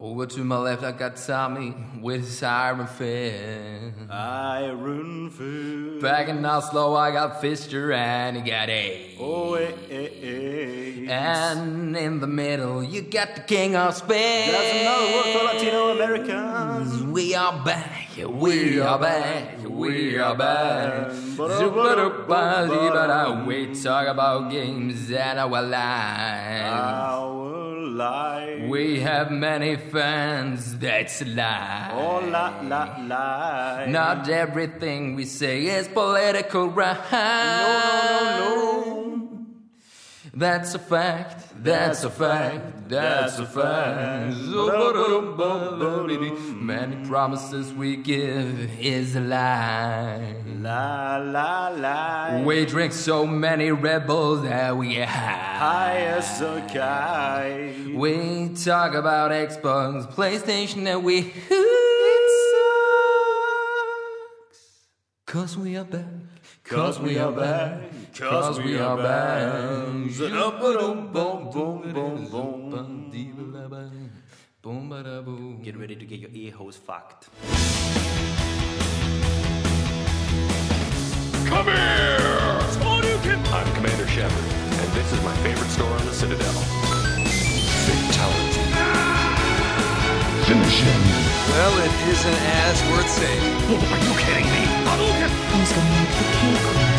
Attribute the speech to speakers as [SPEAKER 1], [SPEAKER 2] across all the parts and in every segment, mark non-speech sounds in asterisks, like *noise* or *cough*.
[SPEAKER 1] Over to my left, I got Tommy with his iron fist.
[SPEAKER 2] Iron Fist.
[SPEAKER 1] Back in Oslo, I got Fister and he got A.
[SPEAKER 2] Oh, eh, eh, eh.
[SPEAKER 1] And in the middle, you got the King of Spades.
[SPEAKER 2] That's another word for Latino Americans.
[SPEAKER 1] We are back, we are back, we are back. Zoop-a-doop-a-dee-ba-da. We talk about games and our lives.
[SPEAKER 2] Our life.
[SPEAKER 1] Eh. We have many fans, that's a lie.
[SPEAKER 2] Oh, la, la, la.
[SPEAKER 1] Not everything we say is political, right?
[SPEAKER 2] No, no, no, no.
[SPEAKER 1] That's a fact. That's, a fact. That's a fact. Many promises we give is a lie.
[SPEAKER 2] La, la, la.
[SPEAKER 1] We drink so many rebels that we have.
[SPEAKER 2] High as a kite.
[SPEAKER 1] We talk about Xbox, PlayStation, and we. Cause we are back. Cause we are back. Cause we are back.
[SPEAKER 2] Boom, boom, boom, boom, boom.
[SPEAKER 1] Boom, bada, boom.
[SPEAKER 2] Get ready to get your ear holes fucked.
[SPEAKER 3] Come here! I'm Commander Shepard, and this is my favorite store on the Citadel. Fatality. Finish him.
[SPEAKER 4] Well, it isn't as worth saying.
[SPEAKER 3] Oh, Are you kidding me?
[SPEAKER 5] Who's gonna make the cake?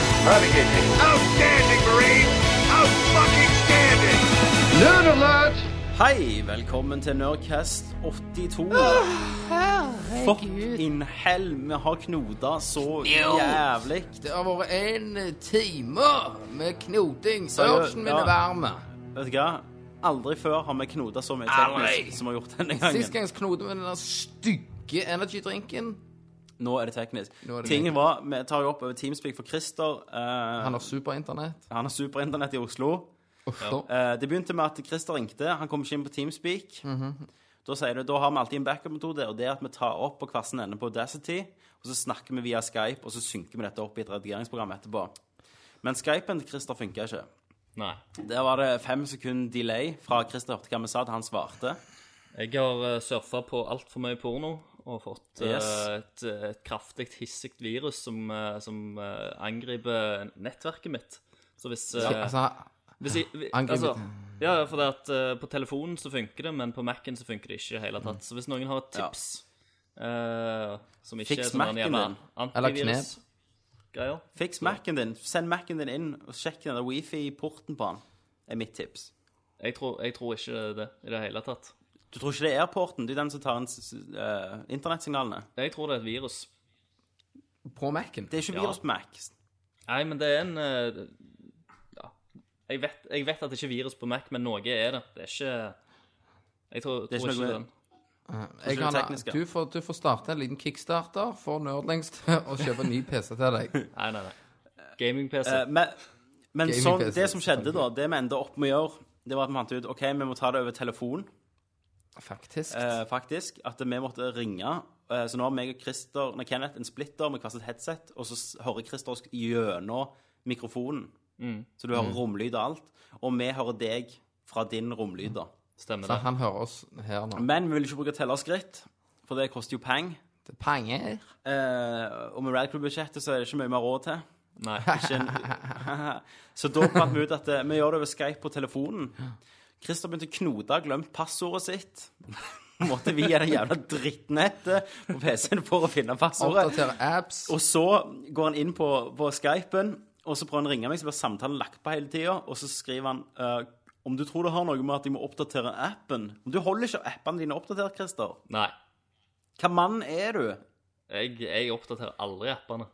[SPEAKER 3] *laughs* Outstanding, Marine! Out fucking standing!
[SPEAKER 2] Hei, velkommen til Nerdcast 82. Fuck in hell, vi har knota så jævlig.
[SPEAKER 1] Det har vært en time med knoting. Sørensen min
[SPEAKER 2] Ja.
[SPEAKER 1] er varm.
[SPEAKER 2] Vet du hva? Aldri før har vi knota så mye
[SPEAKER 1] Aldri.
[SPEAKER 2] teknisk som vi har gjort denne
[SPEAKER 1] Sist
[SPEAKER 2] gangen.
[SPEAKER 1] gang knote med den der stygge energidrinken.
[SPEAKER 2] Nå er det teknisk.
[SPEAKER 1] Nå er det
[SPEAKER 2] Tingen var, Vi tar jo opp over Teamspeak for Christer. eh,
[SPEAKER 1] Han har superinternett.
[SPEAKER 2] han har superinternett i Oslo.
[SPEAKER 1] Uff, da.
[SPEAKER 2] Eh, det begynte med at Christer ringte. Han kom ikke inn på Teamspeak.
[SPEAKER 1] Mhm.
[SPEAKER 2] Da sier du, da har vi alltid en backup-metode, og det er at vi tar opp på hver sin ende på Audacity, og så snakker vi via Skype, og så synker vi dette opp i et redigeringsprogram etterpå. Men Skypen til Christer funka ikke.
[SPEAKER 6] Nei.
[SPEAKER 2] Der var det fem sekunder delay fra Christer hørte hva vi sa, til han svarte.
[SPEAKER 6] Jeg har uh, surfa på altfor mye porno og fått eh,
[SPEAKER 2] Yes.
[SPEAKER 6] et, et kraftig hissig virus som, eh, som eh, angriper nettverket mitt. Så hvis, eh,
[SPEAKER 1] Altså,
[SPEAKER 6] hvis jeg, vi-
[SPEAKER 1] angriper-
[SPEAKER 6] altså, Ja, for det at eh, på telefonen så funker det, men på Mac-en så funker det ikke i det hele tatt. Så hvis noen har et
[SPEAKER 2] Mm. Ja.
[SPEAKER 6] tips eh, som ikke
[SPEAKER 2] Fiks
[SPEAKER 6] er sånn
[SPEAKER 2] Mac-en
[SPEAKER 6] gjerne
[SPEAKER 2] din.
[SPEAKER 1] Eller
[SPEAKER 6] antivirus-greier
[SPEAKER 2] Fiks Mac-en din. Send Mac-en din inn, og sjekk den der wifi-porten på han. er mitt tips.
[SPEAKER 6] jeg, tror- jeg tror ikke det er det i det hele tatt.
[SPEAKER 2] Du tror ikke det er airporten? Det er den som tar inn s- eh, internettsignalene.
[SPEAKER 6] Jeg tror det er et virus.
[SPEAKER 1] på Mac-en.
[SPEAKER 2] Det er ikke
[SPEAKER 6] Ja.
[SPEAKER 2] virus på Mac.
[SPEAKER 6] Nei, men det er en eh, Ja. Jeg vet, jeg vet at det ikke er virus på Mac, men noe er det. Det er ikke Jeg tror,
[SPEAKER 2] Det er
[SPEAKER 6] tror
[SPEAKER 2] ikke
[SPEAKER 6] ikke
[SPEAKER 2] noe-
[SPEAKER 6] den.
[SPEAKER 1] Jeg
[SPEAKER 2] det
[SPEAKER 1] kan,
[SPEAKER 2] tekniske.
[SPEAKER 1] du, får, du får starte en liten kickstarter for nerdlengst *laughs* og kjøpe en ny PC til
[SPEAKER 2] *laughs*
[SPEAKER 1] deg.
[SPEAKER 6] Nei, nei, nei. Gaming-PC.
[SPEAKER 2] Eh, men men
[SPEAKER 1] Gaming
[SPEAKER 2] sånn,
[SPEAKER 1] PC,
[SPEAKER 2] det som skjedde da, det vi endte opp med å gjøre, det var at vi fant ut OK, vi må ta det over telefon,
[SPEAKER 1] Faktisk.
[SPEAKER 2] eh, faktisk. At vi måtte ringe. Eh, så nå har meg og Christer, nei, Kenneth en splitter med hvert sitt headset, og så s- hører Christer oss gjennom mikrofonen. Så du hører romlyd og alt. Og vi hører deg fra din romlyd, da.
[SPEAKER 6] Stemmer
[SPEAKER 1] Så
[SPEAKER 6] det.
[SPEAKER 1] han hører oss her nå.
[SPEAKER 2] Men vi vil ikke bruke tellerskritt, for det koster jo penger.
[SPEAKER 1] Det er Penger.
[SPEAKER 2] Eh, og med Radcrew-budsjettet så er det ikke mye vi har råd til. *laughs*
[SPEAKER 6] Nei.
[SPEAKER 2] Ikke en- *laughs* så da fant vi ut at eh, vi gjør det over Skype på telefonen. Christer begynte å knote, glemt passordet sitt. *laughs* Måtte via det jævla drittnettet på PC-en for å finne passordet.
[SPEAKER 1] Oppdatere apps.
[SPEAKER 2] Og så går han inn på, på Skypen, og så prøver han å ringe meg, så blir samtalen lagt på hele tida, og så skriver han eh, om du tror det har noe med at jeg må oppdatere appen Men Du holder ikke appene dine oppdatert, Christer.
[SPEAKER 6] nei.
[SPEAKER 2] Hva mann er du?
[SPEAKER 6] Jeg, jeg oppdaterer aldri appene.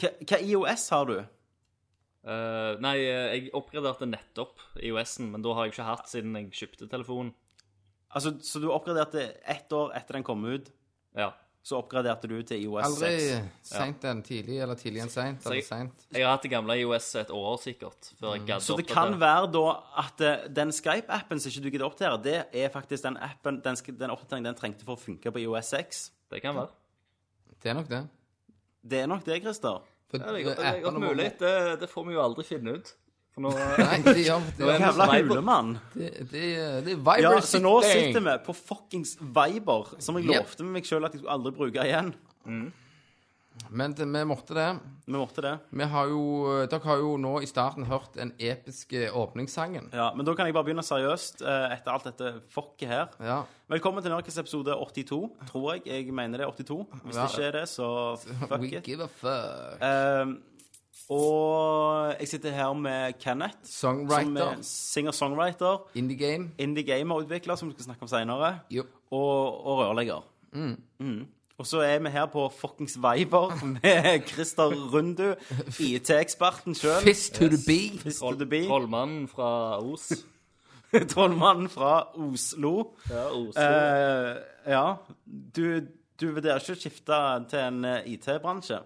[SPEAKER 2] Hva, hva IOS har du?
[SPEAKER 6] Eh, nei, eh, jeg oppgraderte nettopp IOS-en, men da har jeg ikke hatt siden jeg kjøpte telefonen.
[SPEAKER 2] Altså, Så du oppgraderte ett år etter den kom ut?
[SPEAKER 6] Ja.
[SPEAKER 2] så oppgraderte du til IOS
[SPEAKER 1] Aldri
[SPEAKER 2] 6.
[SPEAKER 1] seint enn tidlig, eller tidlig enn seint. Eller
[SPEAKER 6] jeg-
[SPEAKER 1] sent.
[SPEAKER 6] Jeg har hatt det gamle IOS et år sikkert, før jeg gadd
[SPEAKER 2] Mm. Så det
[SPEAKER 6] oppdatere.
[SPEAKER 2] kan være da at eh, den Skype-appen som ikke du gidder oppdatere, det er faktisk den appen, den, sk- den oppdateringen den trengte for å funke på IOS 6.
[SPEAKER 6] Det kan være.
[SPEAKER 1] Det er nok det.
[SPEAKER 2] Det er nok det, Christer.
[SPEAKER 1] For
[SPEAKER 6] Ja, det er godt, det er godt
[SPEAKER 1] appene må-
[SPEAKER 6] mulig. Det, det får vi jo aldri finne ut.
[SPEAKER 2] *laughs*
[SPEAKER 6] For nå eh,
[SPEAKER 1] Nei, det gjør det.
[SPEAKER 6] *laughs* Nå er
[SPEAKER 1] gjør-
[SPEAKER 2] Jævla
[SPEAKER 6] Viber.
[SPEAKER 2] hulemann.
[SPEAKER 1] Det, det, det er Viber
[SPEAKER 2] Ja, så nå
[SPEAKER 1] sitting.
[SPEAKER 2] sitter vi på fuckings Viber, som jeg
[SPEAKER 1] Yep.
[SPEAKER 2] lovte meg sjøl at jeg skulle aldri bruke igjen.
[SPEAKER 1] Men det, vi måtte det.
[SPEAKER 2] Vi måtte det.
[SPEAKER 1] Vi har jo, dere har jo nå i starten hørt den episke åpningssangen.
[SPEAKER 2] Ja, Men da kan jeg bare begynne seriøst eh, etter alt dette fucket her.
[SPEAKER 1] Ja.
[SPEAKER 2] Velkommen til Nørkes episode 82, tror jeg. Jeg mener det er 82. Hvis
[SPEAKER 1] Ja.
[SPEAKER 2] det ikke er det, så fuck
[SPEAKER 1] We
[SPEAKER 2] it.
[SPEAKER 1] give a fuck.
[SPEAKER 2] Ehm, og jeg sitter her med Kenneth, som eh,
[SPEAKER 1] Songwriter.
[SPEAKER 2] er singer-songwriter,
[SPEAKER 1] Indie game.
[SPEAKER 2] indie-gamer-utvikler, som vi skal snakke om senere,
[SPEAKER 1] Jo.
[SPEAKER 2] og, og rørlegger. Mm. Og så er vi her på fuckings *laughs* Viber med Christer *laughs* Rundu, IT-eksperten sjøl.
[SPEAKER 1] Fist to the bee.
[SPEAKER 2] Fist to the bee.
[SPEAKER 6] Trollmannen fra Os.
[SPEAKER 2] *laughs* Trollmannen fra Oslo.
[SPEAKER 6] Ja, Os.
[SPEAKER 2] Eh, ja, du, du vurderer ikke å skifte til en eh, IT-bransje?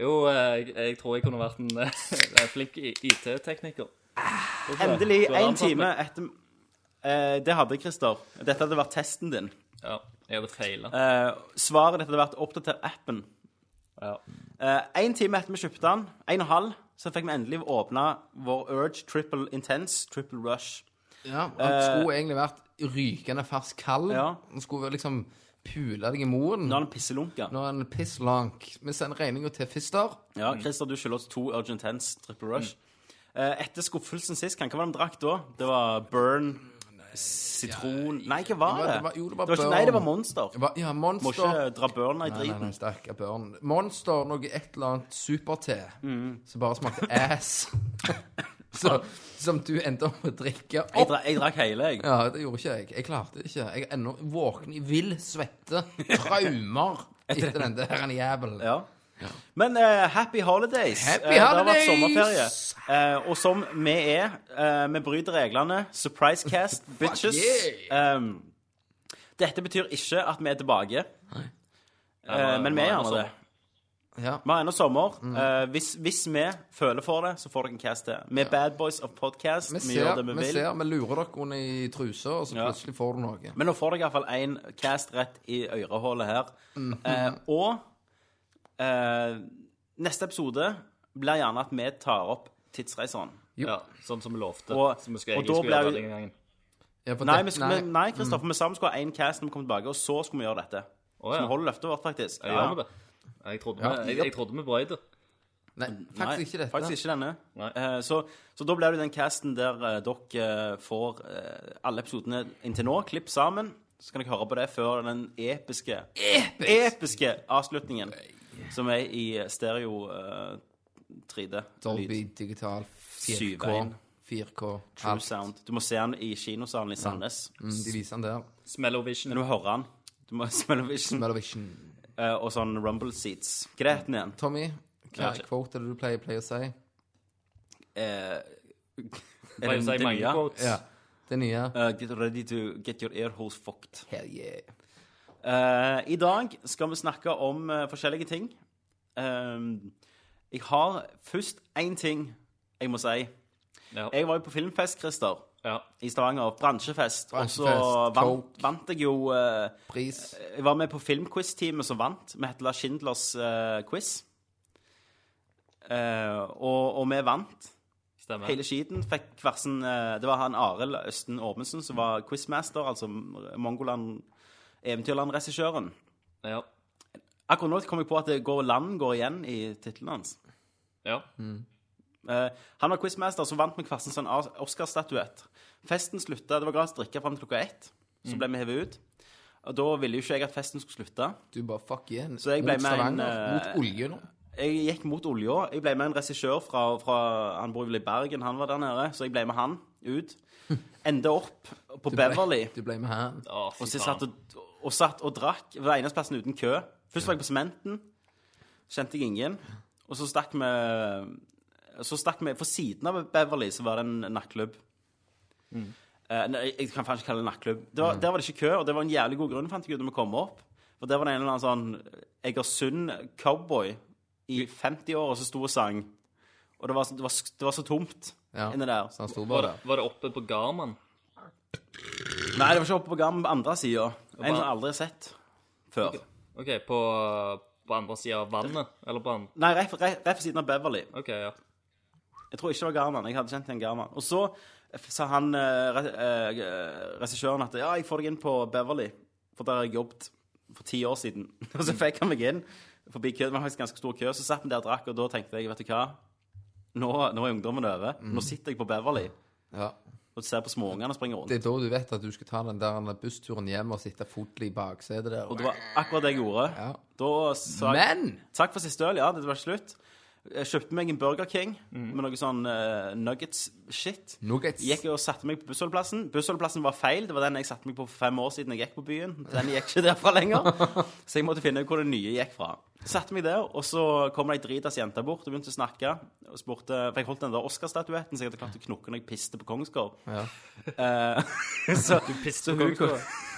[SPEAKER 6] Jo, eh, jeg, jeg tror jeg kunne vært en eh, *laughs* flink i- IT-tekniker. Tror du
[SPEAKER 2] Ah,
[SPEAKER 6] det?
[SPEAKER 2] Endelig
[SPEAKER 6] Du hadde
[SPEAKER 2] én
[SPEAKER 6] antatt
[SPEAKER 2] time
[SPEAKER 6] meg.
[SPEAKER 2] etter Eh, Det hadde jeg, Christer. Dette hadde vært testen din.
[SPEAKER 6] Ja, jeg hadde feila.
[SPEAKER 2] Eh, svaret ditt hadde vært 'oppdater appen'.
[SPEAKER 6] Ja.
[SPEAKER 2] Én time etter vi kjøpte den, en og en halv, så fikk vi endelig åpna vår Urge Triple Intense Triple Rush.
[SPEAKER 1] Ja, han skulle egentlig vært rykende fersk kald.
[SPEAKER 2] Eh, Ja.
[SPEAKER 1] Han skulle vel liksom pule deg i moren.
[SPEAKER 2] Nå er den pisselunka.
[SPEAKER 1] Nå er han pisslank. Vi sender regninga til Fister.
[SPEAKER 2] Ja, Christer, du skylder oss to Urge Intense Triple Rush.
[SPEAKER 1] Mm.
[SPEAKER 2] Eh, etter skuffelsen sist, hva var det vi drakk da? Det var
[SPEAKER 1] Mm,
[SPEAKER 2] Burn, sitron Nei, hva var
[SPEAKER 1] det
[SPEAKER 2] det?
[SPEAKER 1] var- det var- jo, det var
[SPEAKER 2] ikke, nei,
[SPEAKER 1] Burn.
[SPEAKER 2] det var Monster.
[SPEAKER 1] Hva- Ja, Monster.
[SPEAKER 2] Må ikke dra Burn
[SPEAKER 1] Nei,
[SPEAKER 2] i
[SPEAKER 1] nei,
[SPEAKER 2] driten.
[SPEAKER 1] nei, stakkar børn. Monster, noe et eller annet super-te
[SPEAKER 2] Mm.
[SPEAKER 1] som bare smakte ass. *laughs* Så, som du endte opp med å drikke
[SPEAKER 2] Jeg,
[SPEAKER 1] opp.
[SPEAKER 2] dra, jeg drakk hele, jeg.
[SPEAKER 1] Ja, det gjorde ikke jeg. Jeg klarte det ikke. Jeg er ennå våken i vill svette. Traumer
[SPEAKER 2] *laughs*
[SPEAKER 1] etter den der han jævelen.
[SPEAKER 2] Ja. Men eh, happy holidays!
[SPEAKER 1] Happy
[SPEAKER 2] Eh,
[SPEAKER 1] holidays!
[SPEAKER 2] Det har vært sommerferie. Eh, og som vi er, eh, vi bryter reglene. Surprise
[SPEAKER 1] *laughs*
[SPEAKER 2] cast, bitches. Em, dette betyr ikke at vi er tilbake, eh, men vi er gjerne det.
[SPEAKER 1] Ja.
[SPEAKER 2] Vi har ennå sommer.
[SPEAKER 6] Mm.
[SPEAKER 2] Eh, hvis, hvis vi føler for det, så får dere en cast til. Vi er bad boys of podcast.
[SPEAKER 1] Vi
[SPEAKER 2] Vi,
[SPEAKER 1] ser,
[SPEAKER 2] gjør det vi,
[SPEAKER 1] vi
[SPEAKER 2] vil.
[SPEAKER 1] ser, vi lurer dere under i trusa, og så
[SPEAKER 2] Ja.
[SPEAKER 1] plutselig får du noe.
[SPEAKER 2] Men nå får dere iallfall én cast rett i ørehullet her.
[SPEAKER 6] Mm.
[SPEAKER 2] Eh, og eh, neste episode blir gjerne at vi tar opp tidsreiseren.
[SPEAKER 6] ja. Sånn som vi lovte.
[SPEAKER 2] Og-
[SPEAKER 6] som vi skal,
[SPEAKER 2] og
[SPEAKER 6] egentlig
[SPEAKER 2] da
[SPEAKER 6] skulle gjøre
[SPEAKER 2] ble-
[SPEAKER 6] den gangen.
[SPEAKER 1] Ja, for
[SPEAKER 2] Nei,
[SPEAKER 1] det-
[SPEAKER 2] vi skulle, nei. nei Kristoffer, vi sammen skulle ha én cast når vi kom tilbake, og så skulle vi gjøre dette.
[SPEAKER 6] Mm. Å
[SPEAKER 2] Så vi
[SPEAKER 6] ja.
[SPEAKER 2] holder løftet vårt, faktisk.
[SPEAKER 6] Ja, Gjør vi det? Jeg trodde
[SPEAKER 1] Ja.
[SPEAKER 6] vi, jeg, jeg trodde vi brøyde.
[SPEAKER 1] nei,
[SPEAKER 2] Nei,
[SPEAKER 1] faktisk ikke dette.
[SPEAKER 2] Faktisk ikke denne.
[SPEAKER 6] Nei.
[SPEAKER 2] Eh, så, så da blir det den casten der eh, dere eh, får eh, alle episodene inntil nå klipp sammen. Så kan dere høre på det før den episke episke avslutningen som er i stereo eh, 3D.
[SPEAKER 1] Dolby
[SPEAKER 2] Lyd.
[SPEAKER 1] digital 4K.
[SPEAKER 2] Syvein.
[SPEAKER 1] 4K.
[SPEAKER 2] True
[SPEAKER 1] alt.
[SPEAKER 2] sound. Du må se den i kinosalen i Sandnes.
[SPEAKER 1] Mm, de viser den der.
[SPEAKER 2] Du
[SPEAKER 6] Smellovision.
[SPEAKER 2] må høre den. Du må *laughs* smelle vision
[SPEAKER 1] Melovision.
[SPEAKER 2] eh, og sånn rumble seats. Hva er den igjen?
[SPEAKER 1] Tommy, hva
[SPEAKER 6] Ja, ikke-
[SPEAKER 1] quote er det du pleier, pleier å si?
[SPEAKER 6] Eh, Bare si mange quotes.
[SPEAKER 1] Ja. Det nye.
[SPEAKER 2] Eh, get ready to get your ear holes fucked.
[SPEAKER 1] Hell yeah.
[SPEAKER 2] Eh, I dag skal vi snakke om eh, forskjellige ting. Ehm, jeg har først én ting jeg må si.
[SPEAKER 6] Ja.
[SPEAKER 2] Jeg var jo på filmfest, Christer,
[SPEAKER 6] Ja.
[SPEAKER 2] i Stavanger. Bransjefest.
[SPEAKER 1] Bransjefest,
[SPEAKER 2] og så vant,
[SPEAKER 1] Coke.
[SPEAKER 2] vant jeg jo eh,
[SPEAKER 1] Pris.
[SPEAKER 2] Jeg var med på filmquiz-teamet som vant. Vi heter La Schindlers eh, quiz. Eh, og, og vi vant
[SPEAKER 6] Stemmer.
[SPEAKER 2] hele skiten. Fikk hver sin eh, Det var han Arild Østen Ormundsen som var quizmaster, altså Mongoland Eventyrland-regissøren.
[SPEAKER 6] Ja.
[SPEAKER 2] Akkurat nå kom jeg på at det går land går igjen i tittelen hans.
[SPEAKER 6] ja.
[SPEAKER 2] Mm. Eh, han var quizmaster som vant med hver sin sånn Os- Oscar-statuett. Festen slutta, det var gratis drikke fram til klokka ett.
[SPEAKER 1] Mm.
[SPEAKER 2] Så ble vi hevet ut. Og da ville jo ikke jeg at festen skulle slutte.
[SPEAKER 1] Du bare fuck yeah.
[SPEAKER 2] Så jeg ble
[SPEAKER 1] mot
[SPEAKER 2] med en,
[SPEAKER 1] Stavanger.
[SPEAKER 2] eh,
[SPEAKER 1] mot olje nå.
[SPEAKER 2] Jeg gikk mot olja. Jeg ble med en regissør fra, fra Han bor vel i Bergen, han var der nede, så jeg ble med han
[SPEAKER 1] *laughs*
[SPEAKER 2] ut. Endte opp på
[SPEAKER 1] Du ble-
[SPEAKER 2] Beverly.
[SPEAKER 1] Du ble med her.
[SPEAKER 6] Å,
[SPEAKER 2] Og så
[SPEAKER 6] fy
[SPEAKER 2] satt
[SPEAKER 6] faen.
[SPEAKER 2] og, og satt og drakk. Det var eneste plassen uten kø. Først var jeg på Sementen. Kjente jeg ingen. Og så stakk vi Så stakk vi For siden av Beverly så var det en nattklubb.
[SPEAKER 6] Mm.
[SPEAKER 2] Eh, nei, jeg kan faen ikke kalle det nattklubb. Det var, Der var det ikke kø, og det var en jævlig god grunn, fant jeg ut når vi kom opp. For der var det en eller annen sånn Egersund cowboy i 50-åra som sto og sang. Og det var, så- det var, det var så tomt
[SPEAKER 1] Ja.
[SPEAKER 2] inni der.
[SPEAKER 1] Så han sto
[SPEAKER 6] Var
[SPEAKER 1] bare
[SPEAKER 6] det,
[SPEAKER 1] der.
[SPEAKER 6] var det oppe på Garman?
[SPEAKER 2] Nei, det var ikke oppe på gammen på andre sida. En som jeg aldri har sett før.
[SPEAKER 6] OK, på, på andre sida av vannet? Eller på andre
[SPEAKER 2] Nei, rett rett- rett ved siden av Beverly.
[SPEAKER 6] OK, ja.
[SPEAKER 2] Jeg tror ikke det var Garman. Jeg hadde kjent igjen Garman. Og så f- sa han, eh, re- eh, regissøren, at ja, jeg får deg inn på Beverly, for der har jeg jobbet for ti år siden. *laughs* Og så fikk han meg inn forbi kø. Det var faktisk ganske stor kø. Så satt vi der og drakk, og da tenkte jeg, vet du hva, nå, nå er ungdommen over.
[SPEAKER 1] Mm.
[SPEAKER 2] Nå sitter jeg på Beverly
[SPEAKER 1] Ja.
[SPEAKER 2] og ser på småungene springe rundt.
[SPEAKER 1] Det er da du vet at du skal ta den der bussturen hjem og sitte fotlig i baksetet der.
[SPEAKER 2] Og det var akkurat det jeg gjorde.
[SPEAKER 1] Ja.
[SPEAKER 2] Da sa jeg
[SPEAKER 1] Men!
[SPEAKER 2] Takk for siste øl, ja. Det var slutt. Jeg kjøpte meg en Burger King
[SPEAKER 1] Mm.
[SPEAKER 2] med noe sånn eh, nuggets-shit.
[SPEAKER 1] Nuggets.
[SPEAKER 2] Gikk og satte meg på bussholdeplassen. Bussholdeplassen var feil. Det var den jeg satte meg på for fem år siden jeg gikk på byen. Den gikk ikke derfra lenger. Så jeg måtte finne ut hvor den nye gikk fra. Satte meg der, og så kom det ei dritas jente bort og begynte å snakke. Og spurte, For jeg holdt den der Oscar-statuetten så jeg hadde klart å knokke når jeg piste på Kongsgård.
[SPEAKER 1] Ja.
[SPEAKER 2] *laughs* Eh, så,
[SPEAKER 6] Pisse
[SPEAKER 2] så
[SPEAKER 6] på
[SPEAKER 2] hun
[SPEAKER 6] koka.
[SPEAKER 2] *laughs*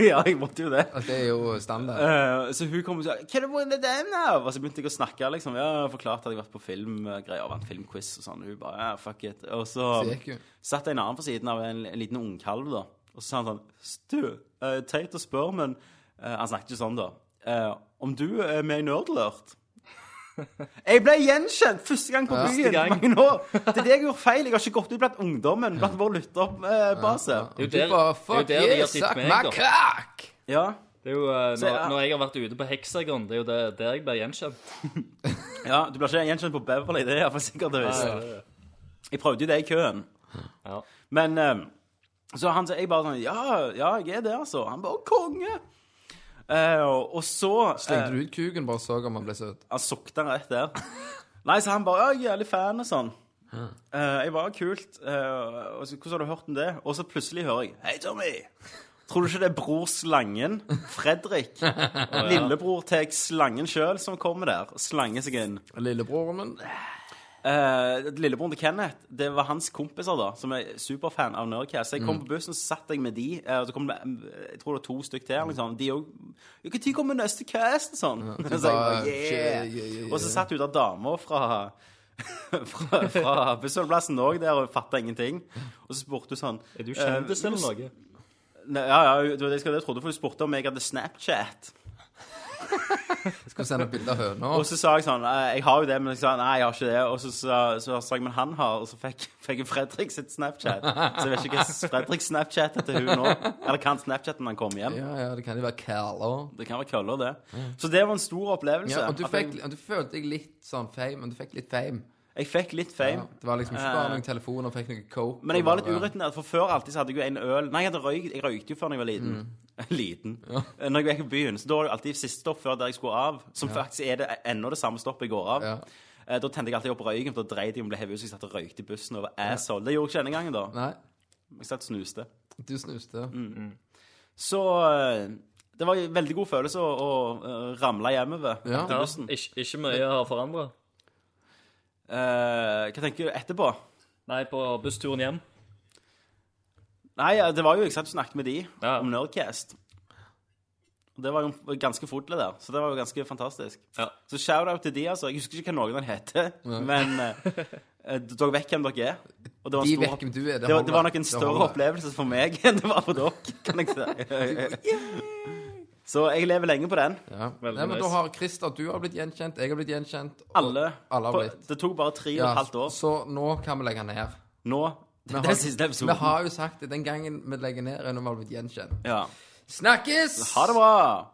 [SPEAKER 2] Ja, jeg måtte jo det.
[SPEAKER 1] Altså, Det er jo standard.
[SPEAKER 2] Eh, så hun kom og sa 'Hva er det med den?' her?» Og så begynte jeg å snakke. liksom Ja, Forklarte at jeg hadde vært på filmgreier og vant filmquiz og sånn. Og hun bare ja, 'fuck it'. Og så
[SPEAKER 1] Så gikk hun.
[SPEAKER 2] satt en annen på siden av en, en liten ungkalv, da. Og så sa han sånn 'Du, eh, teit å spørre, men eh, Han snakket jo sånn, da. eh, 'Om du er med i *laughs* Nerdlurt?' Jeg ble gjenkjent første gang på byen!
[SPEAKER 6] gang.
[SPEAKER 2] Mange år. Det er det jeg gjorde feil. Jeg har ikke gått ut blant ungdommen, blant vår lytterbase.
[SPEAKER 6] Det er jo
[SPEAKER 1] Du
[SPEAKER 6] der-
[SPEAKER 1] bare Fuck
[SPEAKER 6] det er jo der de har
[SPEAKER 1] yes,
[SPEAKER 6] sett
[SPEAKER 1] suck
[SPEAKER 6] meg,
[SPEAKER 1] my
[SPEAKER 6] da.
[SPEAKER 1] cock!
[SPEAKER 2] Ja.
[SPEAKER 6] Det er jo, eh,
[SPEAKER 2] Så
[SPEAKER 6] når,
[SPEAKER 2] jeg-
[SPEAKER 6] når jeg har vært ute på Heksagon, det er jo der, der jeg blir gjenkjent.
[SPEAKER 2] ja. Du blir ikke gjenkjent på Beverly, det er iallfall sikkert det visste. Jeg prøvde jo det i køen.
[SPEAKER 6] Ja.
[SPEAKER 2] Men eh, så han sa jeg bare sånn Ja, ja, jeg er det, altså. Han bare Konge! Eh, og så
[SPEAKER 1] Slengte
[SPEAKER 2] eh,
[SPEAKER 1] du ut kuken, bare så om han ble søt?
[SPEAKER 2] Han sukta rett der. Nei, så han bare Ja, jeg er jævlig fan og sånn. Eh, jeg var kult. eh, og så, hvordan har du hørt om det? Og så plutselig hører jeg Hei, Tommy! Tror du ikke det er bror Slangen? Fredrik. Lillebror til Slangen sjøl som kommer der. Slange seg inn.
[SPEAKER 1] Lillebroren min?
[SPEAKER 2] Eh, Lillebroren til Kenneth, det var hans kompiser da, som er superfan av Nerdcast. Så jeg
[SPEAKER 6] Mm.
[SPEAKER 2] kom på bussen, så satt jeg med de, eh, og så kom det, eh, jeg tror det var to stykk til, liksom. De òg 'Når kommer neste cast?' og sånn. *laughs* så jeg
[SPEAKER 1] bare,
[SPEAKER 2] bare, yeah.
[SPEAKER 1] «Yeah, yeah, yeah,
[SPEAKER 2] Og så satt hun der dama fra *laughs* fra, fra bussholdeplassen òg der og fatta ingenting. Og så spurte hun sånn
[SPEAKER 6] Er du kjendis
[SPEAKER 2] eh,
[SPEAKER 6] eller noe?
[SPEAKER 2] Nei, Ja, ja, det var det jeg skulle- jeg trodde, for hun spurte om jeg hadde Snapchat.
[SPEAKER 1] Skal sende bilde av høna.
[SPEAKER 2] Og så sa jeg sånn eh, Jeg har jo det, men jeg sa nei, jeg har ikke det. Og så sa så sa jeg men han har, og så fikk, fikk jeg Fredrik sitt Snapchat. Så jeg vet ikke hva Fredrik Snapchat er til hun nå. Eller kan Snapchat når han kommer hjem.
[SPEAKER 1] Ja, ja, det kan jo være Carlo.
[SPEAKER 2] Det kan være køller, det. Så det var en stor opplevelse.
[SPEAKER 1] Ja, og du,
[SPEAKER 2] at
[SPEAKER 1] fikk,
[SPEAKER 2] jeg,
[SPEAKER 1] og du følte deg litt sånn fame, men du fikk litt fame.
[SPEAKER 2] jeg fikk litt
[SPEAKER 1] Ja,
[SPEAKER 2] fame.
[SPEAKER 1] det var liksom ikke bare
[SPEAKER 2] Eh,
[SPEAKER 1] noen telefoner, fikk noe coke.
[SPEAKER 2] Men jeg var litt
[SPEAKER 1] og bare-
[SPEAKER 2] urutinert, for før alltid så hadde jeg jo en øl Nei, jeg hadde røykt, jeg røykte jo før da jeg var liten.
[SPEAKER 1] Mm.
[SPEAKER 2] *laughs* Liten. Eh, Når jeg gikk på byen. Så da var det alltid siste stopp før der jeg skulle av, som faktisk er det ennå det samme stoppet jeg går av.
[SPEAKER 1] Ja.
[SPEAKER 2] Eh, Da tente jeg alltid opp røyken, for da dreide jeg om det hevet ut, så jeg satt og røykte i bussen og var asshole. Det gjorde jeg ikke denne gangen, da.
[SPEAKER 1] Nei,
[SPEAKER 2] Jeg satt og snuste.
[SPEAKER 1] du
[SPEAKER 2] Mm.
[SPEAKER 1] snuste.
[SPEAKER 2] Så eh, det var en veldig god følelse å, å eh, ramle hjemover
[SPEAKER 1] Ja.
[SPEAKER 2] etter
[SPEAKER 6] Ja,
[SPEAKER 2] bussen.
[SPEAKER 6] ikke, ikke mye har forandra.
[SPEAKER 2] Eh, hva tenker du etterpå?
[SPEAKER 6] Nei, på bussturen hjem.
[SPEAKER 2] Nei, eh, det var jo, jeg satt og snakket med de
[SPEAKER 6] Ja.
[SPEAKER 2] om Nerdcast. Og Det var jo ganske fort det der, så det var jo ganske fantastisk.
[SPEAKER 6] Ja.
[SPEAKER 2] Så shout-out til de, altså. Jeg husker ikke hva noen av dem heter, men eh, eh, dere vet hvem dere er. Og det var en
[SPEAKER 1] De
[SPEAKER 2] stor
[SPEAKER 1] vet hvem du er.
[SPEAKER 2] Det var, det var nok
[SPEAKER 1] holder.
[SPEAKER 2] en
[SPEAKER 1] Det
[SPEAKER 2] større
[SPEAKER 1] holder.
[SPEAKER 2] opplevelse for meg *laughs* enn det var for dere, kan jeg
[SPEAKER 1] *laughs*
[SPEAKER 2] si. Så jeg lever lenge på den.
[SPEAKER 1] Ja.
[SPEAKER 6] Veldig
[SPEAKER 1] Nei, men da
[SPEAKER 6] nice.
[SPEAKER 1] har Christer, du har blitt gjenkjent, jeg har blitt gjenkjent. og-
[SPEAKER 2] Alle.
[SPEAKER 1] Alle har
[SPEAKER 2] For
[SPEAKER 1] blitt.
[SPEAKER 2] Det tok bare tre og
[SPEAKER 1] Ja,
[SPEAKER 2] et halvt år.
[SPEAKER 1] Så nå kan vi legge ned.
[SPEAKER 2] Nå. Det er den siste
[SPEAKER 1] Vi
[SPEAKER 2] episoden.
[SPEAKER 1] har jo sagt det. Den gangen vi legger ned, er når vi har blitt gjenkjent.
[SPEAKER 2] Ja.
[SPEAKER 1] Snakkes!
[SPEAKER 2] Ha det bra.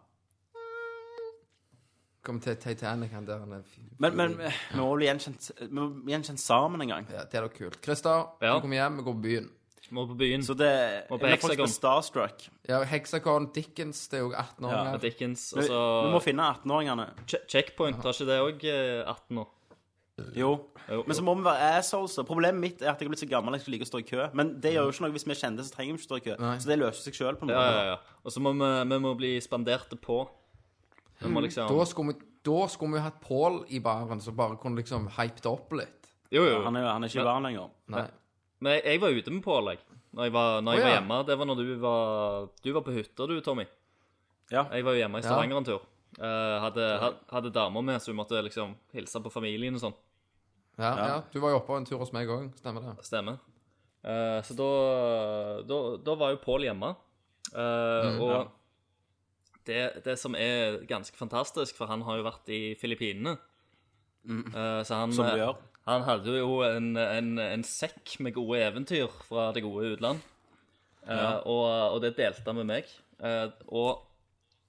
[SPEAKER 1] Kom til Titanic, han der. han er fin.
[SPEAKER 2] Men, men vi må bli gjenkjent, vi må bli gjenkjent sammen en gang.
[SPEAKER 1] Ja, det er da kult. Christer,
[SPEAKER 6] Ja.
[SPEAKER 1] du kommer hjem, vi går på byen.
[SPEAKER 6] Må på byen.
[SPEAKER 2] Så det
[SPEAKER 6] Og på
[SPEAKER 2] jeg blir faktisk
[SPEAKER 6] Hexagon.
[SPEAKER 2] starstruck.
[SPEAKER 1] Ja, Hexacon, Dickens, det er jo 18 år
[SPEAKER 2] Ja,
[SPEAKER 6] med
[SPEAKER 1] her.
[SPEAKER 6] Dickens. Og
[SPEAKER 2] Vi,
[SPEAKER 6] så
[SPEAKER 2] vi må finne 18-åringene.
[SPEAKER 6] che Checkpoint, har ikke det òg 18 nå?
[SPEAKER 2] Jo.
[SPEAKER 6] Jo,
[SPEAKER 2] Men så må vi være assholes. da. Problemet mitt er at jeg er blitt så gammel at jeg ikke liker å stå i kø. Men det gjør jo ikke noe hvis vi er kjente, så trenger vi ikke stå i kø. Så det løser seg sjøl på en
[SPEAKER 6] Ja,
[SPEAKER 2] måte.
[SPEAKER 6] ja, ja. Og så må vi, vi må bli spanderte på. Vi må liksom
[SPEAKER 1] Da skulle vi, da skulle vi jo hatt Paul i baren, som bare kunne liksom hypet opp litt.
[SPEAKER 6] Jo, jo.
[SPEAKER 2] Han er, han er ikke i baren lenger.
[SPEAKER 1] Nei.
[SPEAKER 6] Men jeg, jeg var ute med Pål, jeg. Når jeg var, når jeg
[SPEAKER 1] Å,
[SPEAKER 6] var
[SPEAKER 1] ja.
[SPEAKER 6] hjemme. Det var når du var Du var på hytta, du, Tommy.
[SPEAKER 2] Ja.
[SPEAKER 6] Jeg var jo hjemme i Stavanger en tur. Eh, hadde, had- hadde damer med, så vi måtte liksom hilse på familien og sånn.
[SPEAKER 1] Ja, ja. Du var jo oppe en tur hos meg òg, stemmer det?
[SPEAKER 6] Stemmer. Eh,
[SPEAKER 2] Mhm.
[SPEAKER 6] så da, da Da var jo Pål hjemme. Eh, og det, det som er ganske fantastisk, for han har jo vært i Filippinene Eh, Så han,
[SPEAKER 2] Mm. Som du
[SPEAKER 6] eh,
[SPEAKER 2] gjør.
[SPEAKER 6] han hadde jo en, en, en sekk med gode eventyr fra det gode utland. Eh, og, og det delte han med meg. Eh, og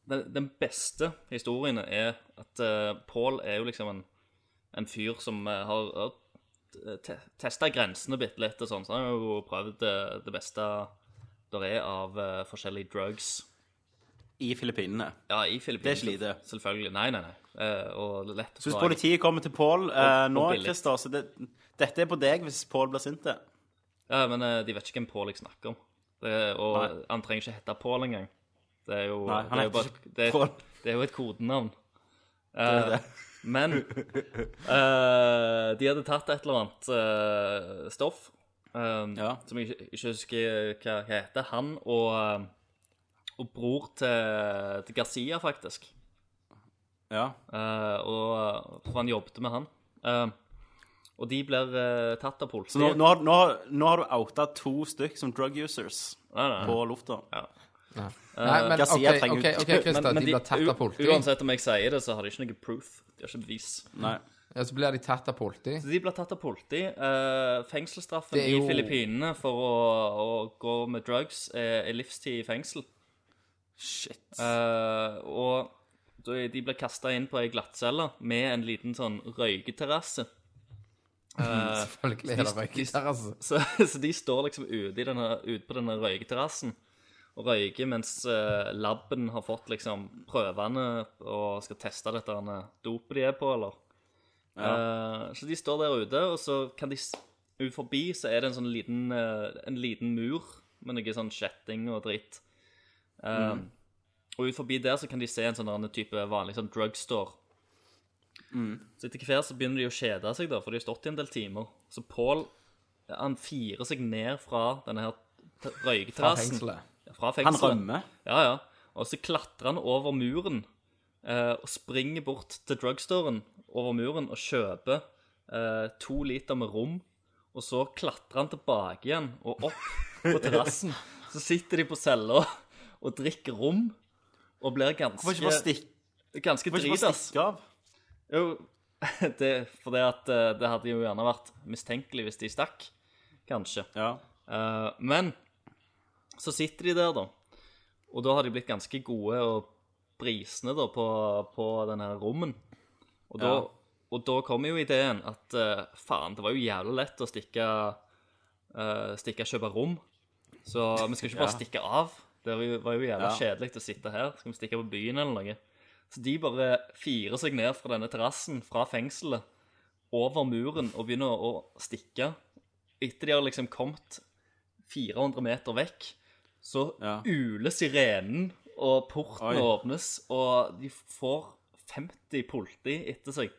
[SPEAKER 6] den, den beste historien er at uh, Pål er jo liksom en, en fyr som eh, har, har te testa grensene bitte litt og sånn, så han har jo prøvd det, det beste der er av eh, forskjellige drugs.
[SPEAKER 2] I Filippinene.
[SPEAKER 6] Ja, i Filippinene.
[SPEAKER 2] Det er ikke lite.
[SPEAKER 6] Selvfølgelig. Nei, nei, nei. Eh, og lett å
[SPEAKER 2] Så hvis
[SPEAKER 6] få-
[SPEAKER 2] politiet kommer til Pål eh, nå,
[SPEAKER 6] billig.
[SPEAKER 2] Christer, så det, dette er på deg hvis Pål blir sint. det.
[SPEAKER 6] Ja, men eh, de vet ikke hvem Pål jeg snakker om. Det, og
[SPEAKER 2] Nei.
[SPEAKER 6] han trenger ikke hete Pål engang. Det er jo,
[SPEAKER 2] Nei, han
[SPEAKER 6] det er jo
[SPEAKER 2] heter
[SPEAKER 6] bare,
[SPEAKER 2] ikke
[SPEAKER 6] det,
[SPEAKER 2] Paul.
[SPEAKER 6] det er jo et kodenavn.
[SPEAKER 2] Det er
[SPEAKER 6] Eh,
[SPEAKER 2] det.
[SPEAKER 6] men eh, de hadde tatt et eller annet eh, stoff eh,
[SPEAKER 2] Ja.
[SPEAKER 6] som jeg ikke, ikke husker hva hva heter. Han og, eh, og bror til, til Garcia, faktisk.
[SPEAKER 2] Ja.
[SPEAKER 6] Eh, og, for han jobbet med han. Eh, og de blir eh, tatt av politiet.
[SPEAKER 2] Så nå, nå, har- nå, har- nå har du outa to stykk som drug users
[SPEAKER 6] Nei, nei.
[SPEAKER 2] på lufta.
[SPEAKER 1] Nei, men OK,
[SPEAKER 2] Garcia trenger
[SPEAKER 1] OK,
[SPEAKER 2] ut.
[SPEAKER 1] ok, Christer. de, blir tatt av
[SPEAKER 6] u-
[SPEAKER 1] politiet.
[SPEAKER 6] Uansett om jeg sier det, så har de ikke noe proof. De har ikke bevis.
[SPEAKER 2] Nei.
[SPEAKER 1] Ja, så blir de tatt av politiet.
[SPEAKER 6] Så de blir tatt av politi. Eh, fengselsstraffen
[SPEAKER 1] Det er jo-
[SPEAKER 6] i Filippinene for å, å gå med drugs er, er livstid i fengsel.
[SPEAKER 2] Shit.
[SPEAKER 6] Eh, og da er- de blir kasta inn på ei glattcelle med en liten sånn røyketerrasse. *laughs*
[SPEAKER 1] Selvfølgelig. Eller røyketer, altså.
[SPEAKER 6] Så, så de står liksom ute, i denne, ute på denne røyketerrassen og røyker mens eh, labben har fått liksom prøvene og skal teste dette denne dopet de er på, eller? Eh, så de står der ute, og så kan de s- ut forbi, så er det en sånn liten, eh, en liten mur med noe sånn kjetting og dritt. Eh, Og ut forbi der så kan de se en sånn annen type vanlig sånn drugstore. Så etter hvert så begynner de å kjede seg, da, for de har stått i en del timer. Så Pål han firer seg ned fra denne her t-
[SPEAKER 1] Fra
[SPEAKER 6] røyketerrassen.
[SPEAKER 1] fengselet.
[SPEAKER 6] Ja, Fra
[SPEAKER 2] Han
[SPEAKER 6] fengselet.
[SPEAKER 2] rømmer.
[SPEAKER 6] Ja, ja. Og så klatrer han over muren eh, og springer bort til drugstoren over muren og kjøper eh, to liter med rom. Og så klatrer han tilbake igjen og opp
[SPEAKER 2] *laughs*
[SPEAKER 6] på terrassen. Så sitter de på cella og drikker rom og blir
[SPEAKER 2] Hvorfor ikke bare
[SPEAKER 6] ganske,
[SPEAKER 2] stikke,
[SPEAKER 6] ganske
[SPEAKER 2] hvorfor ikke bare
[SPEAKER 6] dritas.
[SPEAKER 2] stikke av?
[SPEAKER 6] Jo, *laughs* det, for det, at, eh, det hadde jo gjerne vært mistenkelig hvis de stakk, kanskje.
[SPEAKER 2] Ja.
[SPEAKER 6] Eh, men så sitter de der, da. Og da har de blitt ganske gode og brisne da, på, på denne her rommen. Og da,
[SPEAKER 2] Ja.
[SPEAKER 6] og da kommer jo ideen at eh, faen, det var jo jævlig lett å stikke eh, Stikke og kjøpe rom. Så vi skal ikke bare
[SPEAKER 2] Ja.
[SPEAKER 6] stikke av. Det var jo, var jo jævlig
[SPEAKER 2] Ja.
[SPEAKER 6] kjedelig å sitte her. Skal vi stikke på byen eller noe? Så de bare firer seg ned fra denne terrassen, fra fengselet, over muren og begynner å stikke. Etter de har liksom kommet 400 meter vekk, så
[SPEAKER 2] Ja.
[SPEAKER 6] uler sirenen, og
[SPEAKER 2] Oi.
[SPEAKER 6] porten åpnes, og de får 50 politi etter seg.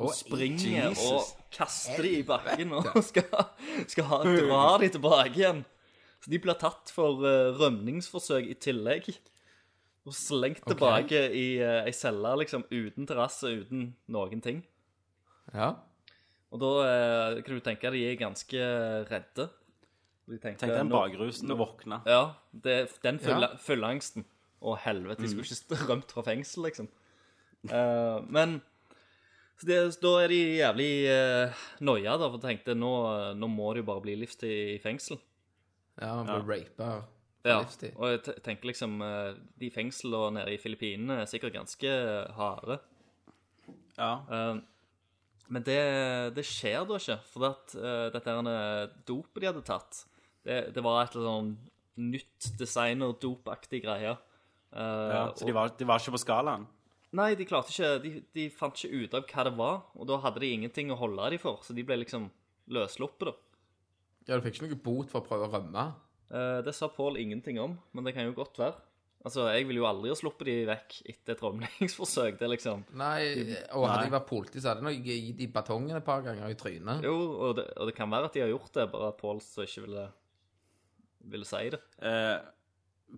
[SPEAKER 6] Og springer
[SPEAKER 2] Jesus.
[SPEAKER 6] og kaster de i bakken og skal, skal ha, dra de tilbake igjen. Så de blir tatt for eh, rømningsforsøk i tillegg. Og slengt tilbake i eh, ei celle, liksom, uten terrasse, uten noen ting.
[SPEAKER 1] Ja.
[SPEAKER 6] Og da eh, kan du tenke at de er ganske redde. De tenker,
[SPEAKER 2] Tenk den
[SPEAKER 6] nå-
[SPEAKER 2] bakrusen å våkne.
[SPEAKER 6] Ja, det, den fulle,
[SPEAKER 1] Ja.
[SPEAKER 6] fulle angsten. Å, helvete, de skulle ikke rømt fra fengsel, liksom. Eh, men så det, da er de jævlig uh, noia, da, for jeg tenkte nå, nå må det jo bare bli livstid i fengsel.
[SPEAKER 1] Ja, han blir rapa.
[SPEAKER 6] Ja,
[SPEAKER 1] Livstid.
[SPEAKER 6] og jeg te- tenker liksom eh, De fengslene nede i Filippinene er sikkert ganske harde.
[SPEAKER 2] Ja.
[SPEAKER 6] Eh, men det, det skjer da ikke, for at, eh, dette her eh, dopet de hadde tatt, det, det var et eller annet sånn nytt designer-dopaktig greie. Eh,
[SPEAKER 2] ja. Så de var, de var ikke på skalaen?
[SPEAKER 6] Nei, de klarte ikke de, de fant ikke ut av hva det var, og da hadde de ingenting å holde dem for, så de ble liksom løsluppet, da.
[SPEAKER 1] Ja, du fikk ikke noe bot for å prøve å rømme?
[SPEAKER 6] Eh, det sa Pål ingenting om, men det kan jo godt være. Altså, jeg ville jo aldri ha sluppet de vekk etter et rømningsforsøk. Det er liksom
[SPEAKER 1] Nei, og hadde jeg vært politi, så hadde jeg nok gitt de batongen et par ganger i trynet.
[SPEAKER 6] Jo, og det, og det kan være at de har gjort det, bare at Pål så ikke ville, ville si det.
[SPEAKER 2] Eh,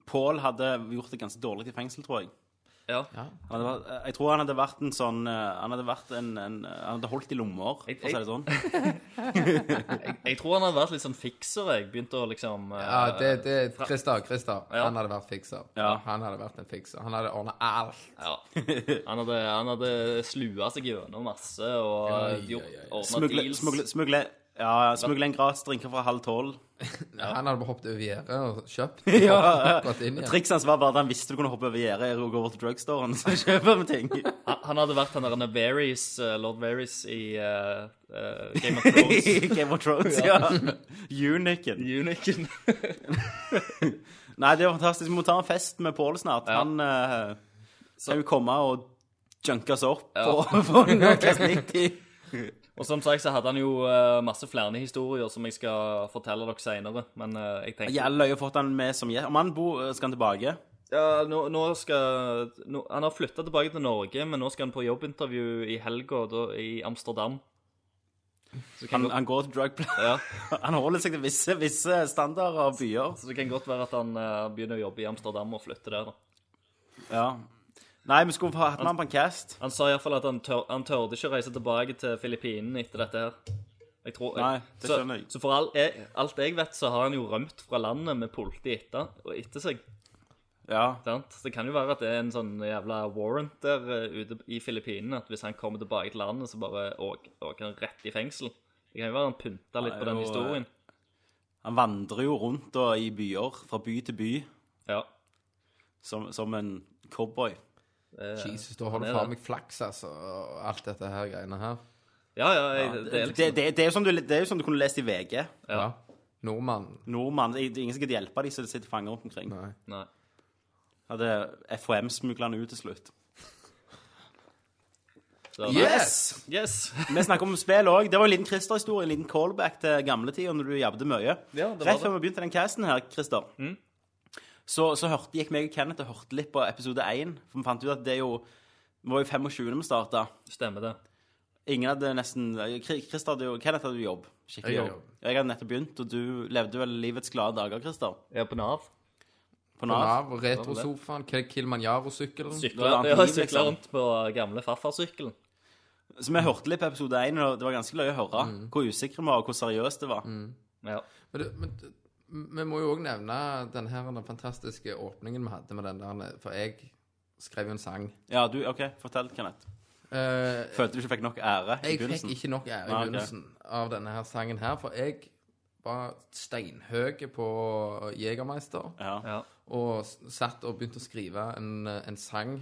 [SPEAKER 2] Pål hadde gjort det ganske dårlig i fengsel, tror jeg.
[SPEAKER 6] Ja.
[SPEAKER 2] Han hadde vært, eh, jeg tror han hadde vært en sånn eh, Han hadde vært en, en Han hadde holdt i lommer, for å si
[SPEAKER 6] Jeg-
[SPEAKER 2] det sånn.
[SPEAKER 6] Jeg tror han hadde vært litt sånn fikser. jeg Begynte å liksom eh,
[SPEAKER 1] Ja, det, det, Christer, Christer,
[SPEAKER 6] Ja.
[SPEAKER 1] han hadde vært fikser.
[SPEAKER 2] Ja.
[SPEAKER 1] Han hadde vært en fikser. Han hadde ordnet alt.
[SPEAKER 6] ja. *laughs* Han hadde, han hadde slua seg gjennom masse og
[SPEAKER 1] Ja, ja,
[SPEAKER 6] gjort
[SPEAKER 1] ja, ja.
[SPEAKER 6] ordnet
[SPEAKER 2] Smugle,
[SPEAKER 6] deals.
[SPEAKER 2] smugle, smugle, ja, smugle en gratis drinker fra halv tolv.
[SPEAKER 1] Han hadde bare hoppet over gjerdet og kjøpt.
[SPEAKER 2] Ja.
[SPEAKER 1] og gått inn igjen.
[SPEAKER 2] Trikset hans var bare at han visste du kunne hoppe over gjerdet og gå over til drugstoren og kjøpe med ting.
[SPEAKER 6] Han, han hadde vært han der han er Varys, eh, lord Varys i eh, eh, Game of Thrones.
[SPEAKER 1] *laughs*
[SPEAKER 2] I *laughs* Game of Thrones, ja. Uniken.
[SPEAKER 6] Uniken.
[SPEAKER 2] Nei, det er fantastisk. Vi må ta en fest med Pål snart.
[SPEAKER 6] Ja.
[SPEAKER 2] Han eh, skal jo komme og junke oss opp
[SPEAKER 6] Ja.
[SPEAKER 2] på, på Norges
[SPEAKER 6] *laughs*
[SPEAKER 2] 90.
[SPEAKER 6] Og som sagt så hadde han jo eh, masse flere historier som jeg skal fortelle dere senere. Men eh, jeg tenker
[SPEAKER 2] Jævlig løye å få han med som gjest. Om han bor, eh, skal han tilbake.
[SPEAKER 6] Ja, nå, nå skal nå, Han har flytta tilbake til Norge, men nå skal han på jobbintervju i helga da- i Amsterdam. Så det kan,
[SPEAKER 2] Han,
[SPEAKER 6] godt,
[SPEAKER 2] han går til drug pla-
[SPEAKER 6] ja,
[SPEAKER 2] *laughs* Han holder seg til visse, visse standarder og byer.
[SPEAKER 6] så det kan godt være at han eh, begynner å jobbe i Amsterdam og flytter der. da.
[SPEAKER 2] Ja. Nei, vi skulle ha hatt med han på en cast.
[SPEAKER 6] Han sa iallfall at han, tør, han tørde ikke å reise tilbake til Filippinene etter dette her. Jeg tror,
[SPEAKER 2] Nei, det
[SPEAKER 6] så,
[SPEAKER 2] skjønner jeg.
[SPEAKER 6] Så for all, jeg, alt jeg vet, så har han jo rømt fra landet med politiet etter, og etter seg.
[SPEAKER 2] Ja.
[SPEAKER 6] Sant? Det kan jo være at det er en sånn jævla warrant der eh, ute i Filippinene. At hvis han kommer tilbake til landet, så bare åker åker han rett i fengsel. Det kan jo være han pynta litt
[SPEAKER 2] Nei,
[SPEAKER 6] på
[SPEAKER 2] jo,
[SPEAKER 6] den
[SPEAKER 2] eh,
[SPEAKER 6] historien.
[SPEAKER 2] Han vandrer jo rundt da, i byer, fra by til by,
[SPEAKER 6] Ja.
[SPEAKER 2] som, som en cowboy.
[SPEAKER 1] Jesus, da har du
[SPEAKER 6] det er
[SPEAKER 1] faen
[SPEAKER 6] det.
[SPEAKER 1] meg flaks, altså, og alt dette her greiene her.
[SPEAKER 6] Ja, ja, jeg,
[SPEAKER 2] Det,
[SPEAKER 6] det er
[SPEAKER 2] det, det,
[SPEAKER 6] liksom
[SPEAKER 2] er jo som du, det er jo som du kunne lest i VG.
[SPEAKER 1] Ja. Nordmann.
[SPEAKER 2] Nordmann, det er ingen som gidder hjelpe de som sitter fanger rundt omkring.
[SPEAKER 1] Nei.
[SPEAKER 6] Nei.
[SPEAKER 2] Hadde FHM smugla han ut til slutt.
[SPEAKER 6] Så, nei.
[SPEAKER 1] Yes!
[SPEAKER 6] Yes! *laughs*
[SPEAKER 2] Vi snakker om spill òg. Det var en liten Christer-historie, en liten callback til gamletida når du jabbet mye.
[SPEAKER 6] Ja, det Mm. var
[SPEAKER 2] Rett
[SPEAKER 6] det.
[SPEAKER 2] før vi begynte den casten her, Christer, så, så hørte, gikk meg og Kenneth og hørte litt på episode 1. For vi fant ut at det er jo Vi var jo 25. vi starta.
[SPEAKER 6] Stemmer det.
[SPEAKER 2] Ingen hadde nesten Kri- Christer hadde jo Kenneth hadde jo jobb. Skikkelig
[SPEAKER 1] Jeg hadde
[SPEAKER 2] jobb. Jeg hadde nettopp begynt, og du levde vel livets glade dager, Christer?
[SPEAKER 6] Ja, på Nav.
[SPEAKER 2] På Nav.
[SPEAKER 1] Nav, retrosofaen, Kilimanjaro-sykkelen.
[SPEAKER 2] Det var
[SPEAKER 6] Sykla, ja,
[SPEAKER 2] liv,
[SPEAKER 6] sykla
[SPEAKER 2] liksom.
[SPEAKER 6] rundt på gamle farfarsykkelen.
[SPEAKER 2] Så vi hørte litt på episode 1, og det var ganske løye å høre hvor usikre vi var, og hvor seriøst det var.
[SPEAKER 6] Ja.
[SPEAKER 1] Men, du- men du- vi må jo òg nevne den her den fantastiske åpningen vi hadde med den der For jeg skrev jo en sang.
[SPEAKER 2] Ja, du, OK, fortell, Kenneth.
[SPEAKER 1] Eh,
[SPEAKER 2] Følte du ikke fikk nok ære i
[SPEAKER 1] jeg fikk
[SPEAKER 2] begynnelsen?
[SPEAKER 1] ikke nok ære i
[SPEAKER 2] Nei, ok.
[SPEAKER 1] begynnelsen av denne her sangen her, for jeg var steinhøy på Jegermeister.
[SPEAKER 2] Ja.
[SPEAKER 6] ja.
[SPEAKER 1] og s- satt og begynte å skrive en, en sang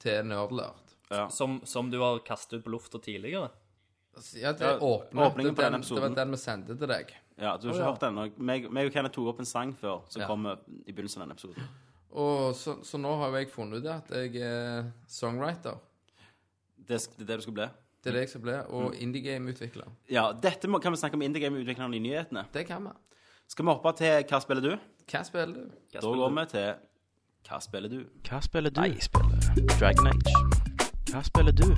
[SPEAKER 1] til Nerdlert.
[SPEAKER 6] Som, som du har kastet ut på lufta tidligere.
[SPEAKER 1] Altså, ja, det
[SPEAKER 2] Ja,
[SPEAKER 1] åpnet,
[SPEAKER 2] åpningen på
[SPEAKER 1] det, den,
[SPEAKER 2] den
[SPEAKER 1] det var
[SPEAKER 2] episoden.
[SPEAKER 1] den vi sendte til deg.
[SPEAKER 2] Ja, du har ikke hørt den. og Meg, meg og Kenneth tok opp en sang før som
[SPEAKER 1] Ja.
[SPEAKER 2] kommer i begynnelsen av denne episoden.
[SPEAKER 1] Og så, så nå har jo jeg funnet ut at jeg er songwriter.
[SPEAKER 2] Det, sk- det er det du skal bli.
[SPEAKER 1] Det er det jeg skal bli. Og
[SPEAKER 2] Mm.
[SPEAKER 1] indiegame-utvikler.
[SPEAKER 2] Ja, dette må, kan vi snakke om Indiegame-utviklerne i nyhetene.
[SPEAKER 1] Det kan vi.
[SPEAKER 2] Skal vi hoppe til Hva spiller du?
[SPEAKER 1] Hva spiller du?
[SPEAKER 6] Hva
[SPEAKER 2] Da går
[SPEAKER 6] spiller du?
[SPEAKER 2] vi til Hva spiller du?
[SPEAKER 7] Hva spiller du? Jeg spiller Dragon Age. Hva spiller du?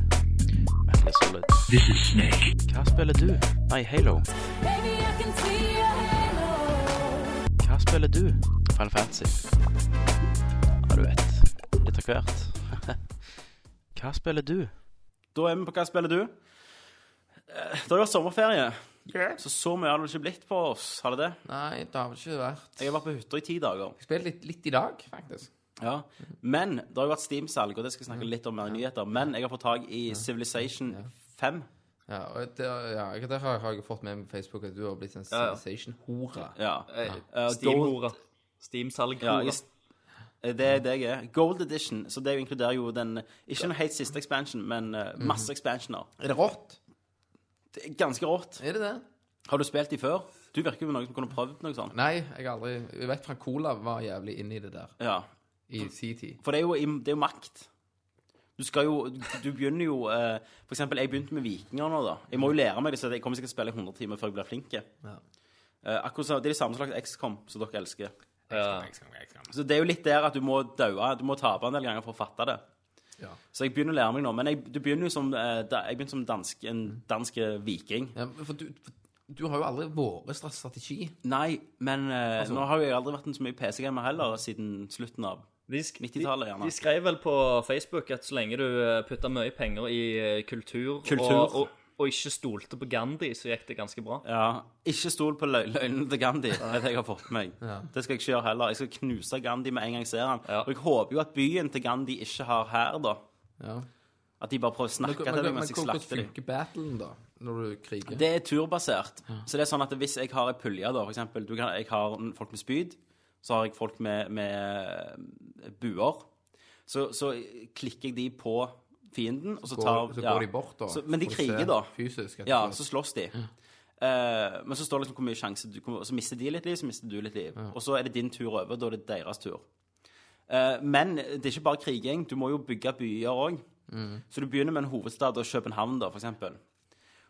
[SPEAKER 7] Metal Solid. This is Snake. Hva spiller du? Nei, Halo.
[SPEAKER 8] Baby, I can see your halo.
[SPEAKER 7] Hva spiller du? Final Fantasy. Ja, du vet. Litt av hvert. *laughs* Hva spiller du?
[SPEAKER 2] Da er vi på Hva spiller du? Eh, Det har jo vært sommerferie, så så mye har det ikke blitt på oss. Har det det?
[SPEAKER 1] Nei, det har vel ikke vært
[SPEAKER 2] Jeg har vært på hytta i ti dager.
[SPEAKER 1] Jeg spiller litt, litt i dag, faktisk.
[SPEAKER 2] Ja. Men det har jo vært Steam-salg, og det skal jeg snakke litt om mer i nyheter. Men jeg har fått tak i Civilization 5.
[SPEAKER 1] Ja, og det, ja, jeg- der har, har jeg fått med meg på Facebook at du har blitt en
[SPEAKER 6] ja.
[SPEAKER 1] civilization-hore.
[SPEAKER 2] Ja. Eh,
[SPEAKER 6] Steam-hora. Steam-salg.
[SPEAKER 2] Ja, i, eh, det er det jeg er. Gold Edition. Så det inkluderer jo den Ikke den helt siste expansion, men eh, masse expansioner.
[SPEAKER 1] Mhm. Er det rått?
[SPEAKER 2] Det er ganske rått.
[SPEAKER 1] Er det det?
[SPEAKER 2] Har du spilt de før? Du virker jo noen som kunne prøvd noe sånt.
[SPEAKER 1] Nei, jeg har aldri Jeg vet Frank Olav var jævlig inne i det der
[SPEAKER 2] Ja.
[SPEAKER 1] i sin tid.
[SPEAKER 2] For det er jo, im- det er jo makt. Du skal jo Du begynner jo eh, For eksempel, jeg begynte med vikinger nå, da. Jeg må jo lære meg det, så jeg kommer sikkert til å spille i 100 timer før jeg blir flink.
[SPEAKER 1] Ja.
[SPEAKER 2] Eh, akkurat så, Det er de samme slags XCOM som dere elsker.
[SPEAKER 6] Ja.
[SPEAKER 2] Så det er jo litt der at du må daue. Du må tape en del ganger for å fatte det.
[SPEAKER 1] Ja.
[SPEAKER 2] Så jeg begynner å lære meg nå. Men jeg, du begynner jo som, eh, da, jeg begynte som dansk, en dansk eh, viking.
[SPEAKER 1] Ja, men for du, for du har jo aldri vært stra- strategi. Altså-
[SPEAKER 2] Nei, men eh, nå har jo jeg aldri vært en så mye PC-gamer heller siden slutten av
[SPEAKER 6] De, sk
[SPEAKER 2] 90-tallet,
[SPEAKER 6] de,
[SPEAKER 2] gjerne.
[SPEAKER 6] de skrev vel på Facebook at så lenge du eh, putta mye penger i eh, kultur,
[SPEAKER 2] Kultur.
[SPEAKER 6] Og, og, og ikke stolte på Gandhi, så gikk det ganske bra.
[SPEAKER 2] Ja, ikke stol på løg- løgnene til Gandhi, er det jeg har fått med meg. Det skal jeg ikke gjøre heller. Jeg skal knuse Gandhi med en gang jeg ser han.
[SPEAKER 6] Ja.
[SPEAKER 2] Og jeg håper jo at byen til Gandhi ikke har her, da.
[SPEAKER 1] Ja.
[SPEAKER 2] At de bare prøver å
[SPEAKER 1] Men,
[SPEAKER 2] snakke
[SPEAKER 1] men,
[SPEAKER 2] til
[SPEAKER 1] men,
[SPEAKER 2] dem mens jeg
[SPEAKER 1] hvordan
[SPEAKER 2] slakter dem.
[SPEAKER 1] funker battlen, da? Når du kriger?
[SPEAKER 2] Det er turbasert. Så det er sånn at hvis jeg har ei pulje, da, for eksempel du kan, Jeg har n- folk med spyd, så har jeg folk med, med eh, buer. Så, så klikker jeg de på fienden, og så
[SPEAKER 1] går,
[SPEAKER 2] tar
[SPEAKER 1] så
[SPEAKER 2] ja.
[SPEAKER 1] går de bort, da?
[SPEAKER 2] Så, men de
[SPEAKER 1] for å
[SPEAKER 2] kriger,
[SPEAKER 1] se
[SPEAKER 2] da.
[SPEAKER 1] Fysisk.
[SPEAKER 2] Ja, så slåss de. Eh, men så står det liksom hvor mye sjanse du kommer Så mister de litt liv, så mister du litt liv. Og så er det din tur over, da er det deres tur. Eh, men det er ikke bare kriging. Du må jo bygge byer òg. Så du begynner med en hovedstad og København, da, for eksempel.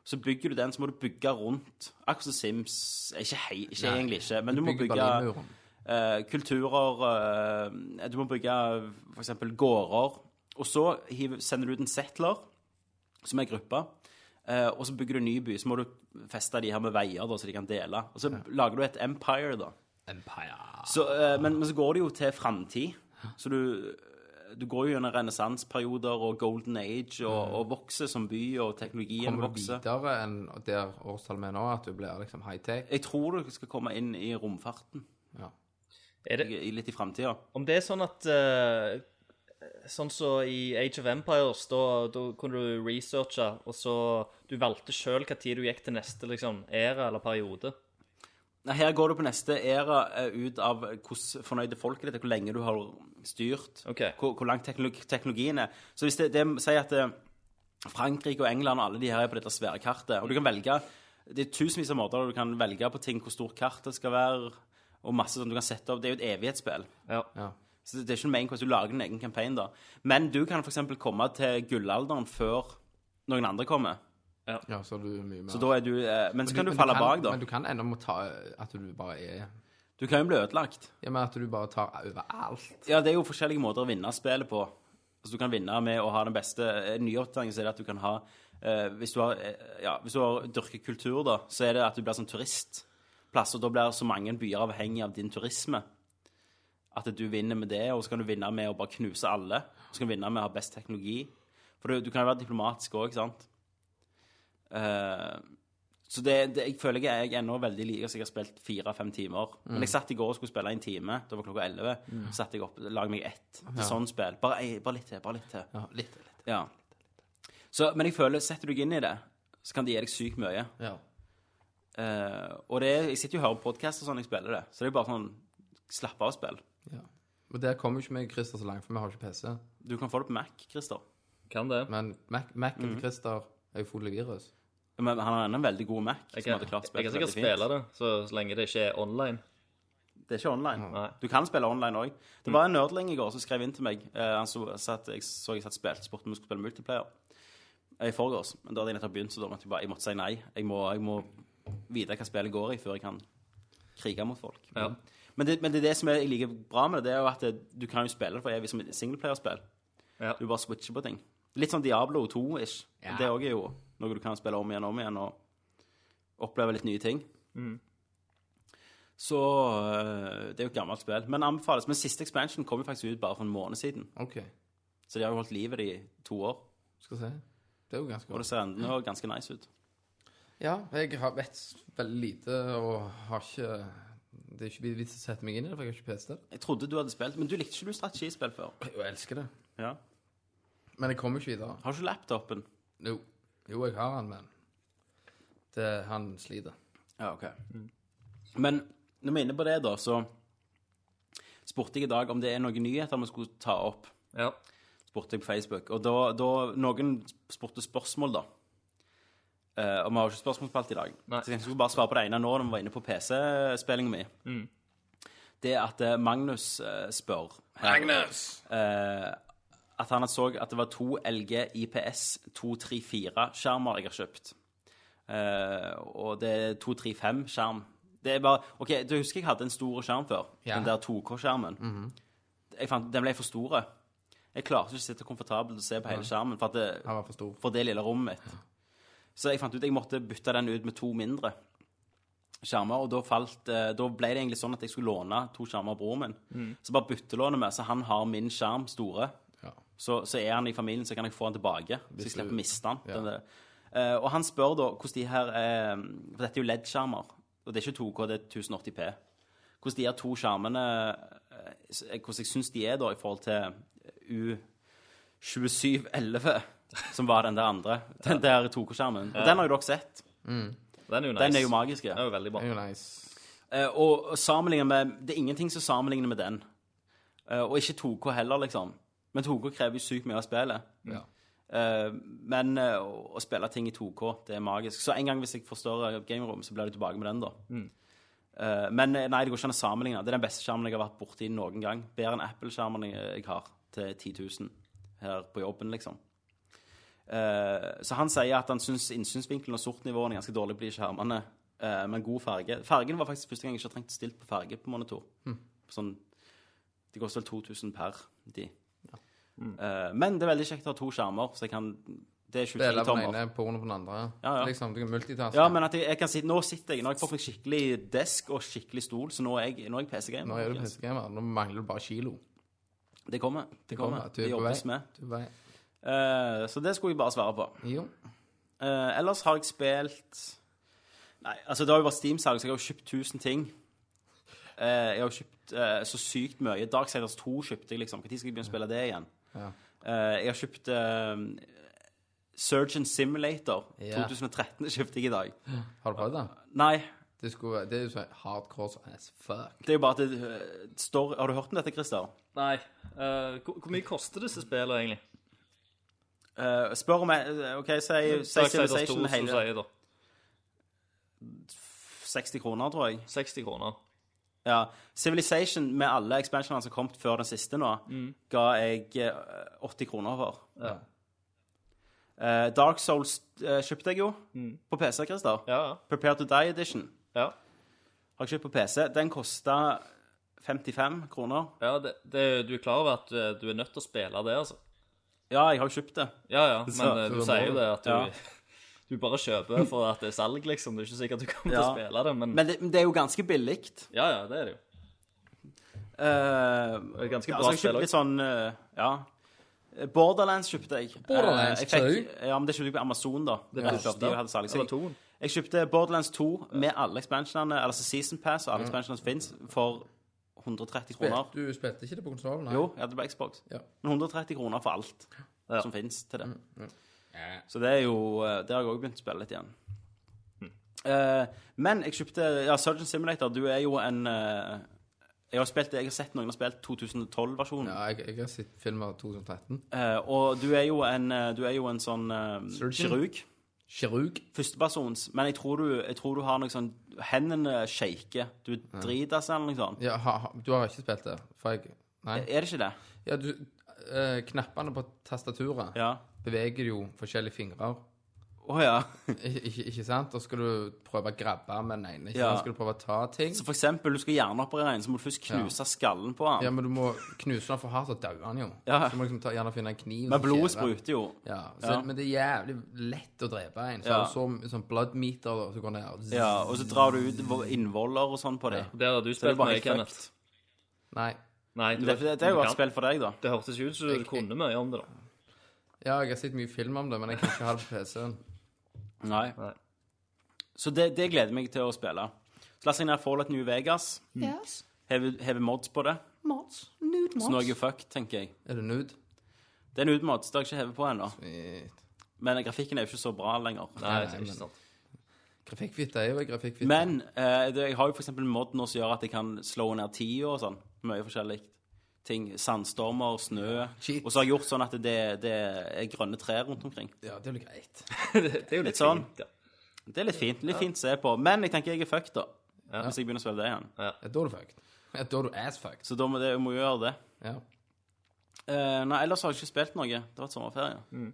[SPEAKER 2] Så bygger du den, så må du bygge rundt. Akkurat som Sims. Ikke, hei, ikke
[SPEAKER 1] Nei.
[SPEAKER 2] egentlig ikke, men du, må bygge
[SPEAKER 1] Berlinmuren.
[SPEAKER 2] eh, kulturer eh, Du må bygge f.eks. gårder. Og så hiver, sender du ut en settler, som er gruppa. eh, og så bygger du en ny by. Så må du feste de her med veier, da, så de kan dele. Og så lager du et empire, da.
[SPEAKER 1] Empire.
[SPEAKER 2] Så, eh, men, men så går det jo til framtid. Så du, du går jo gjennom renessanseperioder og golden age og, og vokser som by, og teknologien
[SPEAKER 1] Mm. Kommer du
[SPEAKER 2] vokser.
[SPEAKER 1] videre enn der årstallet med nå, at du blir liksom high-tech?
[SPEAKER 2] Jeg tror du skal komme inn i romfarten
[SPEAKER 1] Ja.
[SPEAKER 6] Er det,
[SPEAKER 2] i- i- litt i framtida.
[SPEAKER 6] om det er sånn at eh, Sånn som i Age of Empires, da, da kunne du researche, og så Du valgte sjøl hva tid du gikk til neste liksom, æra eller periode.
[SPEAKER 2] Nei, Her går du på neste æra eh, ut av hvordan fornøyde folk er, hvor lenge du har styrt,
[SPEAKER 6] Ok.
[SPEAKER 2] hvor, hvor langt teknolog, teknologien er. Så hvis det, det sier at eh, Frankrike og England og alle de her er på dette svære kartet, og du kan velge Det er tusenvis av måter du kan velge på ting, hvor stort kartet skal være, og masse sånn du kan sette opp. Det er jo et evighetsspill.
[SPEAKER 6] Ja.
[SPEAKER 2] Så det er ikke en main quest, du lager din egen campaign da. Men du kan f.eks. komme til gullalderen før noen andre kommer.
[SPEAKER 1] ja, så du er mye mer
[SPEAKER 2] Så da er du, eh, men så kan du
[SPEAKER 1] men
[SPEAKER 2] falle bak, da.
[SPEAKER 1] Men du kan ennå må ta at du bare er
[SPEAKER 2] Du kan jo bli ødelagt.
[SPEAKER 1] Ja, men at du bare tar over alt.
[SPEAKER 2] Ja, det er jo forskjellige måter å vinne spillet på. Altså, du kan vinne med å ha den beste eh, nyoppdateringen, så er det at du kan ha eh, hvis, du har, eh, ja, hvis du har dyrket kultur, da, så er det at du blir sånn turistplass, og da blir så mange byer avhengig av din turisme. At du vinner med det, og så kan du vinne med å bare knuse alle. Og så kan du vinne med å ha best teknologi. For du, du kan jo være diplomatisk òg, ikke sant? Eh, så det, det, jeg føler jeg jeg ennå veldig liker så jeg har spilt fire-fem timer. Men jeg satt i går og skulle spille en time. Det var klokka elleve. Så satt jeg opp lag meg ett til sånn spill. Bare, ei- bare litt til, bare litt til.
[SPEAKER 1] Ja, litt. litt.
[SPEAKER 2] Ja. Så, men jeg føler, setter du deg inn i det, så kan det gi deg sykt mye.
[SPEAKER 1] Ja.
[SPEAKER 2] Eh, og det er, jeg sitter jo og hører podkast og sånn når jeg spiller det. Så det er bare sånn slapp av-spill.
[SPEAKER 1] ja. Men der kommer jo ikke meg og Christer så langt, for vi har ikke PC.
[SPEAKER 2] Du kan få det på Mac, Christer.
[SPEAKER 6] Kan det.
[SPEAKER 1] Men Mac- Mac-en til Christer er jo full av virus.
[SPEAKER 2] Men han har ennå en veldig god Mac.
[SPEAKER 6] Jeg
[SPEAKER 2] som
[SPEAKER 6] kan,
[SPEAKER 2] hadde klart å
[SPEAKER 6] jeg
[SPEAKER 2] spille
[SPEAKER 6] kan sikkert
[SPEAKER 2] veldig fint.
[SPEAKER 6] spille det, så, så lenge det ikke er online.
[SPEAKER 2] Det er ikke online.
[SPEAKER 6] Nei.
[SPEAKER 2] Du kan spille online òg. Det var en nerdling i går som skrev inn til meg. Eh, han så, sa at jeg så jeg satt spilte sport om vi skulle spille multiplayer Eh, i forgårs. Men da hadde jeg nettopp begynt, så da måtte jeg bare jeg måtte si nei. Jeg må, jeg må vite hva spillet går i, før jeg kan krige mot folk.
[SPEAKER 6] Ja.
[SPEAKER 2] Men, det, men det er det som jeg liker bra med det, det er jo at det, du kan jo spille det for evig som et singleplayerspill.
[SPEAKER 6] Ja.
[SPEAKER 2] Du bare switcher på ting. Litt sånn Diablo 2-ish. Det òg er jo noe du kan spille om igjen og om igjen og oppleve litt nye ting. Så øh, det er jo et gammelt spill. Men anbefales. Men siste expansion kom jo faktisk ut bare for en måned siden.
[SPEAKER 1] OK.
[SPEAKER 2] Så de har jo holdt liv i det i to år.
[SPEAKER 1] Skal vi se. Det er jo ganske
[SPEAKER 2] Og det
[SPEAKER 1] godt.
[SPEAKER 2] ser ennå ganske nice ut.
[SPEAKER 1] Ja, jeg har vet veldig lite og har ikke Det er ikke vits å sette meg inn i det, for jeg har ikke PC.
[SPEAKER 2] Jeg trodde du hadde spilt, men du likte ikke du strategispill før.
[SPEAKER 1] Jeg elsker det.
[SPEAKER 2] Ja.
[SPEAKER 1] Men jeg kommer ikke videre.
[SPEAKER 2] Har du ikke laptopen?
[SPEAKER 1] Jo, jo jeg har han, men det, han sliter.
[SPEAKER 2] Ja, ok. Mm. Men når vi er inne på det, da, så spurte jeg i dag om det er noen nyheter vi skulle ta opp.
[SPEAKER 6] Ja.
[SPEAKER 2] Spurte jeg på Facebook. Og da, da noen spurte spørsmål, da. Eh, og vi har jo ikke spørsmålsspalt i dag.
[SPEAKER 6] Nei.
[SPEAKER 2] Så jeg skulle bare svare på det ene nå når vi var inne på PC-spillinga mi. Det er at eh, Magnus eh, spør Magnus! at han så at det var to LG IPS 234-skjermer jeg har kjøpt. Eh, og det er 235-skjerm. Det er bare OK, du husker jeg hadde en stor skjerm før.
[SPEAKER 1] Ja.
[SPEAKER 2] Den der 2K-skjermen. Jeg fant, Den ble for stor. Jeg klarte ikke å sitte komfortabelt og se på hele skjermen for, at det,
[SPEAKER 1] Han var for stor.
[SPEAKER 2] for det lille rommet mitt. Så jeg fant ut jeg måtte bytte den ut med to mindre. skjermer, og da, falt, eh, da ble det egentlig sånn at jeg skulle låne to skjermer av broren min.
[SPEAKER 1] Mm.
[SPEAKER 2] Så bare byttelåner vi, så han har min skjerm store.
[SPEAKER 1] Ja.
[SPEAKER 2] Så, så er han i familien, så kan jeg få han tilbake. Så jeg slipper
[SPEAKER 1] du-
[SPEAKER 2] å miste han.
[SPEAKER 1] Ja.
[SPEAKER 2] Den der. Eh, og han spør da hvordan de her eh, For dette er jo LED-skjermer. Og det er ikke 2K, det er 1080P. Hvordan de her to skjermene eh, s- Hvordan jeg syns de er da i forhold til U2711, som var den der andre. Den der 2K-skjermen. Og den har jo dere sett.
[SPEAKER 6] Den er jo nice.
[SPEAKER 2] Den er jo Mm. magisk.
[SPEAKER 6] Den er jo veldig bra.
[SPEAKER 1] Det er jo nice.
[SPEAKER 2] Eh, og og sammenlignet med Det er ingenting som sammenligner med den. Eh, og ikke 2K heller, liksom. Men 2K krever jo sykt mye av spillet.
[SPEAKER 1] Ja.
[SPEAKER 2] Eh, men eh, å, å spille ting i 2K, det er magisk. Så en gang hvis jeg får større gamerom, så blir det tilbake med den, da. Eh, men eh, nei, det går ikke an å sammenligne. Det er den beste skjermen jeg har vært borti noen gang. Bedre enn Apple-skjermen jeg, jeg har til 10 000 her på jobben, liksom. Eh, så han sier at han syns innsynsvinkelen og sortnivåene er ganske dårlig på de skjermene, eh, men god farge. Fargen var faktisk første gang jeg ikke har trengt å stille på farge på monitor. Sånn, det koster vel 2000 per de. Eh, men det er veldig kjekt å ha to skjermer, så jeg kan Det er 23
[SPEAKER 1] Deler på den
[SPEAKER 2] tommer.
[SPEAKER 1] ene, porno på den andre.
[SPEAKER 2] Ja, ja.
[SPEAKER 1] Liksom, du kan multitaske.
[SPEAKER 2] Ja, men at jeg, jeg kan sitte, nå sitter jeg Nå har jeg fått meg skikkelig desk og skikkelig stol, så nå er jeg, nå er jeg PC-gamer.
[SPEAKER 1] Nå er du PC-gamer. Nå mangler du bare kilo.
[SPEAKER 2] Det kommer. Det kommer.
[SPEAKER 1] Du er på vei.
[SPEAKER 2] Det jobbes med.
[SPEAKER 1] Du er på vei.
[SPEAKER 2] Eh, så det skulle jeg bare svare på.
[SPEAKER 1] Jo.
[SPEAKER 2] Eh, ellers har jeg spilt Nei, altså det har jo vært Steam-salg, så jeg har jo kjøpt 1000 ting. Eh, jeg har jo kjøpt eh, så sykt mye. Darksiders 2 kjøpte jeg, liksom. Når skal jeg begynne å spille det igjen?
[SPEAKER 1] Ja.
[SPEAKER 2] Eh, jeg har kjøpt eh, Surgeon Simulator
[SPEAKER 1] Ja.
[SPEAKER 2] 2013 kjøpte jeg i dag.
[SPEAKER 1] Har du prøvd det?
[SPEAKER 2] Nei,
[SPEAKER 1] Det, skulle, det er jo så hardcore som as fuck.
[SPEAKER 2] det er jo bare at det eh, står Har du hørt om dette, Christer?
[SPEAKER 6] Nei. eh, hvor, hvor mye koster disse spillene egentlig?
[SPEAKER 2] Eh, spør om jeg eh, OK, si, si
[SPEAKER 6] Mm, Darksiders 2,
[SPEAKER 2] Civilization
[SPEAKER 6] som
[SPEAKER 2] hele
[SPEAKER 6] sier da.
[SPEAKER 2] 60 kroner, tror jeg.
[SPEAKER 6] 60 kroner.
[SPEAKER 2] Ja, Civilization med alle expansionene som har kommet før den siste nå, ga jeg eh, 80 kroner for.
[SPEAKER 6] Mm. Ja.
[SPEAKER 2] Eh, Dark Souls eh, kjøpte jeg jo på PC, Christer.
[SPEAKER 6] Mm. Ja,
[SPEAKER 2] Prepare to Die Edition
[SPEAKER 6] ja.
[SPEAKER 2] har jeg kjøpt på PC. Den kosta 55 kroner.
[SPEAKER 6] ja det, det, du er klar over at eh, du er nødt til å spille det, altså?
[SPEAKER 2] Ja, jeg har jo kjøpt det.
[SPEAKER 6] Ja, ja, men
[SPEAKER 2] Så-
[SPEAKER 6] eh,
[SPEAKER 1] så da
[SPEAKER 6] du
[SPEAKER 1] må
[SPEAKER 6] sier jo
[SPEAKER 1] du-
[SPEAKER 6] det at du,
[SPEAKER 2] Ja.
[SPEAKER 6] *laughs* du bare kjøper for at det er salg, liksom. Det er ikke sikkert du kommer til
[SPEAKER 2] Ja.
[SPEAKER 6] å spille det, men,
[SPEAKER 2] Men det, men det er jo ganske billig.
[SPEAKER 6] Ja, ja, det er det jo.
[SPEAKER 2] Uh,
[SPEAKER 6] Det er ganske
[SPEAKER 2] ja,
[SPEAKER 6] bra
[SPEAKER 2] så altså, jeg
[SPEAKER 6] spill
[SPEAKER 2] kjøpte litt sånn eh, Ja. Borderlands kjøpte jeg. Eh,
[SPEAKER 1] Borderlands,
[SPEAKER 2] jeg fikk,
[SPEAKER 1] sa
[SPEAKER 2] ja, men det kjøpte jeg på Amazon, da. Det
[SPEAKER 6] Ja.
[SPEAKER 2] første. De hadde salg, så
[SPEAKER 6] Eller
[SPEAKER 2] jeg-
[SPEAKER 6] toen.
[SPEAKER 2] Jeg kjøpte Borderlands 2 med alle expansionene, altså Season Pass og alle expansionene som fins, for 130 kroner.
[SPEAKER 1] Du spilte ikke det på konsollen?
[SPEAKER 2] Jo, jeg hadde det på Xbox.
[SPEAKER 1] Ja. Mm,
[SPEAKER 2] Men 130 kroner for alt som fins til det.
[SPEAKER 1] Ja.
[SPEAKER 2] Så det er jo eh, Det har jeg òg begynt å spille litt igjen. Eh, men jeg kjøpte Ja, Surgeon Simulator, du er jo en eh, jeg har, spilt, jeg har sett noen har spilt 2012-versjonen.
[SPEAKER 1] Ja, jeg, jeg har sett filmer 2013.
[SPEAKER 2] Eh, og du er jo en, eh, du er jo en sånn eh,
[SPEAKER 1] Surgeon.
[SPEAKER 2] kirurg.
[SPEAKER 1] Kirurg.
[SPEAKER 2] Førstepersons. Men jeg tror du, jeg tror du har noe sånn Hendene shaker. Du driter seg eller noe sånt.
[SPEAKER 1] Ja, ha, ha, du har ikke spilt det? For jeg Nei.
[SPEAKER 2] Er det ikke det?
[SPEAKER 1] Ja, du eh, Knappene på tastaturet
[SPEAKER 2] Ja.
[SPEAKER 1] beveger jo forskjellige fingrer.
[SPEAKER 2] Å ja.
[SPEAKER 1] Ikke, ikke, ikke sant? Da skal du prøve å grabbe med den ene. Ikke
[SPEAKER 2] Ja.
[SPEAKER 1] sant? Skal du prøve å ta ting.
[SPEAKER 2] Så for eksempel, du skal hjerneoperere en, så må du først knuse skallen på
[SPEAKER 1] Ja,
[SPEAKER 2] han.
[SPEAKER 1] men du må knuse den for hardt, så dauer han jo.
[SPEAKER 2] Ja.
[SPEAKER 1] Så du må liksom ta, gjerne finne en kniv. og
[SPEAKER 2] Men blodet
[SPEAKER 1] skjære.
[SPEAKER 2] spruter jo.
[SPEAKER 1] Ja, så,
[SPEAKER 2] Ja.
[SPEAKER 1] Men det er jævlig lett å drepe en. Så
[SPEAKER 2] Ja.
[SPEAKER 1] har du så, sånn blood meter da, som går ned og zzz.
[SPEAKER 2] Ja, og så drar du ut vo- innvoller og sånn på dem.
[SPEAKER 6] Der har du
[SPEAKER 2] Det er
[SPEAKER 6] spilt
[SPEAKER 2] bare
[SPEAKER 6] mye,
[SPEAKER 2] helt
[SPEAKER 6] Kenneth.
[SPEAKER 2] fucked.
[SPEAKER 1] Nei.
[SPEAKER 6] Nei, du,
[SPEAKER 2] Det, det, det er jo
[SPEAKER 6] du
[SPEAKER 2] et
[SPEAKER 6] kan-
[SPEAKER 2] spill for deg, da.
[SPEAKER 6] Det hørtes jo ut som du kunne mye om det, da.
[SPEAKER 1] Ja, jeg har sett mye film om det, men jeg kan ikke ha det på PC-en.
[SPEAKER 2] Nei.
[SPEAKER 6] Nei.
[SPEAKER 2] Så det, det gleder jeg meg til å spille. Så la oss si ned Fallout New Vegas.
[SPEAKER 5] Yes.
[SPEAKER 2] Heve, heve mods på det.
[SPEAKER 5] Mods. Nude
[SPEAKER 2] Så nå er
[SPEAKER 5] mods.
[SPEAKER 2] jeg jo fucked, tenker jeg.
[SPEAKER 1] Er det nude?
[SPEAKER 2] Det er en utmods, det har jeg ikke hevet på ennå.
[SPEAKER 1] Shit.
[SPEAKER 2] Men grafikken er jo ikke så bra lenger.
[SPEAKER 6] Nei,
[SPEAKER 1] nei,
[SPEAKER 6] det er
[SPEAKER 1] men-
[SPEAKER 6] ikke sant. *laughs*
[SPEAKER 1] Grafikkfitte er jo en grafikkfitte.
[SPEAKER 2] Men eh, det, jeg har jo f.eks. mod nå som gjør at jeg kan slå ned tida og sånn. Mye forskjellig. Ting, Sandstormer, snø.
[SPEAKER 1] Shit.
[SPEAKER 2] Og så har jeg gjort sånn at det, det er grønne trær rundt omkring.
[SPEAKER 1] Ja, det er jo greit.
[SPEAKER 6] Det er jo litt
[SPEAKER 2] sånn.
[SPEAKER 6] fint, ja.
[SPEAKER 2] Det er litt fint litt fint å se på. Men jeg tenker jeg er fucked, da. Hvis jeg begynner å spille det igjen.
[SPEAKER 1] Ja, da er du fucked. Ja, da er du ass fucked.
[SPEAKER 2] Så da må det, jeg må jo gjøre det.
[SPEAKER 1] Ja.
[SPEAKER 2] Eh, nei, ellers har jeg ikke spilt noe. Det har vært sommerferie.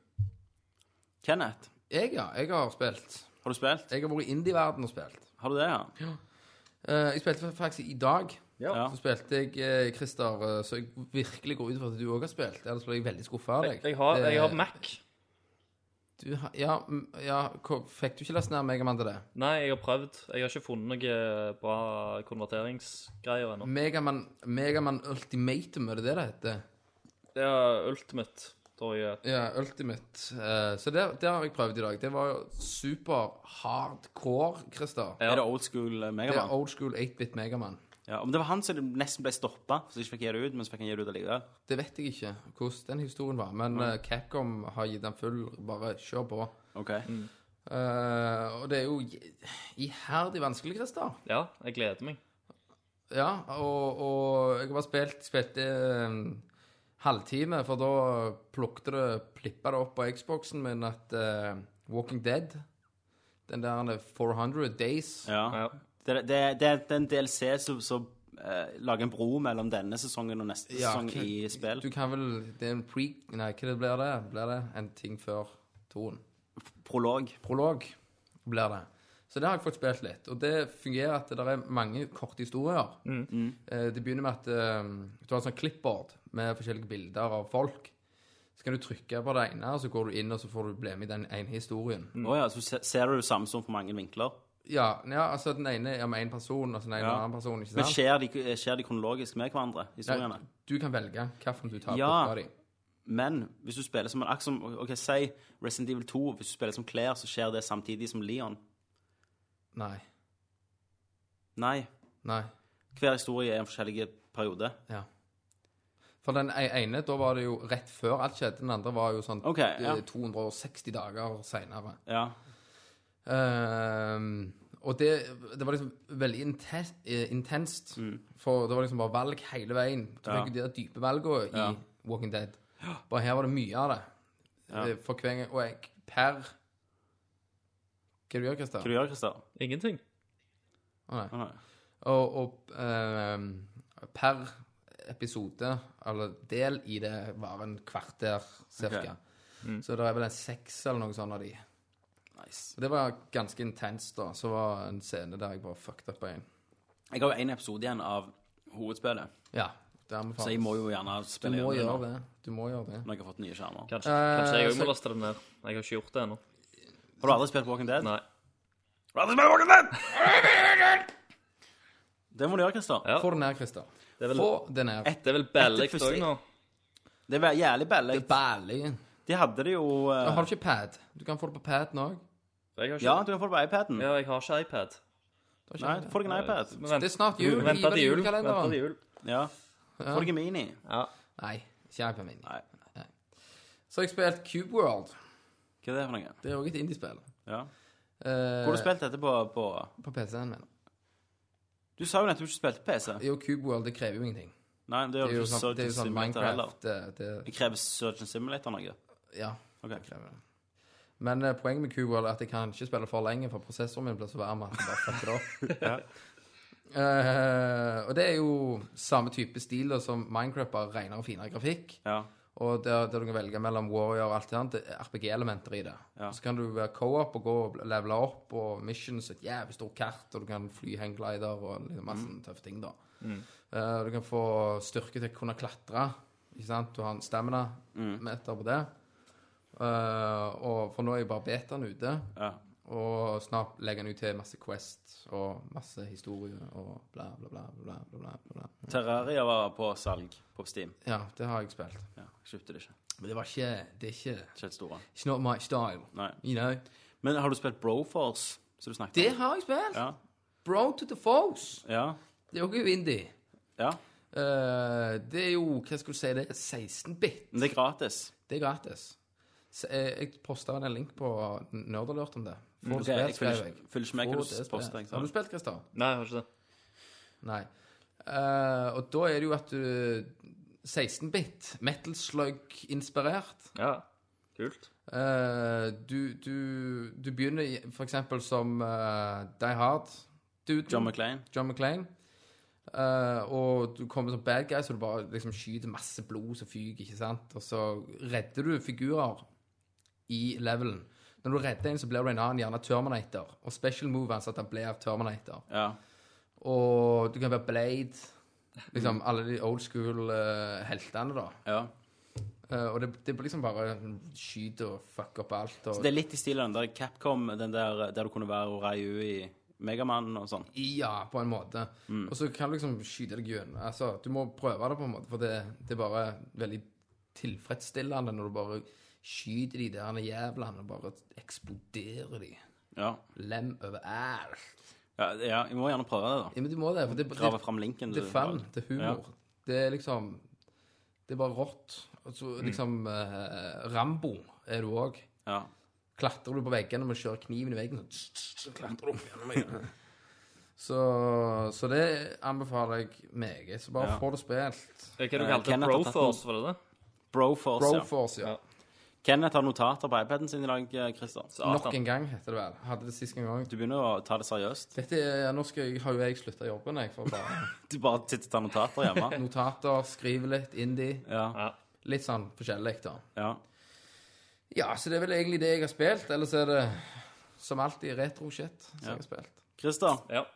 [SPEAKER 2] Kenneth,
[SPEAKER 1] Jeg, ja. Jeg har spilt.
[SPEAKER 2] har du spilt?
[SPEAKER 1] Jeg har vært i indie-verden og spilt.
[SPEAKER 2] Har du det, ja?
[SPEAKER 1] Eh, jeg spilte faktisk i dag.
[SPEAKER 2] Ja.
[SPEAKER 1] Så spilte jeg, eh, Christer, eh, så jeg virkelig går ut fra at du òg har spilt. Ellers blir jeg veldig skuffa av deg.
[SPEAKER 6] Jeg har,
[SPEAKER 1] Det-
[SPEAKER 6] jeg har Mac.
[SPEAKER 1] Du, har- ja, mm, ja, hva- fikk du ikke lest ned Megaman til det?
[SPEAKER 6] Nei, jeg har prøvd. Jeg har ikke funnet noen bra konverteringsgreier ennå.
[SPEAKER 1] Megaman, Megaman Ultimatum, er det det det heter?
[SPEAKER 6] Det er Ultimate, tror jeg.
[SPEAKER 1] Ja, Ultimate. Eh, så det, det har jeg prøvd i dag. Det var jo super hardcore, Christer.
[SPEAKER 6] Ja.
[SPEAKER 2] Er det old school eh,
[SPEAKER 1] Det er
[SPEAKER 2] Megaman?
[SPEAKER 1] old school 8-bit Megaman.
[SPEAKER 2] Ja, men det var han som nesten ble stoppa, så jeg ikke fikk gi det ut, men så fikk han gi det ut allikevel.
[SPEAKER 1] Det vet jeg ikke hvordan den historien var, men eh, Capcom har gitt den full. Bare kjør på.
[SPEAKER 2] Ok.
[SPEAKER 1] Eh, og det er jo i- iherdig vanskelig, Christer.
[SPEAKER 6] Ja, jeg gleder meg.
[SPEAKER 1] Ja, og, og jeg har bare spilt, spilt en halvtime, for da plukte det, plippa det opp på Xboxen min at eh, Walking Dead, den der 400 Days,
[SPEAKER 2] Ja.
[SPEAKER 6] Ja.
[SPEAKER 2] Det, det, det, det er en DLC som, som eh, lager en bro mellom denne sesongen og neste
[SPEAKER 1] Ja,
[SPEAKER 2] sesong
[SPEAKER 1] ok.
[SPEAKER 2] i spill.
[SPEAKER 1] du kan vel, det er en pre, nei, hva det blir det? Blir det en ting før toen?
[SPEAKER 2] Prolog.
[SPEAKER 1] Prolog blir det. Så det har jeg fått spilt litt. Og det fungerer at det der er mange korte historier.
[SPEAKER 2] Mm.
[SPEAKER 1] Eh, Det begynner med at eh, du har et sånt clipboard med forskjellige bilder av folk. Så kan du trykke på det ene, og så går du inn og så får du bli med i den ene historien.
[SPEAKER 2] Å ja, så se- ser du Samson fra mange vinkler.
[SPEAKER 1] Ja, ja, altså den ene er med én person, og så den ene er
[SPEAKER 2] Ja.
[SPEAKER 1] med en annen person. ikke
[SPEAKER 2] Men
[SPEAKER 1] sant?
[SPEAKER 2] skjer de, skjer de kronologisk med hverandre, historiene?
[SPEAKER 1] Nei, du kan velge hvilken du tar
[SPEAKER 2] Ja.
[SPEAKER 1] bort av dem.
[SPEAKER 2] Men hvis du spiller som en akt som OK, si Resident Evil 2. Hvis du spiller som Claire, så skjer det samtidig som Leon.
[SPEAKER 1] Nei.
[SPEAKER 2] Nei.
[SPEAKER 1] Nei.
[SPEAKER 2] Hver historie er en forskjellig periode.
[SPEAKER 1] Ja. For den e- ene, da var det jo rett før alt skjedde. Den andre var jo sånn
[SPEAKER 2] Ok, ja.
[SPEAKER 1] eh, 260 dager seinere.
[SPEAKER 2] Ja.
[SPEAKER 1] Ehm, og det, det var liksom veldig intes, eh, intenst. For det var liksom bare valg hele veien. Du
[SPEAKER 2] Mm. Ja.
[SPEAKER 1] fikk jo de der dype valgene i
[SPEAKER 2] Ja.
[SPEAKER 1] Walking Dead. Bare her var det mye av det. Eh, For hver gang Og jeg per Hva du gjør Christer?
[SPEAKER 2] Hva du gjør Christer?
[SPEAKER 6] Ingenting.
[SPEAKER 1] Å, nei.
[SPEAKER 2] Å, nei.
[SPEAKER 1] Og, og ehm, per episode, eller del i det, var en kvarter cirka.
[SPEAKER 2] Mm.
[SPEAKER 1] Så det er vel en seks eller noe sånt av de.
[SPEAKER 2] Nice.
[SPEAKER 1] Så det var ganske intenst, da. Så var det en scene der jeg bare fucked up en.
[SPEAKER 2] Jeg har jo én episode igjen av hovedspillet,
[SPEAKER 1] Ja. Det anbefales.
[SPEAKER 2] så jeg må jo gjerne
[SPEAKER 1] Du
[SPEAKER 2] spille
[SPEAKER 1] må
[SPEAKER 2] gjennom
[SPEAKER 1] gjøre
[SPEAKER 2] nå,
[SPEAKER 1] det. Du må gjøre det.
[SPEAKER 2] når jeg har fått nye skjermer.
[SPEAKER 6] Kanskje, kanskje jeg
[SPEAKER 1] Eh,
[SPEAKER 6] òg må
[SPEAKER 1] så-
[SPEAKER 6] laste dem ned. Jeg har ikke gjort det ennå.
[SPEAKER 2] Har du aldri spilt Walking Dead?
[SPEAKER 6] Nei.
[SPEAKER 2] Har du aldri spilt Walking Dead? Det må du gjøre, Christer.
[SPEAKER 6] Ja.
[SPEAKER 1] Få det ned, Christer.
[SPEAKER 6] er vel-
[SPEAKER 1] Få det ned.
[SPEAKER 6] Det er vel bellig
[SPEAKER 2] Etter
[SPEAKER 6] òg
[SPEAKER 2] første-
[SPEAKER 6] nå.
[SPEAKER 2] Det var jævlig billig.
[SPEAKER 1] Bælig.
[SPEAKER 2] De hadde det jo eh,
[SPEAKER 1] Har du ikke pad? Du kan få det på paden òg.
[SPEAKER 6] Jeg har ikke,
[SPEAKER 2] Ja, du kan få det på iPaden.
[SPEAKER 6] ja, jeg har ikke iPad. Eh,
[SPEAKER 2] Nei, få deg en iPad.
[SPEAKER 6] Men vent-
[SPEAKER 1] Det er snart jul.
[SPEAKER 6] Venter til
[SPEAKER 1] Hiver
[SPEAKER 6] jul.
[SPEAKER 1] julekalenderen.
[SPEAKER 6] Venter til jul.
[SPEAKER 2] Ja. Få deg en Mini.
[SPEAKER 6] Ja.
[SPEAKER 1] Nei, ikke iPad Mini.
[SPEAKER 2] Nei.
[SPEAKER 1] Så har jeg spilt Cube World.
[SPEAKER 2] Hva er det for noe?
[SPEAKER 1] Det er òg et indiespill.
[SPEAKER 2] Ja.
[SPEAKER 1] Eh,
[SPEAKER 2] Hvor har du spilt dette på, på
[SPEAKER 1] På PC-en min.
[SPEAKER 2] Du sa jo nettopp du ikke spilte på PC.
[SPEAKER 1] Jo, Cube World, det krever jo ingenting.
[SPEAKER 2] Nei, det
[SPEAKER 1] Det
[SPEAKER 2] gjør
[SPEAKER 1] er
[SPEAKER 2] jo
[SPEAKER 1] jo
[SPEAKER 2] ikke
[SPEAKER 1] sånn, det er
[SPEAKER 2] Surgeon
[SPEAKER 1] jo sånn
[SPEAKER 2] Simulator heller.
[SPEAKER 1] Minecraft det, det,
[SPEAKER 2] Det krever Surgeon Simulator noe.
[SPEAKER 1] Ja,
[SPEAKER 2] Ok.
[SPEAKER 1] det krever det. Men eh, poenget med Cube World er at jeg kan ikke spille for lenge, for prosessoren min blir så varm at den bare fucker det opp. Eh, og det er jo samme type stil da, som Minecraft, bare renere og finere grafikk.
[SPEAKER 2] Ja.
[SPEAKER 1] Og der, der du kan velge mellom warrior og alt det annet, det er RPG-elementer i det.
[SPEAKER 2] Ja.
[SPEAKER 1] Så kan du være co-op og gå og levele opp, og missions, et jævlig stort kart, og du kan fly hangglider og liksom masse tøffe ting, da. Eh, du kan få styrke til å kunne klatre, ikke sant? Du har en stamina meter på det. Eh, og for nå er jo bare betaen ute,
[SPEAKER 2] ja.
[SPEAKER 1] og snart legger den ut til masse Quest og masse historie og bla, bla, bla, bla, bla, bla, bla.
[SPEAKER 2] Terraria var på salg på Steam.
[SPEAKER 1] Ja, det har jeg spilt.
[SPEAKER 2] Ja, jeg kjøpte det ikke.
[SPEAKER 1] Men det var ikke, det er ikke...
[SPEAKER 2] Ikke helt store.
[SPEAKER 1] It's not my style.
[SPEAKER 2] Nei.
[SPEAKER 1] You know.
[SPEAKER 2] Men har du spilt Broforce, som du snakket
[SPEAKER 1] Det
[SPEAKER 2] om?
[SPEAKER 1] har jeg spilt.
[SPEAKER 2] Ja.
[SPEAKER 1] Bro to the Foes.
[SPEAKER 2] Ja.
[SPEAKER 1] Det er jo ikke indie.
[SPEAKER 2] ja.
[SPEAKER 1] Eh, det er jo Hva skal du si? Det er 16-bit.
[SPEAKER 2] Men det er gratis.
[SPEAKER 1] Det er gratis. Så jeg jeg posta en link på Nerdalert om det. Få det
[SPEAKER 2] Mm, Ok,
[SPEAKER 1] spilt,
[SPEAKER 2] jeg følger
[SPEAKER 1] skrev
[SPEAKER 2] ikke- følger ikke med
[SPEAKER 1] Få
[SPEAKER 2] hva du
[SPEAKER 1] det spilt.
[SPEAKER 2] poster, ikke sant?
[SPEAKER 1] Har du spilt, Christer?
[SPEAKER 6] Nei, jeg har ikke det.
[SPEAKER 1] Nei. Eh, og da er det jo at du 16-bit, metal slug-inspirert.
[SPEAKER 6] Ja. Kult.
[SPEAKER 1] Eh, du, du, du begynner i- for eksempel som eh, Die Hard. Duden.
[SPEAKER 2] John McClain.
[SPEAKER 1] John McClane. Eh, og du kommer som bad guy, så du bare liksom skyter masse blod som fyker, ikke sant? Og så redder du figurer i levelen. Når du redder en, så blir du en annen, gjerne Terminator. Og special move hans er altså at han blir Terminator.
[SPEAKER 2] Ja.
[SPEAKER 1] Og du kan være Blade. Liksom alle de old school eh, heltene, da.
[SPEAKER 2] ja.
[SPEAKER 1] Eh, og det, det blir liksom bare skyt og fuck opp alt. Og,
[SPEAKER 2] Det er litt i stil av den der Capcom, den der, der du kunne være Orayu i Megaman og sånn.
[SPEAKER 1] Ja, på en måte. Og så kan du liksom skyte deg gjennom. Altså, du må prøve det, på en måte, for det, det er bare veldig tilfredsstillende når du bare skyter de der jævlene og bare eksploderer de.
[SPEAKER 2] Ja.
[SPEAKER 1] Lem overalt.
[SPEAKER 2] Ja, ja, jeg må gjerne prøve det, da.
[SPEAKER 1] Ja, men du må det. for det,
[SPEAKER 2] Grave
[SPEAKER 1] det,
[SPEAKER 2] fram linken.
[SPEAKER 1] det er fun, det er humor. Det er liksom Det er bare rått. Og så liksom eh, Rambo er du òg.
[SPEAKER 2] Ja.
[SPEAKER 1] Klatrer du på veggene med å kjøre kniven i veggen, så, tss, tss, så klatrer du opp gjennom veggen.
[SPEAKER 2] *laughs*
[SPEAKER 1] Så, så det anbefaler jeg meget. Så bare
[SPEAKER 2] Ja.
[SPEAKER 1] få det spilt.
[SPEAKER 6] Hva
[SPEAKER 2] Eh,
[SPEAKER 6] du kalte det?
[SPEAKER 2] Kenneth har tatt
[SPEAKER 6] Broforce, var det det?
[SPEAKER 2] Broforce, ja.
[SPEAKER 1] Broforce, ja.
[SPEAKER 2] Kenneth har notater på iPaden sin i dag, eh, Christer. Så
[SPEAKER 1] Nok en gang, heter det vel. Hadde det sist en gang.
[SPEAKER 2] du begynner å ta det seriøst.
[SPEAKER 1] Dette er, nå skal jeg, har jo jeg slutta jobben, jeg. For
[SPEAKER 2] *laughs*
[SPEAKER 1] bare
[SPEAKER 2] Du bare sitter og tar notater hjemme.
[SPEAKER 1] *laughs* notater, skrive litt, indie.
[SPEAKER 2] Ja,
[SPEAKER 6] Ja.
[SPEAKER 1] Litt sånn forskjellig, da.
[SPEAKER 2] ja.
[SPEAKER 1] Ja, så det er vel egentlig det jeg har spilt. Ellers er det som alltid retro-shit som
[SPEAKER 2] Ja.
[SPEAKER 1] jeg har spilt.
[SPEAKER 2] Christer,
[SPEAKER 6] ja.
[SPEAKER 2] hva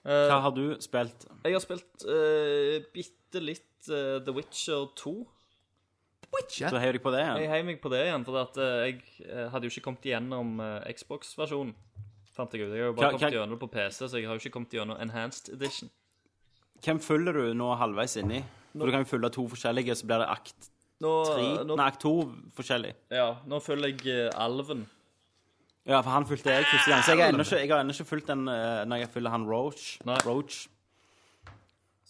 [SPEAKER 6] Eh,
[SPEAKER 2] har du spilt?
[SPEAKER 6] jeg har spilt eh, bitte litt eh, The Witcher 2.
[SPEAKER 2] Så heier du deg på det
[SPEAKER 6] Jeg
[SPEAKER 2] igjen?
[SPEAKER 6] heier meg på det igjen, for at, eh, jeg eh, hadde jo ikke kommet gjennom eh, Xbox-versjonen. Fant jeg ut. Jeg har jo bare
[SPEAKER 2] Hva- hva-
[SPEAKER 6] kommet gjennom det på PC, så jeg har jo ikke kommet gjennom Enhanced Edition.
[SPEAKER 2] Hvem følger du nå halvveis inni? For du kan jo følge to forskjellige, så blir det akt
[SPEAKER 6] Nå, eh,
[SPEAKER 2] tre
[SPEAKER 6] nå,
[SPEAKER 2] Nei, akt to forskjellig.
[SPEAKER 6] ja, nå følger jeg eh, Alven.
[SPEAKER 2] Ja, for han fulgte jeg første gang. Så jeg har ennå ikke, jeg har ennå ikke fulgt den eh, når jeg følger han Roach.
[SPEAKER 6] Nei.
[SPEAKER 2] Roach.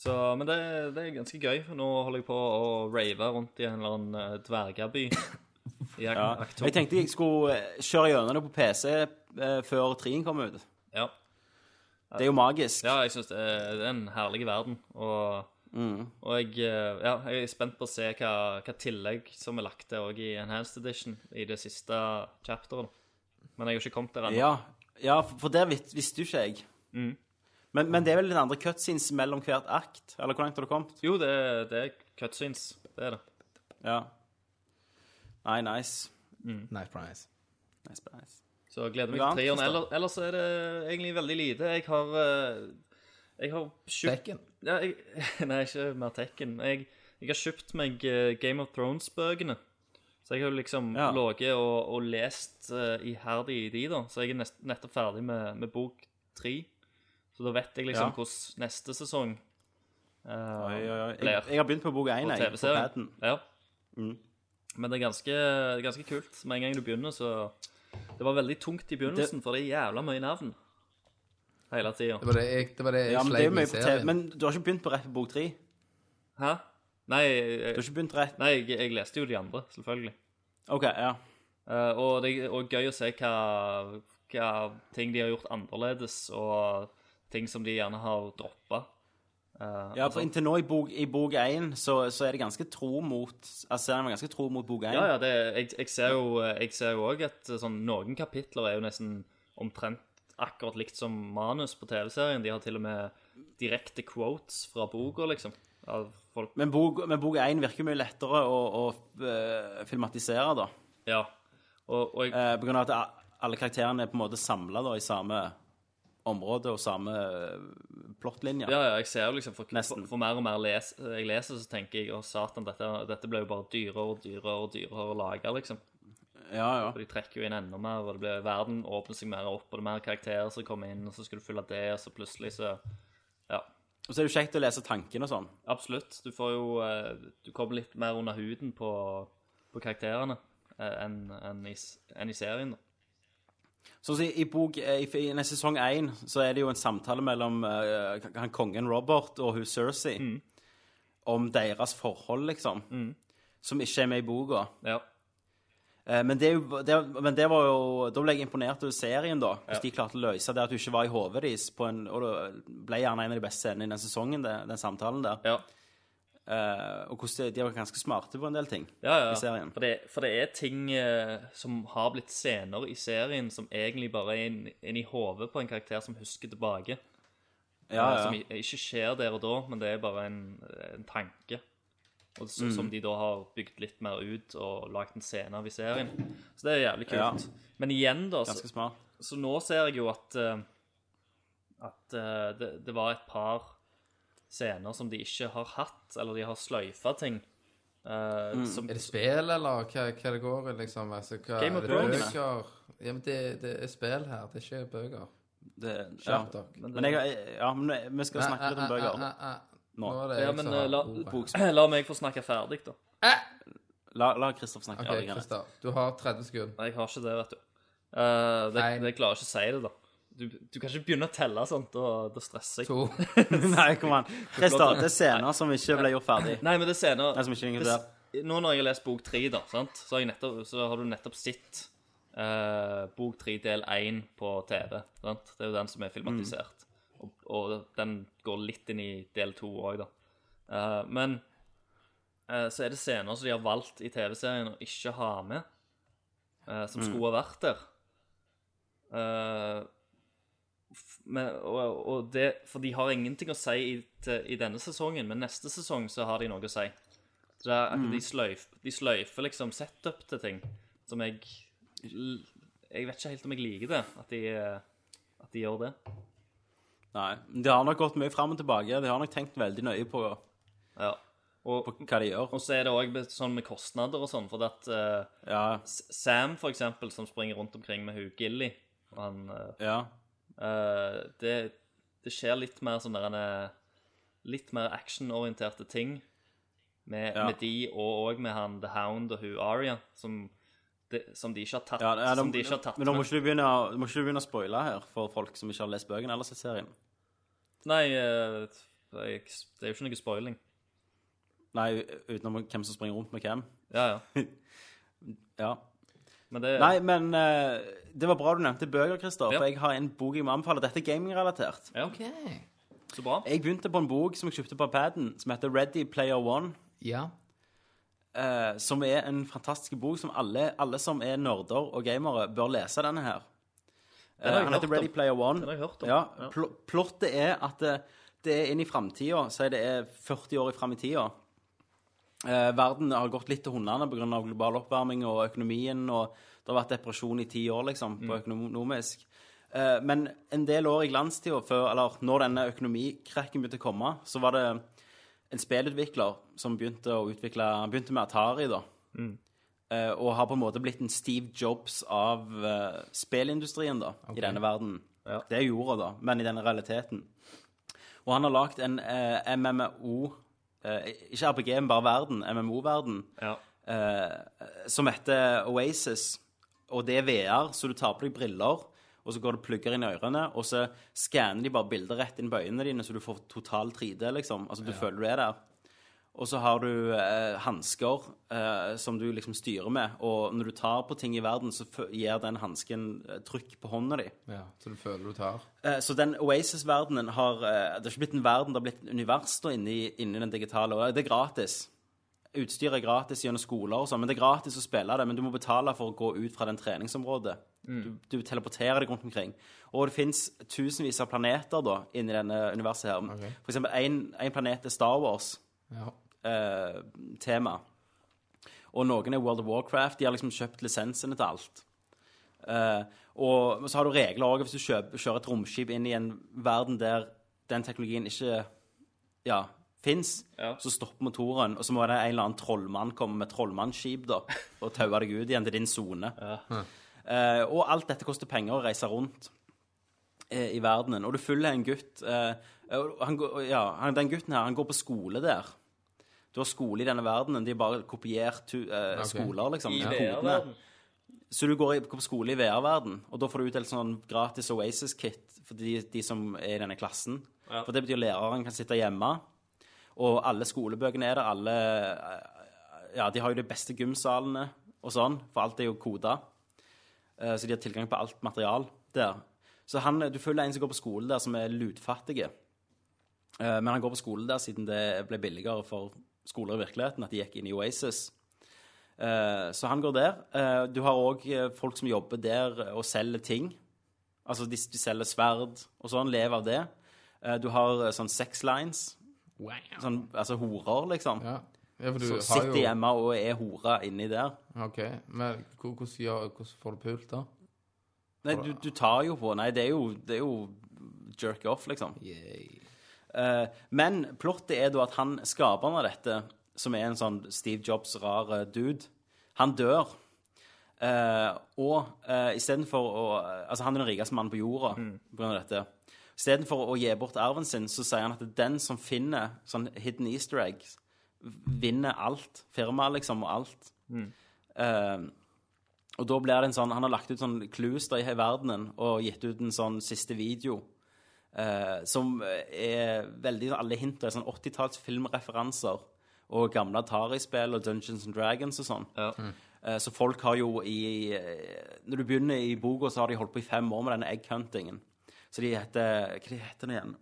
[SPEAKER 6] Så, men det, det er ganske gøy. Nå holder jeg på å rave rundt i en eller annen eh, dvergeby.
[SPEAKER 2] *laughs*
[SPEAKER 6] I akt,
[SPEAKER 2] Ja.
[SPEAKER 6] akt to.
[SPEAKER 2] Jeg tenkte jeg skulle eh, kjøre gjennom det på PC eh, før trien kom ut.
[SPEAKER 6] Ja.
[SPEAKER 2] Det er jo magisk.
[SPEAKER 6] ja, jeg syns det er det er en herlig verden. Og, og jeg, eh, ja, jeg er spent på å se hva, hva tillegg som er lagt til også i Enhanced Edition i det siste chapteret. Men jeg har ikke kommet der ennå.
[SPEAKER 2] Ja, ja for- for der vis- visste jo ikke jeg.
[SPEAKER 6] Mm.
[SPEAKER 2] Men, men det er vel den andre cutscenes mellom hvert akt? Eller hvor langt har du kommet?
[SPEAKER 6] Jo, det, det er cutscenes. Det er det.
[SPEAKER 2] Ja. Nei, nice.
[SPEAKER 1] Nice prize.
[SPEAKER 2] Nice, nice.
[SPEAKER 6] Så jeg gleder meg
[SPEAKER 2] Noe
[SPEAKER 6] til
[SPEAKER 2] annet,
[SPEAKER 6] treeren. Ellers, ellers er det egentlig veldig lite. Jeg har eh, Jeg har kjøpt
[SPEAKER 1] Bekken.
[SPEAKER 6] ja, jeg, *laughs* Nei, ikke mer Tekken. Jeg, jeg har kjøpt meg eh, Game of Thrones-bøkene. Så jeg har jo liksom
[SPEAKER 2] Ja.
[SPEAKER 6] ligget og, og lest eh, iherdig i de, da. Så jeg er nest, nettopp ferdig med, med bok tre. Så da vet jeg liksom
[SPEAKER 2] Ja.
[SPEAKER 6] hvordan neste sesong eh,
[SPEAKER 2] Oi, oi, oi. Jeg,
[SPEAKER 6] blir
[SPEAKER 2] jeg har begynt på bok én,
[SPEAKER 6] på
[SPEAKER 2] jeg. På
[SPEAKER 6] TV-serien.
[SPEAKER 2] paden.
[SPEAKER 6] Ja.
[SPEAKER 2] Mm.
[SPEAKER 6] Men det er ganske, ganske kult. Med en gang du begynner, så Det var veldig tungt i begynnelsen, for det er jævla mye navn hele tida.
[SPEAKER 1] Det var det jeg, det var det jeg
[SPEAKER 2] Ja, men det er jo
[SPEAKER 1] sleit med
[SPEAKER 2] mye
[SPEAKER 1] i
[SPEAKER 2] på TV.
[SPEAKER 1] serien.
[SPEAKER 2] Men du har ikke begynt på rett på bok tre?
[SPEAKER 6] Hæ? Nei, eh,
[SPEAKER 2] Du har
[SPEAKER 6] jeg,
[SPEAKER 2] ikke begynt rett
[SPEAKER 6] nei jeg, jeg leste jo de andre, selvfølgelig.
[SPEAKER 2] OK, ja.
[SPEAKER 6] Eh, og det er og gøy å se hva, hva ting de har gjort annerledes, og ting som de gjerne har Eh, altså, droppa.
[SPEAKER 2] Ja, for Inntil nå i bok- i bok én så, så er det ganske tro mot Altså, serien var ganske tro mot bok én.
[SPEAKER 6] Ja, ja, det, jeg, jeg ser jo Jeg ser jo òg at sånn, noen kapitler er jo nesten omtrent akkurat likt som manus på TV-serien. De har til og med direkte quotes fra boka, liksom. Av folk.
[SPEAKER 2] Men bok- men bok én virker mye lettere å, å eh, filmatisere, da.
[SPEAKER 6] Ja. Og, og jeg,
[SPEAKER 2] Eh, på grunn av at a- alle karakterene er på en måte samla i samme område og samme eh, plottlinje.
[SPEAKER 6] ja, ja, jeg ser jo liksom For,
[SPEAKER 2] Nesten.
[SPEAKER 6] for, for mer og mer les, jeg leser, så tenker jeg å satan, dette, dette ble jo bare dyrere og dyrere og dyrere å lage, liksom.
[SPEAKER 2] ja. ja.
[SPEAKER 6] Og de trekker jo inn enda mer, og det blir, verden åpner seg mer opp, og det er mer karakterer som kommer inn, og så skal du følge det, og så plutselig så Ja.
[SPEAKER 2] Og så er det jo kjekt å lese tankene og sånn.
[SPEAKER 6] Absolutt. Du får jo eh, Du kommer litt mer under huden på, på karakterene eh, enn enn i, s- enn i serien. da.
[SPEAKER 2] Sånn som i, i bok eh, i, i nei, sesong én så er det jo en samtale mellom eh, k- han kongen Robert og hun Cersei om deres forhold, liksom. Som ikke er med i boka.
[SPEAKER 6] Ja.
[SPEAKER 2] Eh, Men det, er jo- det, men det var jo Da ble jeg imponert over serien, da. Hvordan de klarte å løse det at du ikke var i hodet deres. På en, og det ble gjerne en av de beste scenene i den sesongen, det, den samtalen der.
[SPEAKER 6] Ja.
[SPEAKER 2] Eh, og hvordan de, de var ganske smarte på en del ting.
[SPEAKER 6] Ja, ja.
[SPEAKER 2] I serien.
[SPEAKER 6] For, det, for det er ting eh, som har blitt scener i serien, som egentlig bare er inn, inn i hodet på en karakter som husker tilbake.
[SPEAKER 2] Ja,
[SPEAKER 6] Eh, Som
[SPEAKER 2] ja.
[SPEAKER 6] i- ikke skjer der og da, men det er bare en, en tanke. Og så, Som
[SPEAKER 2] Mm.
[SPEAKER 6] de da har bygd litt mer ut og lagd en scene av i serien. Så det er jævlig
[SPEAKER 2] Ja.
[SPEAKER 6] kult. Men igjen, da så,
[SPEAKER 2] Ganske smart.
[SPEAKER 6] Så nå ser jeg jo at eh, at eh, det, det var et par scener som de ikke har hatt, eller de har sløyfa ting eh,
[SPEAKER 2] Mm.
[SPEAKER 6] som,
[SPEAKER 1] Er det spill, eller hva, hva det går i, liksom? Altså, hva,
[SPEAKER 2] Game of
[SPEAKER 1] er det
[SPEAKER 2] Thrones.
[SPEAKER 1] bøker? Ja, men det, det er spill her, det er ikke bøker.
[SPEAKER 2] Det, ja.
[SPEAKER 1] Skjerp dere.
[SPEAKER 2] Men jeg, har- ja, men vi skal snakke litt om bøker nå.
[SPEAKER 1] Nå er det
[SPEAKER 6] ja,
[SPEAKER 1] jeg
[SPEAKER 6] men
[SPEAKER 1] som
[SPEAKER 6] eh,
[SPEAKER 1] har
[SPEAKER 6] la,
[SPEAKER 1] ordet.
[SPEAKER 6] *clears throat* la meg få snakke ferdig, da.
[SPEAKER 2] La, la Kristoff snakke.
[SPEAKER 1] OK,
[SPEAKER 2] Ja, det er greit.
[SPEAKER 1] Christer. Du har 30 sekunder.
[SPEAKER 6] Nei, jeg har ikke det, vet du. Eh, det,
[SPEAKER 1] Nei.
[SPEAKER 6] det klarer jeg ikke å si det, da. Du, du kan ikke begynne å telle sånn, da, da stresser jeg.
[SPEAKER 1] To.
[SPEAKER 2] *laughs* Nei, kom an. Christer, det er scener som ikke ble gjort ferdig.
[SPEAKER 6] Nei, men det er senere.
[SPEAKER 2] Nei, som ikke er inkludert.
[SPEAKER 6] Hvis- Nå når jeg har lest bok tre, da, sant? Så, har jeg nettopp, så har du nettopp sett eh, bok tre del én på TV. Sant? Det er jo den som er filmatisert.
[SPEAKER 2] Mm.
[SPEAKER 6] Og, og den går litt inn i del to òg, da. Eh, men eh, så er det scener som de har valgt i TV-serien å ikke ha med, eh,
[SPEAKER 2] Mm.
[SPEAKER 6] som skulle ha vært der. Eh, f- men, og, og det, for de har ingenting å si i, til, i denne sesongen, men neste sesong så har de noe å si. Så det er,
[SPEAKER 2] Mm.
[SPEAKER 6] de, sløyf, de sløyfer liksom setup til ting som jeg l- Jeg vet ikke helt om jeg liker det, at de, at de gjør det.
[SPEAKER 2] Nei, De har nok gått mye fram og tilbake. De har nok tenkt veldig nøye på,
[SPEAKER 6] Ja. Og,
[SPEAKER 2] på hva de gjør.
[SPEAKER 6] og så er det òg sånn med kostnader og sånn, for at eh,
[SPEAKER 2] Ja,
[SPEAKER 6] S- Sam, for eksempel, som springer rundt omkring med hun Gilly, og han eh,
[SPEAKER 2] ja.
[SPEAKER 6] Eh, det, det skjer litt mer sånn der en, eh, Litt mer actionorienterte ting med,
[SPEAKER 2] Ja.
[SPEAKER 6] med de og òg med han The Hound og hun Aria, som, de, som de ikke har tatt,
[SPEAKER 2] ja det er-
[SPEAKER 6] som de ikke har tatt
[SPEAKER 2] men nå må ikke du begynne, å- må ikke du begynne å spoile her for folk som ikke har lest bøkene eller sett serien.
[SPEAKER 6] Nei, eh, jeg, det er jo ikke noe spoiling.
[SPEAKER 2] Nei, utenom hvem som springer rundt med hvem.
[SPEAKER 6] Ja, ja.
[SPEAKER 2] Ja.
[SPEAKER 6] Men det
[SPEAKER 2] Nei, men eh, det var bra du nevnte bøker, Christer,
[SPEAKER 6] Ja.
[SPEAKER 2] for jeg har en bok jeg må anbefale. Dette er gamingrelatert.
[SPEAKER 6] ja, Så bra.
[SPEAKER 2] Jeg begynte på en bok som jeg kjøpte på Paden, som heter Ready Player One.
[SPEAKER 1] Ja.
[SPEAKER 2] eh, som er en fantastisk bok som alle, alle som er nerder og gamere, bør lese denne her.
[SPEAKER 6] har jeg
[SPEAKER 2] Eh, han
[SPEAKER 6] hørt
[SPEAKER 2] heter Ready
[SPEAKER 6] om.
[SPEAKER 2] Player One.
[SPEAKER 6] Den har jeg hørt om.
[SPEAKER 2] Ja,
[SPEAKER 6] Ja.
[SPEAKER 2] pl plottet er at det, det er inn i framtida, si det er 40 år i fram i tida. Eh, verden har gått litt til hundene pga. global oppvarming og økonomien, og det har vært depresjon i ti år, liksom, på økonomisk. Eh, men en del år i glanstida, før, eller når denne økonomikrekken begynte å komme, så var det en spillutvikler som begynte å utvikle Han begynte med Atari, da. Eh, og har på en måte blitt en Steve Jobs av eh, spillindustrien, da, i denne verden. Det er jorda, da, men i denne realiteten. Og han har lagd en eh, MMO eh, Ikke RPG, men bare verden. MMO-verden.
[SPEAKER 6] Ja.
[SPEAKER 2] eh, som heter Oasis. Og det er VR, så du tar på deg briller, og så går det plugger inn i ørene, og så skanner de bare bilder rett inn på øynene dine, så du får total 3D, liksom. Altså du føler du er der. Og så har du eh, hansker eh, som du liksom styrer med, og når du tar på ting i verden, så fø- gir den hansken eh, trykk på hånda di.
[SPEAKER 1] ja. Så du føler du tar.
[SPEAKER 2] Eh, Så den Oasis-verdenen har eh, Det har ikke blitt en verden, det har blitt et univers da inni, inni den digitale. Og det er gratis. Utstyr er gratis gjennom skoler og sånn, men det er gratis å spille det. Men du må betale for å gå ut fra den treningsområdet. Du, du teleporterer deg rundt omkring. Og det fins tusenvis av planeter da inni denne universet her. For eksempel én planet er Star Wars-tema.
[SPEAKER 1] Ja.
[SPEAKER 2] Og noen er World of Warcraft. De har liksom kjøpt lisensene til alt. Eh, og så har du regler òg hvis du kjøper, kjører et romskip inn i en verden der den teknologien ikke ja, fins,
[SPEAKER 6] Ja.
[SPEAKER 2] så stopper motoren, og så må det en eller annen trollmann komme med trollmannsskip
[SPEAKER 6] *laughs*
[SPEAKER 2] da, og taue deg ut igjen til din sone. Eh, og alt dette koster penger å reise rundt eh, i verdenen. Og du følger en gutt eh, og han, går- ja, han, Den gutten her, han går på skole der. Du har skole i denne verdenen. De har bare kopiert tu, eh, skoler, liksom.
[SPEAKER 6] I
[SPEAKER 2] kodene.
[SPEAKER 6] VR-verden.
[SPEAKER 2] Så du går i- går på skole i VR-verden, og da får du utdelt sånn gratis Oasis-kit for de, de som er i denne klassen. For det betyr læreren kan sitte hjemme, og alle skolebøkene er der, alle eh, Ja, de har jo de beste gymsalene og sånn, for alt er jo koda. Eh, Så de har tilgang på alt material der. Så han, du følger en som går på skole der, som er lutfattige. Eh, Men han går på skole der siden det ble billigere for skoler i virkeligheten, at de gikk inn i Oasis. Eh, Så han går der. Eh, Du har òg folk som jobber der og selger ting. Altså, de, de selger sverd og sånn, lever av det. Eh, Du har eh, sånn sex lines,
[SPEAKER 1] Wow.
[SPEAKER 2] sånn, altså horer, liksom.
[SPEAKER 1] Ja. ja, for du
[SPEAKER 2] Så
[SPEAKER 1] har
[SPEAKER 2] sitter
[SPEAKER 1] jo
[SPEAKER 2] hjemme og er hore inni der.
[SPEAKER 1] OK. Men hvor- hvordan, gjør, hvordan får du pult, da?
[SPEAKER 2] Nei, du, du tar jo på Nei, det er jo, det er jo jerk off, liksom.
[SPEAKER 1] Yay.
[SPEAKER 2] Eh, Men plottet er da at han, skaperen av dette, som er en sånn Steve Jobs rar eh, dude, han dør. Eh, og eh, istedenfor å Altså, han er den rikeste mannen på jorda på grunn av dette. Istedenfor å gi bort arven sin, så sier han at den som finner sånn hidden easter eggs, vinner alt. Firmaet, liksom, og alt. Eh, og da blir det en sånn Han har lagt ut sånn clues da i hele verdenen og gitt ut en sånn siste video. eh, som er veldig Alle hint er sånn 80-talls filmreferanser og gamle Atari-spill og Dungeons and Dragons og sånn.
[SPEAKER 6] Ja.
[SPEAKER 2] Eh, Så folk har jo i eh, Når du begynner i boka, så har de holdt på i fem år med denne egghuntingen. Så de heter Hva de heter de igjen?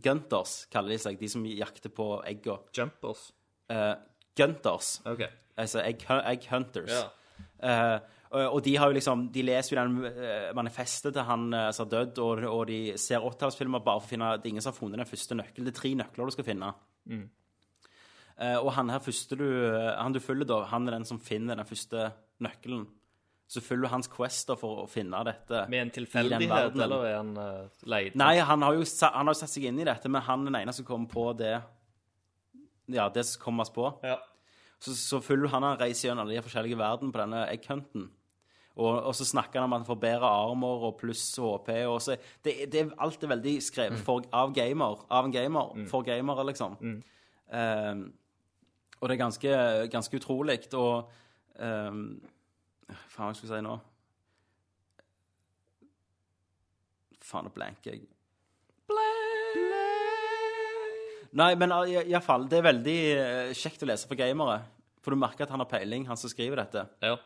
[SPEAKER 2] Gunters, kaller de seg. De som jakter på egga.
[SPEAKER 6] Jumpers.
[SPEAKER 2] Uh, Gunters.
[SPEAKER 6] OK.
[SPEAKER 2] Altså egg, egg hunters.
[SPEAKER 6] Ja.
[SPEAKER 2] Eh, og og de har jo liksom, de leser jo den eh, manifestet til han eh, som har dødd, og, og de ser åttitallsfilmer bare for å finne at ingen som har funnet den første nøkkelen. Det er tre nøkler du skal finne.
[SPEAKER 6] Mm.
[SPEAKER 2] Eh, og han her første du, eh, han du følger, da, han er den som finner den første nøkkelen. Så følger du hans quest da for å finne dette.
[SPEAKER 6] Med
[SPEAKER 2] I
[SPEAKER 6] en
[SPEAKER 2] den
[SPEAKER 6] tilfeldighet,
[SPEAKER 2] verdenen.
[SPEAKER 6] eller er han uh, leid?
[SPEAKER 2] Nei, han har, jo, sa- han har jo satt seg inn i dette, men han er den eneste som kommer på det Ja, det som kommer oss på.
[SPEAKER 6] Ja.
[SPEAKER 2] Så, så følger han han reiser gjennom alle de forskjellige verden på denne egghunten. Og, og så snakker han om at han får bedre armer og pluss HP. Og så, det, det, er- alt er veldig skrevet for, av, gamer, av en gamer, for gamere, liksom. Ehm, og det er ganske, ganske utrolig. Og ehm, Faen, hva skulle jeg si nå? Faen, nå blanker jeg. Nei, men uh, i, i hvert fall, det er veldig eh, kjekt å lese for gamere. For du merker at han har peiling, han som skriver dette.
[SPEAKER 6] Ja.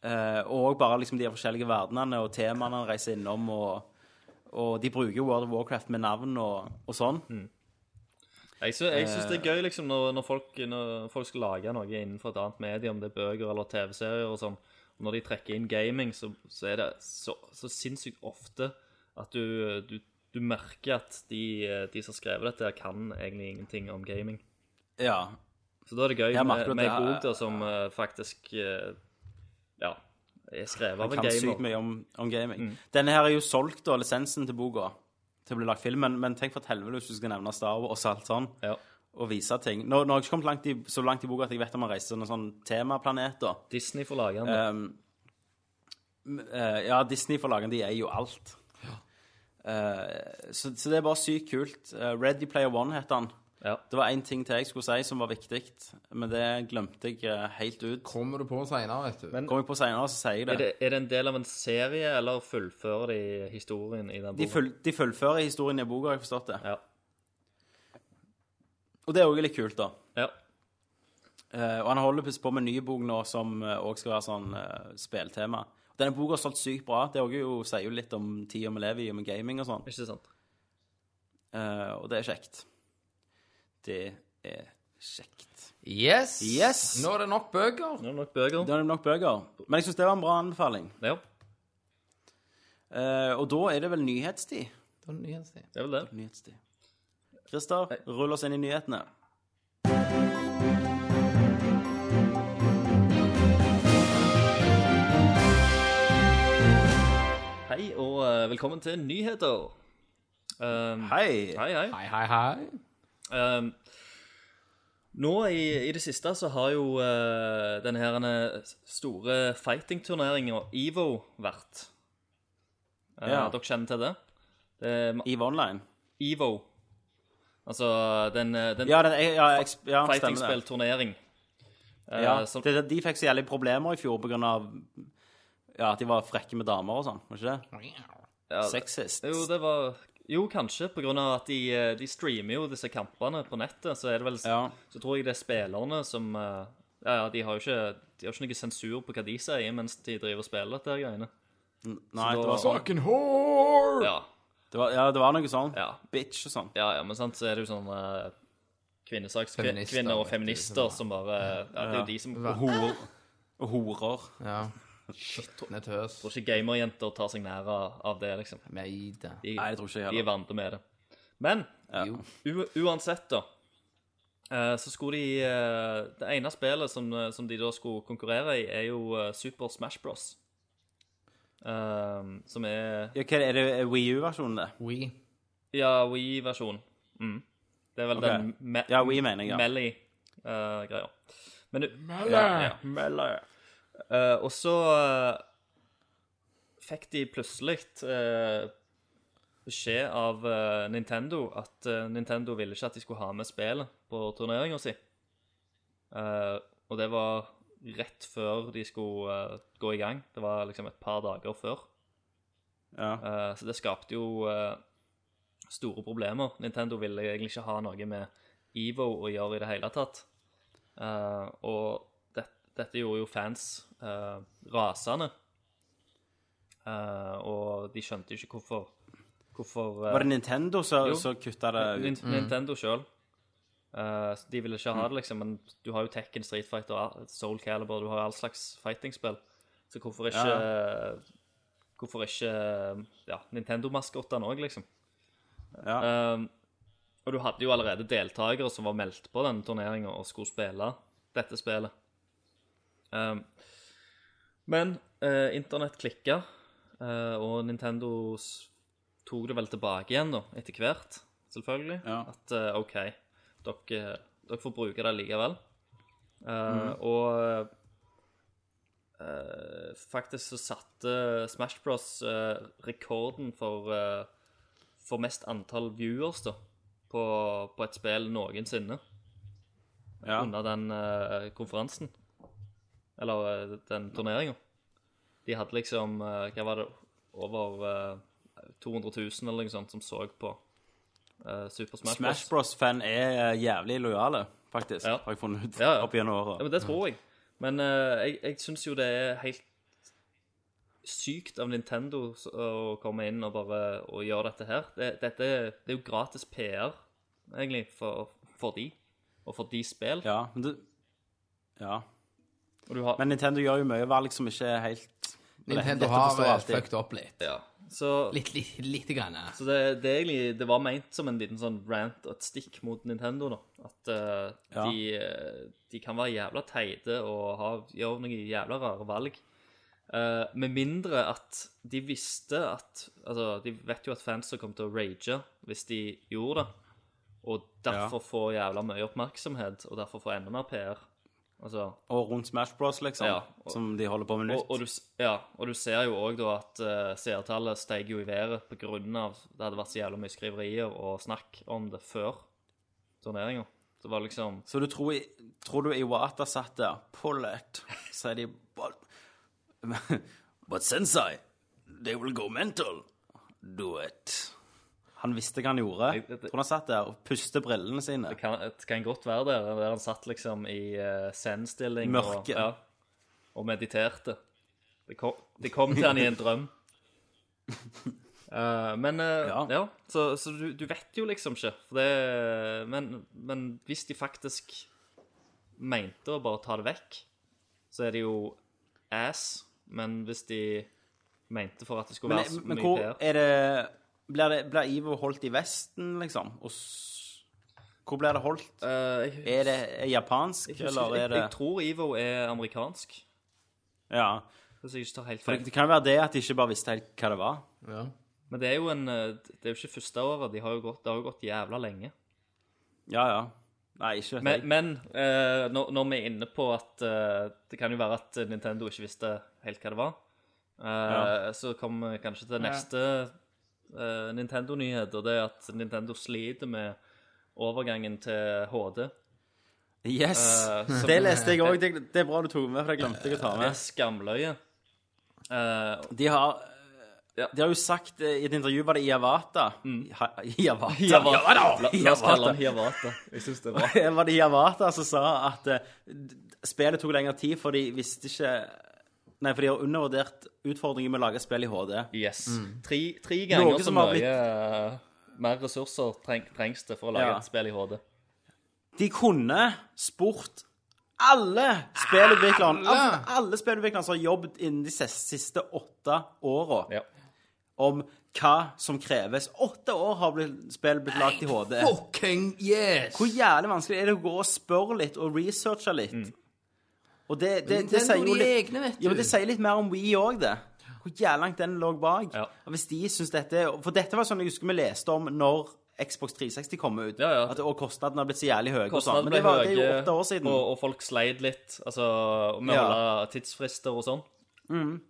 [SPEAKER 2] Eh, og også bare liksom de forskjellige verdenene og temaene han reiser innom. Og, og de bruker jo World of Warcraft med navn og, og sånn.
[SPEAKER 6] Mm. Jeg, sy jeg syns
[SPEAKER 2] Eh.
[SPEAKER 6] det er gøy liksom, når, når, folk, når folk skal lage noe innenfor et annet medie, om det er bøker eller TV-serier og sånn. og Når de trekker inn gaming, så, så er det så, så sinnssykt ofte at du, du, du merker at de, de som har skrevet dette, her kan egentlig ingenting om gaming.
[SPEAKER 2] Ja.
[SPEAKER 6] Så da er det gøy
[SPEAKER 2] Ja, men
[SPEAKER 6] med
[SPEAKER 2] akkurat
[SPEAKER 6] med
[SPEAKER 2] det
[SPEAKER 6] en
[SPEAKER 2] er-
[SPEAKER 6] bok da, som eh, faktisk eh, ja, er skrevet av en
[SPEAKER 2] Kan sykt
[SPEAKER 6] gamer. Mm.
[SPEAKER 2] mye om, om gaming. Denne her er jo solgt, da, lisensen til boka, til å bli lagt film. Men, men tenk for et helvete hvis du skal nevne Star Wars og alt sånn.
[SPEAKER 6] Ja.
[SPEAKER 2] Og vise ting. Nå, nå har jeg ikke kommet langt i, så langt i boka at jeg vet om han reiser til noen sånn temaplaneter.
[SPEAKER 6] Disney får lage den. da.
[SPEAKER 2] Ehm, Eh, ja, Disney-forlagene, de er jo alt. Eh, så, så det er bare sykt kult. Eh, Ready Player One heter han.
[SPEAKER 6] Ja.
[SPEAKER 2] Det var én ting til jeg skulle si som var viktig, men det glemte jeg eh, helt ut.
[SPEAKER 1] Kommer du på seinere, vet du.
[SPEAKER 6] Men-
[SPEAKER 2] Kommer jeg på seinere, så sier jeg det.
[SPEAKER 6] Er, det, er det en del av en serie, eller fullfører de historien i den
[SPEAKER 2] De,
[SPEAKER 6] boka?
[SPEAKER 2] full, de fullfører historien i boka, har jeg forstått det.
[SPEAKER 6] Ja.
[SPEAKER 2] Og det er òg litt kult, da.
[SPEAKER 6] ja.
[SPEAKER 2] Eh, og han holder plutselig på med en ny bok nå som eh, også skal være sånn eh, speltema. Denne boka har solgt sykt bra. Det er også jo, sier jo litt om tida vi lever i, og med gaming og sånn.
[SPEAKER 6] Ikke sant?
[SPEAKER 2] Eh, og det er kjekt. Det er kjekt.
[SPEAKER 1] Yes!
[SPEAKER 2] Yes!
[SPEAKER 1] Nå er det nok bøker.
[SPEAKER 6] Nå er det nok bøker.
[SPEAKER 2] Da er det nok bøker. Men jeg syns det var en bra anbefaling.
[SPEAKER 6] Ja,
[SPEAKER 2] Eh, og da er det vel nyhetstid.
[SPEAKER 1] Det var nyhetstid.
[SPEAKER 6] det er vel det.
[SPEAKER 2] Nyhetstid. Christer, rull oss inn i nyhetene.
[SPEAKER 6] Hei og eh, velkommen til nyheter. Um,
[SPEAKER 2] Hei!
[SPEAKER 6] Hei, hei.
[SPEAKER 1] Hei, hei, hei.
[SPEAKER 6] Um, nå i, i det siste så har jo eh, denne her eh, store fighting-turneringen EVO vært. Eh,
[SPEAKER 2] Ja.
[SPEAKER 6] Dere kjenner til det? det er
[SPEAKER 2] Eve Online.
[SPEAKER 6] EVO. Altså den, eh, den
[SPEAKER 2] Ja, den, jeg- ja, jeg, ja stemmer det.
[SPEAKER 6] fighting-spill-turnering. eh,
[SPEAKER 2] Ja,
[SPEAKER 6] som-
[SPEAKER 2] det, de fikk så jævlig problemer i fjor pga. Ja, at de var frekke med damer og sånn. Var ikke det?
[SPEAKER 6] ja,
[SPEAKER 2] Sexist.
[SPEAKER 6] Jo, det var Jo, kanskje, på grunn av at de, eh, de streamer jo disse kampene på nettet, så er det vel
[SPEAKER 2] Ja.
[SPEAKER 6] Så tror jeg det er spillerne som eh, Ja, ja, de har jo ikke, de har ikke noe sensur på hva de sier mens de driver og spiller dette her greiene.
[SPEAKER 2] Nei, det var
[SPEAKER 6] så
[SPEAKER 2] sånn.
[SPEAKER 1] Fucking whore!
[SPEAKER 6] Ja,
[SPEAKER 2] Det var, ja, det var noe sånn.
[SPEAKER 6] ja,
[SPEAKER 2] Bitch og sånn.
[SPEAKER 6] ja, ja men sant, så er det jo sånn eh, kvinnesaks... kvin-
[SPEAKER 1] Feminister,
[SPEAKER 6] Kvinner
[SPEAKER 1] vet
[SPEAKER 6] og
[SPEAKER 1] du,
[SPEAKER 6] feminister som bare Ja, det er jo de som Jeg
[SPEAKER 2] Hor, og horer.
[SPEAKER 1] Ja. Shit, tøs.
[SPEAKER 6] tror ikke gamerjenter tar seg nær av av det, liksom.
[SPEAKER 1] Nei da.
[SPEAKER 6] De,
[SPEAKER 2] Nei, det tror ikke jeg
[SPEAKER 6] de er
[SPEAKER 2] heller.
[SPEAKER 6] vant med det. Men
[SPEAKER 1] Jo.
[SPEAKER 6] U uansett, da. eh, Så skulle de eh, Det ene spillet som, eh, som de da skulle konkurrere i, er jo eh, Super Smash Bros. Eh, som er
[SPEAKER 2] Ja, hva er det? Er det Wii U-versjonen, det?
[SPEAKER 1] We.
[SPEAKER 6] Ja, Wii-versjon. Mm. Det er vel
[SPEAKER 2] Ok.
[SPEAKER 6] den me
[SPEAKER 2] Ja, Wii mener jeg, ja.
[SPEAKER 6] Melly eh, greier. Men du Ja, ja. Eh, og så eh, fikk de plutselig eh, beskjed av eh, Nintendo at eh, Nintendo ville ikke at de skulle ha med spillet på turneringa si. Eh, og det var rett før de skulle eh, gå i gang. Det var liksom et par dager før.
[SPEAKER 2] Ja.
[SPEAKER 6] Eh, Så det skapte jo eh, store problemer. Nintendo ville egentlig ikke ha noe med EVO å gjøre i det hele tatt. Eh, Og det, dette gjorde jo fans eh, rasende. Eh, Og de skjønte jo ikke hvorfor, hvorfor eh,
[SPEAKER 2] Var det Nintendo som
[SPEAKER 6] Jo.
[SPEAKER 2] som kutta det ut?
[SPEAKER 6] Nin- Nintendo sjøl. de ville ikke ha det, liksom, men du har jo Tekken, Street Fighter, Ar- Soul Calibur, du har all slags fightingspill. Så hvorfor ikke Hvorfor ikke eh, ja, Nintendo-maskottene òg, liksom?
[SPEAKER 2] Ja.
[SPEAKER 6] Ehm, og du hadde jo allerede deltakere som var meldt på denne turneringa og skulle spille dette spillet. Ehm, men eh, internett klikka, eh, og Nintendo s- tok det vel tilbake igjen da, etter hvert, selvfølgelig.
[SPEAKER 2] Ja.
[SPEAKER 6] At eh, OK, dere, dere får bruke det likevel. Eh, Og eh, faktisk så satte Smash Bros. eh, rekorden for eh, for mest antall viewers da, på, på et spill noensinne
[SPEAKER 2] Ja.
[SPEAKER 6] under den eh, konferansen. Eller eh, den turneringa. De hadde liksom eh, Hva var det? Over eh, 200 000 eller noe sånt som så på eh, Super Smash,
[SPEAKER 2] Smash
[SPEAKER 6] Bros.
[SPEAKER 2] Bros-fan er eh, jævlig lojale, faktisk,
[SPEAKER 6] Ja.
[SPEAKER 2] har jeg funnet ut
[SPEAKER 6] Ja, ja.
[SPEAKER 2] opp gjennom
[SPEAKER 6] Ja,
[SPEAKER 2] åra.
[SPEAKER 6] men det tror jeg. Men eh, jeg, jeg syns jo det er helt sykt av Nintendo s- å komme inn og bare og gjøre dette her. Det, dette, det er jo gratis PR, egentlig, for, for de, og for de spill.
[SPEAKER 2] Ja, men du Ja.
[SPEAKER 6] Og du har,
[SPEAKER 2] Men Nintendo gjør jo mye valg som ikke er helt
[SPEAKER 1] Nintendo
[SPEAKER 2] lett å
[SPEAKER 1] har
[SPEAKER 2] forstå
[SPEAKER 1] eh,
[SPEAKER 2] alltid.
[SPEAKER 1] fucked opp litt.
[SPEAKER 6] ja. Så,
[SPEAKER 1] Litt, litt, lite grann. eh.
[SPEAKER 6] så det, det, er egentlig, det var ment som en liten sånn rant og et stikk mot Nintendo, da. At eh,
[SPEAKER 2] Ja.
[SPEAKER 6] de, eh, de kan være jævla teite og ha, gjøre noen jævla rare valg. Eh, med mindre at de visste at Altså, de vet jo at fanser kom til å rage hvis de gjorde det. Og derfor få jævla mye oppmerksomhet, og derfor få enda mer PR. Altså,
[SPEAKER 2] Og rundt Smash Bros, liksom,
[SPEAKER 6] Ja, og-
[SPEAKER 2] som de holder på med nytt.
[SPEAKER 6] Og, og, du, s- ja, og du ser jo òg da at eh, seertallet steg jo i været på grunn av det hadde vært så jævla mye skriverier og snakk om det før turneringa. Det var liksom
[SPEAKER 2] Så du tror, i- tror du Iwata satt der, pull it, sier de but, *laughs* but sensei, they will go mental. Do it. Han visste hva han gjorde.
[SPEAKER 6] Jeg- det-
[SPEAKER 2] Tror du han satt der og puste brillene sine.
[SPEAKER 6] Det kan, det kan godt være der, der han satt liksom i uh, zen-stilling og,
[SPEAKER 2] Mørke.
[SPEAKER 6] ja, og mediterte. Det kom, det kom til han i
[SPEAKER 2] *laughs*
[SPEAKER 6] en drøm. Eh, men eh, ja.
[SPEAKER 2] Ja.
[SPEAKER 6] så, så du, du vet jo liksom ikke. For det, men, men hvis de faktisk mente å bare ta det vekk, så er det jo ass. Men hvis de mente for at det skulle
[SPEAKER 2] Men,
[SPEAKER 6] være så
[SPEAKER 2] men
[SPEAKER 6] mye
[SPEAKER 2] hvor
[SPEAKER 6] PR
[SPEAKER 2] er det Blir, det, blir Ivo holdt i Vesten, liksom? Og s, hvor blir det holdt?
[SPEAKER 6] Eh, jeg,
[SPEAKER 2] Er det er japansk,
[SPEAKER 6] jeg, husker-
[SPEAKER 2] eller er
[SPEAKER 6] jeg,
[SPEAKER 2] det
[SPEAKER 6] jeg tror Ivo er amerikansk.
[SPEAKER 2] Ja.
[SPEAKER 6] Hvis jeg ikke tar helt
[SPEAKER 2] For
[SPEAKER 6] feil.
[SPEAKER 2] det, det kan være det at de ikke bare visste helt hva det var.
[SPEAKER 1] Ja.
[SPEAKER 6] Men det er jo en eh, Det er jo ikke første året. De har jo gått, det har jo gått jævla lenge.
[SPEAKER 2] Ja, ja. Nei, ikke vet
[SPEAKER 6] Men,
[SPEAKER 2] jeg.
[SPEAKER 6] men eh, når, når vi er inne på at eh, Det kan jo være at Nintendo ikke visste helt hva det var. eh, Så kommer vi kanskje til neste eh, Nintendo-nyhet, og det er at Nintendo sliter med overgangen til HD.
[SPEAKER 2] Yes!
[SPEAKER 6] eh, som-
[SPEAKER 2] Det leste jeg òg. Det, det er bra du tok med, for det glemte jeg å ta
[SPEAKER 6] Det er
[SPEAKER 2] med.
[SPEAKER 6] skamløye.
[SPEAKER 2] *laughs*
[SPEAKER 6] Eh,
[SPEAKER 2] De har de har jo sagt eh, i et intervju var det Iavata Ha- Iavata?
[SPEAKER 6] Hiawatha. Mm. La, la oss
[SPEAKER 2] Iavata.
[SPEAKER 6] kalle han Hiawatha. Jeg synes det er bra.
[SPEAKER 2] var det Javata som sa at eh, d- spillet tok lengre tid, for de visste ikke Nei, for de har undervurdert utfordringen med å lage spill i HD.
[SPEAKER 6] Yes. Tre, tre ganger
[SPEAKER 2] Mm. Noe
[SPEAKER 6] så
[SPEAKER 2] som
[SPEAKER 6] mye
[SPEAKER 2] har blitt-
[SPEAKER 6] eh, mer ressurser treng, trengs det for å lage
[SPEAKER 2] Ja.
[SPEAKER 6] et spill i HD.
[SPEAKER 2] De kunne spurt alle spillutviklerne alle, alle spillutviklerne som har jobbet innen de ses- siste åtte åra,
[SPEAKER 6] Ja.
[SPEAKER 2] om hva som kreves. Åtte år har blitt- spill blitt lagd i HD.
[SPEAKER 1] Fucking yes!
[SPEAKER 2] Hvor jævlig vanskelig er det å gå og spørre litt og researche litt?
[SPEAKER 6] Mm.
[SPEAKER 2] Og det, det, det,
[SPEAKER 1] Nintendo
[SPEAKER 2] sier jo
[SPEAKER 1] de
[SPEAKER 2] litt,
[SPEAKER 1] egne, vet
[SPEAKER 2] ja, men
[SPEAKER 1] du.
[SPEAKER 2] det sier litt mer om Wii òg, det. Hvor jævlig langt den lå bak.
[SPEAKER 6] Ja.
[SPEAKER 2] Og Hvis de syns dette For dette var sånn jeg husker vi leste om når Xbox 360 kom ut.
[SPEAKER 6] Ja, ja.
[SPEAKER 2] At, og kostnadene har blitt så jævlig høye. og sånn. Men
[SPEAKER 6] Kostnadene ble
[SPEAKER 2] det, var, det er jo
[SPEAKER 6] høye,
[SPEAKER 2] åtte år siden.
[SPEAKER 6] Og, og folk sleit litt. Altså med å
[SPEAKER 2] Ja. Mm.
[SPEAKER 6] holde tidsfrister og sånn.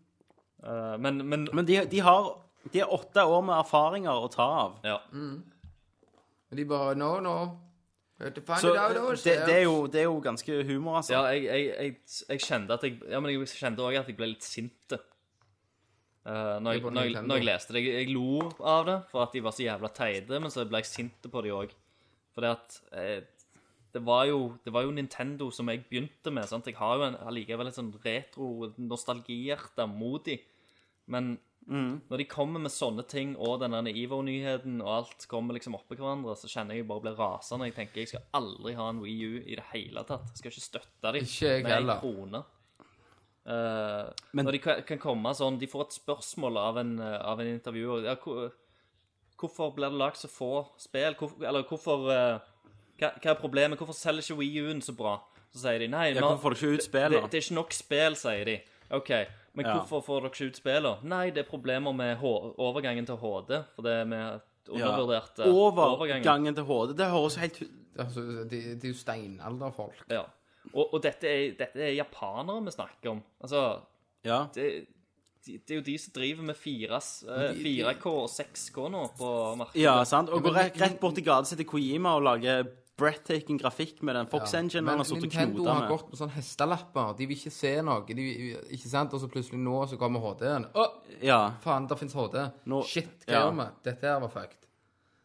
[SPEAKER 6] Eh, men, men,
[SPEAKER 2] Men de, de har de har åtte år med erfaringer å ta av.
[SPEAKER 6] Ja.
[SPEAKER 1] Men de bare No, no. We have to find
[SPEAKER 2] Så
[SPEAKER 1] it out
[SPEAKER 2] det,
[SPEAKER 1] ourselves.
[SPEAKER 2] det, er jo, det er jo ganske humor, altså.
[SPEAKER 6] ja jeg, jeg, jeg, jeg kjente at jeg Ja, men jeg kjente også at jeg ble litt sint. Uh, når,
[SPEAKER 1] Det er
[SPEAKER 6] jeg,
[SPEAKER 1] på
[SPEAKER 6] når, jeg,
[SPEAKER 1] Nintendo.
[SPEAKER 6] når jeg leste det. Jeg, jeg lo av det for at de var så jævla teite, men så ble jeg sint på de òg. For det at eh, det, var jo, det var jo Nintendo som jeg begynte med. sant? Jeg har jo en, allikevel et sånn retro-nostalgihjerte mot de. Men
[SPEAKER 1] Mm.
[SPEAKER 6] når de kommer med sånne ting, og den der Ivo-nyheten og alt kommer liksom oppi hverandre, så kjenner jeg bare blir rasende. Jeg tenker jeg skal aldri ha en Wii U i det hele tatt. Jeg skal ikke støtte dem
[SPEAKER 1] Ikke jeg heller.
[SPEAKER 6] krone. Eh,
[SPEAKER 2] Men-
[SPEAKER 6] når de kan kan komme sånn De får et spørsmål av en, eh, av en intervjuer. Ja, hvor- hvorfor blir det lagd så få spill? Hvor, eller hvorfor eh, hva, hva er problemet? Hvorfor selger ikke Wii U-en så bra? Så sier de nei,
[SPEAKER 2] Ja,
[SPEAKER 6] vi har-
[SPEAKER 2] hvorfor får du ikke ut spill,
[SPEAKER 6] det,
[SPEAKER 2] da?
[SPEAKER 6] det er ikke nok spill, sier de. OK, men
[SPEAKER 2] Ja.
[SPEAKER 6] hvorfor får dere ikke ut spillene? Nei, det er problemer med H overgangen til HD. For det er med undervurderte overgangen.
[SPEAKER 2] Overgangen til HD. Det høres helt
[SPEAKER 1] Altså, det, det er jo steinalderfolk.
[SPEAKER 6] Ja. Og, og dette, er, dette er japanere vi snakker om. Altså,
[SPEAKER 2] Ja.
[SPEAKER 6] det, de, det er jo de som driver med 4, eh, 4K og 6K nå på markedet.
[SPEAKER 2] ja, sant. Og går rett, rett bort i gata til Kojima og lager breathtaking grafikk med den Fox Engine han
[SPEAKER 1] Men
[SPEAKER 2] har sittet og
[SPEAKER 1] Nintendo
[SPEAKER 2] knota
[SPEAKER 1] har
[SPEAKER 2] med.
[SPEAKER 1] gått med sånne hestelapper. De vil ikke se noe. De, vil- ikke sant? Og så plutselig nå så kommer HD-en. Å,
[SPEAKER 2] Ja.
[SPEAKER 1] faen, der fins HD.
[SPEAKER 2] Nå-
[SPEAKER 1] Shit, hva
[SPEAKER 2] ja. Mm.
[SPEAKER 1] gjør vi? Dette her var fucked.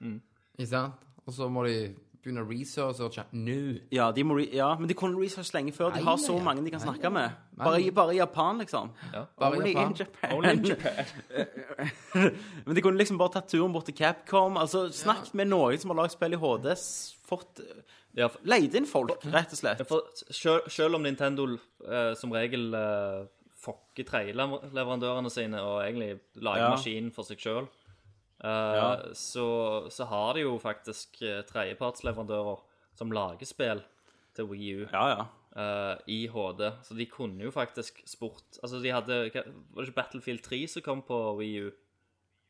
[SPEAKER 1] Ikke sant? Og så må de begynne å researche nå.
[SPEAKER 2] Ja, de må re ja, men de kunne research lenge før. De
[SPEAKER 1] Nei,
[SPEAKER 2] har så
[SPEAKER 1] nei, ja.
[SPEAKER 2] mange de kan
[SPEAKER 1] Nei,
[SPEAKER 2] snakke med. Bare, i- bare i Japan, liksom.
[SPEAKER 1] Bare
[SPEAKER 2] Only
[SPEAKER 1] Japan.
[SPEAKER 2] in Japan.
[SPEAKER 6] Only in Japan.
[SPEAKER 2] *laughs* men de kunne liksom bare tatt turen bort til Capcom. Altså, Snakk med noen som har lagd spill i HD. s- Fått
[SPEAKER 6] Ja, for,
[SPEAKER 2] Leid inn folk, rett og slett.
[SPEAKER 6] for selv, selv om Nintendo eh, som regel eh, fucker tredjeleverandørene sine og egentlig lager
[SPEAKER 2] Ja.
[SPEAKER 6] maskinen for seg sjøl, så, så har de jo faktisk eh, tredjepartsleverandører som lager spill til Wii U
[SPEAKER 2] Ja, ja.
[SPEAKER 6] eh, i HD. Så de kunne jo faktisk spurt Altså, de hadde hva- Var det ikke Battlefield 3 som kom på Wii U,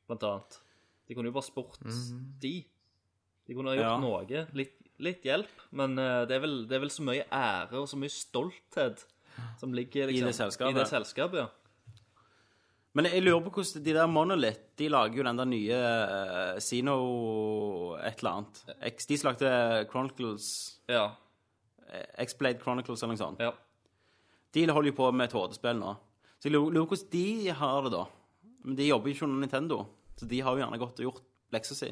[SPEAKER 6] blant annet? De kunne jo bare spurt de. De kunne ha gjort
[SPEAKER 2] Mhm. Ja.
[SPEAKER 6] noe. Litt, litt hjelp. Men eh, det, er vel, det er vel så mye ære og så mye stolthet som ligger liksom,
[SPEAKER 2] det selskapet.
[SPEAKER 6] I det selskapet ja.
[SPEAKER 2] Men jeg lurer på hvordan de der Monolith De lager jo den der nye eh, Sino et eller annet. X, de som lagde Chronicles eh,
[SPEAKER 6] ja.
[SPEAKER 2] X-Blade Chronicles eller noe sånt.
[SPEAKER 6] Ja.
[SPEAKER 2] De holder jo på med et HD-spill nå. Så jeg lurer lurer hvordan de har det, da. Men de jobber jo ikke under Nintendo, så de har jo gjerne godt gjort leksa si.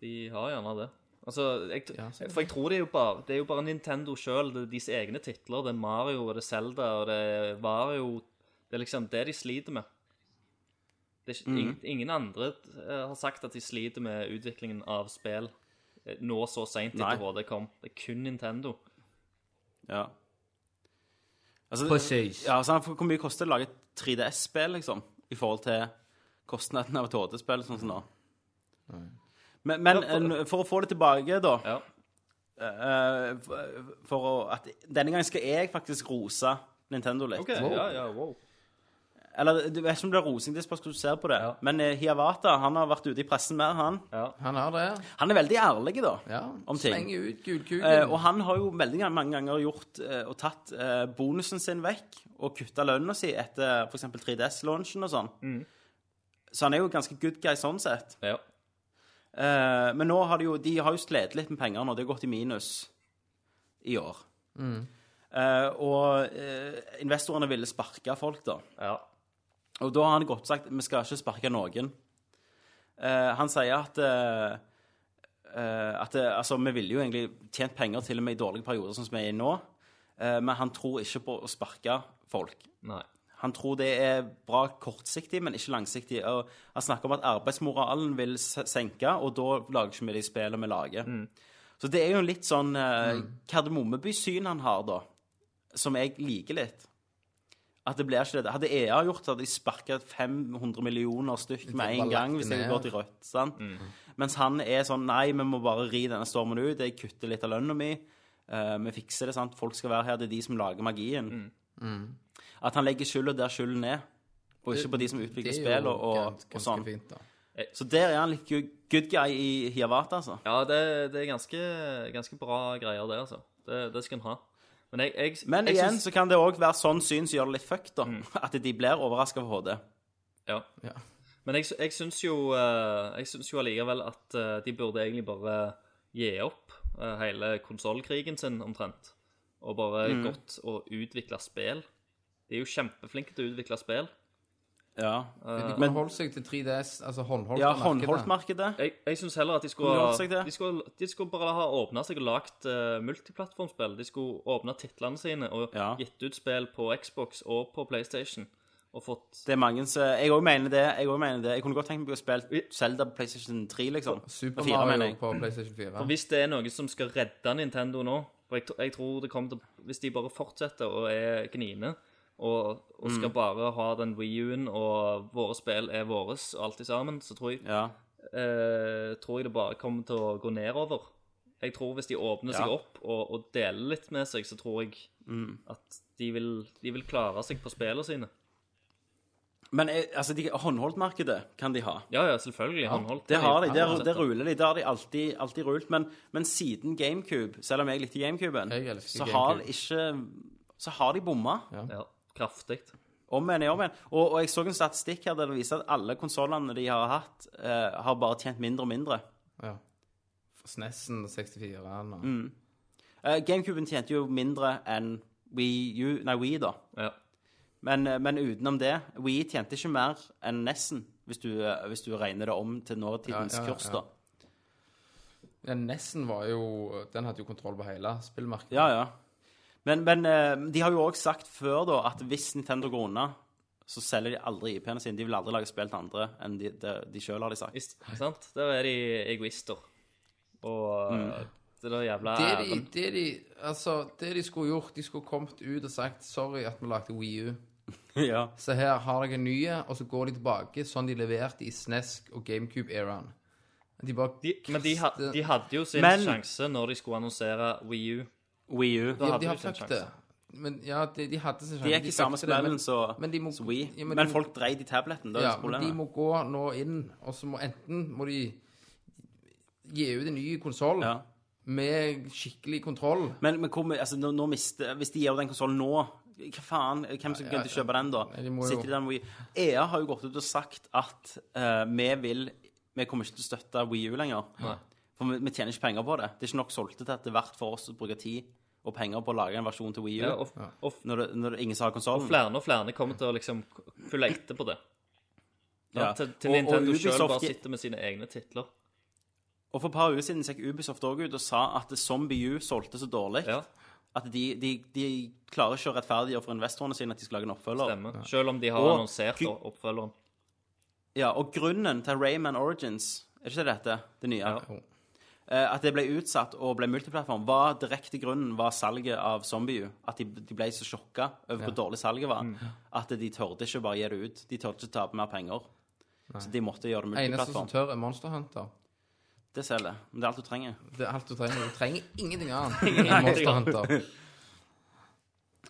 [SPEAKER 6] De har gjerne det. Altså, jeg, t-
[SPEAKER 1] Ja, sikkert.
[SPEAKER 6] for jeg tror det er jo bare, det er jo bare Nintendo sjøl, deres egne titler. Det er Mario, og det er Zelda, og det er Vario Det er liksom det de sliter med. Det er ikke, ingen, ingen andre eh, har sagt at de sliter med utviklingen av spill eh, nå så seint
[SPEAKER 2] Nei.
[SPEAKER 6] etter HD kom. Det er kun Nintendo.
[SPEAKER 2] Ja. Altså,
[SPEAKER 1] Precis.
[SPEAKER 2] Ja, sånn, for Hvor mye koster det å lage et 3DS-spill, liksom, i forhold til kostnaden av et HD-spill, sånn som nå? Men, men eh, for å få det tilbake, da
[SPEAKER 6] Ja.
[SPEAKER 2] eh, for, for å, at Denne gangen skal jeg faktisk rose Nintendo litt.
[SPEAKER 6] ja, ja, wow.
[SPEAKER 2] Eller du vet ikke om det er rosing, det spørs hvordan du ser på det. Men eh, Hiawatha han har vært ute i pressen mer, han.
[SPEAKER 1] Han har det.
[SPEAKER 2] Han er veldig ærlig, da.
[SPEAKER 1] Ja.
[SPEAKER 2] Om ting.
[SPEAKER 1] Slenger ut
[SPEAKER 2] Eh,
[SPEAKER 1] gulkuken.
[SPEAKER 2] og han har jo veldig gang- mange ganger gjort eh, og tatt eh, bonusen sin vekk og kutta lønna si etter f.eks. 3DS-launchen og sånn. Så han er jo ganske good guy sånn sett.
[SPEAKER 6] Ja.
[SPEAKER 2] Eh, men nå har de jo, de har jo slitt litt med penger nå. Det har gått i minus i år. Eh, og eh, investorene ville sparke folk, da.
[SPEAKER 6] ja.
[SPEAKER 2] Og da har han godt sagt vi skal ikke sparke noen. Eh, han sier at eh, eh, at eh, altså, vi ville jo egentlig tjent penger til og med i dårlige perioder, sånn som vi er i nå, eh, men han tror ikke på å sparke folk.
[SPEAKER 6] Nei.
[SPEAKER 2] Han tror det er bra kortsiktig, men ikke langsiktig. Og han snakker om at arbeidsmoralen vil s- senke, og da lager ikke vi de spillene vi lager.
[SPEAKER 1] Mm.
[SPEAKER 2] Så det er jo en litt sånn eh, Kardemommeby-syn han har, da, som jeg liker litt. At det blir ikke det. Hadde EA gjort det, hadde de sparket 500 millioner stykk med
[SPEAKER 1] bare
[SPEAKER 2] en gang
[SPEAKER 1] lagt
[SPEAKER 2] hvis
[SPEAKER 1] det
[SPEAKER 2] det
[SPEAKER 1] ned. Mm.
[SPEAKER 2] går til rødt. sant? Mens han er sånn Nei, vi må bare ri denne stormen ut. Jeg kutter litt av lønna mi. eh, vi fikser det, sant. Folk skal være her. Det er de som lager magien. At han legger skylda der skylden er, og ikke på de som utvikler
[SPEAKER 1] Mm. Det er jo
[SPEAKER 2] spill og, og,
[SPEAKER 1] gans-
[SPEAKER 2] og
[SPEAKER 1] ganske
[SPEAKER 2] sånn.
[SPEAKER 1] fint, da.
[SPEAKER 2] Så der er han litt good good guy i Hiawatha, altså.
[SPEAKER 6] Ja, det, det er ganske, ganske bra greier, det, altså. Det, det skal en ha. Men jeg, jeg,
[SPEAKER 2] Men
[SPEAKER 6] jeg
[SPEAKER 2] igjen
[SPEAKER 6] syns-
[SPEAKER 2] så kan det òg være sånn syn som gjør det litt fucked, da. *laughs* At de blir overraska over HD.
[SPEAKER 6] ja.
[SPEAKER 1] Ja.
[SPEAKER 6] Men jeg, jeg syns jo eh, Jeg synes jo allikevel at eh, de burde egentlig bare gi opp eh, hele konsollkrigen sin, omtrent. Og bare
[SPEAKER 2] Mm.
[SPEAKER 6] gått og utvikla spill. De er jo kjempeflinke til å utvikle spill.
[SPEAKER 2] Ja.
[SPEAKER 1] De kunne
[SPEAKER 2] Eh, Men-
[SPEAKER 1] holdt seg til 3DS, altså håndholdt
[SPEAKER 2] ja
[SPEAKER 1] av markedet.
[SPEAKER 2] Håndholdtmarkedet.
[SPEAKER 6] Jeg, jeg syns heller at de skulle,
[SPEAKER 2] Kunne de holdt seg til?
[SPEAKER 6] de skulle, de skulle bare ha åpna seg og lagd eh, multiplattformspill. De skulle åpna titlene sine og
[SPEAKER 2] Ja.
[SPEAKER 6] gitt ut spill på Xbox og på PlayStation. Og fått
[SPEAKER 2] Det er mange som Jeg òg mener det. Jeg også mener det. Jeg kunne godt tenkt meg å spille Zelda på PlayStation 3, liksom.
[SPEAKER 1] Super
[SPEAKER 2] Og fire, mener
[SPEAKER 1] Mario
[SPEAKER 2] jeg.
[SPEAKER 1] på PlayStation 4.
[SPEAKER 6] Hvis det er noe som skal redde Nintendo nå For jeg, tr- jeg tror det kommer til Hvis de bare fortsetter og er gniene og, og
[SPEAKER 2] Mm.
[SPEAKER 6] skal bare ha den Wii U-en og våre spill er våres og alt i sammen, så tror jeg,
[SPEAKER 2] Ja.
[SPEAKER 6] eh, tror jeg det bare kommer til å gå nedover. Jeg tror hvis de åpner seg
[SPEAKER 2] Ja. Mm.
[SPEAKER 6] opp og, og deler litt med seg, så tror jeg at de vil, de vil klare seg på spillene sine.
[SPEAKER 2] Men eh, altså, de, håndholdtmarkedet kan de ha.
[SPEAKER 6] Ja, ja, selvfølgelig. håndholdt.
[SPEAKER 2] Det har de. Der,
[SPEAKER 6] Uansett.
[SPEAKER 2] der ruler de. Det har de alltid, alltid rult. Men, men siden GameCube, selv om jeg likte GameCuben,
[SPEAKER 1] Jeg elsker
[SPEAKER 2] så har
[SPEAKER 1] GameCube.
[SPEAKER 2] ikke Så har de bomma.
[SPEAKER 6] Ja, kraftig.
[SPEAKER 2] Om igjen og om igjen. Og, og jeg så en statistikk her der det viser at alle konsollene de har hatt, eh, har bare tjent mindre og mindre.
[SPEAKER 1] Ja. SNESen 64 og
[SPEAKER 2] Eh, GameCuben tjente jo mindre enn Wii U Nei, Wii, da.
[SPEAKER 6] Ja.
[SPEAKER 2] Men, eh, men utenom det, Wii tjente ikke mer enn Nessen, hvis du, eh, hvis du regner det om til nåtidens
[SPEAKER 1] Ja, ja, ja,
[SPEAKER 2] kurs,
[SPEAKER 1] ja.
[SPEAKER 2] da.
[SPEAKER 1] ja, Nessen var jo Den hadde jo kontroll på hele spillmarkedet.
[SPEAKER 2] Ja, ja. Men, men eh, de har jo òg sagt før da at hvis Nintendo går unna, så selger de aldri IP-ene sine. De vil aldri lage spill til andre enn de, de, de sjøl, har de sagt.
[SPEAKER 1] *laughs*
[SPEAKER 6] Visst, sant? Der er de egoister. Og
[SPEAKER 2] Mm.
[SPEAKER 6] eh, det der jævla
[SPEAKER 1] Det de,
[SPEAKER 6] æren.
[SPEAKER 1] det, de, altså, det de skulle gjort, de skulle kommet ut og sagt sorry at vi lagde Wii U.
[SPEAKER 2] ja.
[SPEAKER 1] Så her har dere en nye, og så går de tilbake sånn de leverte i SNESK og GameCube-eraen. De bare
[SPEAKER 6] De, men de, ha- de hadde jo sin
[SPEAKER 2] eh. Men-
[SPEAKER 6] sjanse når de skulle annonsere Wii U.
[SPEAKER 2] Wii U.
[SPEAKER 1] de,
[SPEAKER 6] hadde
[SPEAKER 1] de
[SPEAKER 6] jo
[SPEAKER 1] har
[SPEAKER 6] sin
[SPEAKER 1] fucked det. Men ja, de, de hadde sin sjanse.
[SPEAKER 2] De er ikke i samme
[SPEAKER 1] fucked det, men-
[SPEAKER 2] spillen som
[SPEAKER 1] men de må-
[SPEAKER 2] som Wii.
[SPEAKER 1] ja, men
[SPEAKER 2] men,
[SPEAKER 1] de-
[SPEAKER 2] folk dreide i tabletten. Det er
[SPEAKER 1] Ja,
[SPEAKER 2] jo så
[SPEAKER 1] men de
[SPEAKER 2] problemet.
[SPEAKER 1] må gå nå inn, og så må enten må de gi ut en ny konsoll
[SPEAKER 2] Ja.
[SPEAKER 1] med skikkelig kontroll.
[SPEAKER 2] Men, men hvor, mye- altså, nå, nå mister, hvis de gir den konsollen nå hva faen, Hvem som gidder å kjøpe den, da?
[SPEAKER 1] Nei, de må jo-
[SPEAKER 2] Sitter de der med Wii? EA har jo gått ut og sagt at eh, vi vil Vi kommer ikke til å støtte Wii U lenger. For vi, vi tjener ikke penger på det. Det er ikke nok solgte til at det er verdt for oss å bruke tid og penger på å lage en versjon til Wii U
[SPEAKER 6] Ja, og, og f-
[SPEAKER 2] når, det, når det, ingen som har konsollen.
[SPEAKER 6] flere og flere kommer til å liksom følge etter på det.
[SPEAKER 2] Ja.
[SPEAKER 6] Ja, Til, til
[SPEAKER 2] Og- og
[SPEAKER 6] Nintendo sjøl
[SPEAKER 2] Ubisoft
[SPEAKER 6] bare
[SPEAKER 2] gi-
[SPEAKER 6] sitter med sine egne titler.
[SPEAKER 2] Og for et par uker siden gikk Ubisoft òg ut og sa at Zombie U solgte så dårlig
[SPEAKER 6] Ja,
[SPEAKER 2] at de, de, de klarer ikke å rettferdiggjøre for investorene sine at de skal lage en oppfølger.
[SPEAKER 6] stemmer. Sjøl om de har
[SPEAKER 2] Og-
[SPEAKER 6] annonsert opp- oppfølgeren.
[SPEAKER 2] Ja, og grunnen til Rayman Origins, er ikke det dette, det nye?
[SPEAKER 1] Jo.
[SPEAKER 2] Eh, At det ble utsatt og ble multiplattform, var direkte grunnen var salget av Zombie U. At de, de ble så sjokka over hvor dårlig salget
[SPEAKER 1] Mm.
[SPEAKER 2] var, at de tørde ikke bare gi det ut. De tørde ikke tape mer penger. Så de måtte gjøre det
[SPEAKER 1] Eneste som
[SPEAKER 2] multiplattform.
[SPEAKER 1] tør, er Monster Hunter.
[SPEAKER 2] Det selger. Men det er alt du trenger.
[SPEAKER 1] Det er alt du trenger. Du trenger ingenting
[SPEAKER 2] *laughs*
[SPEAKER 1] annet enn Monster Hunter.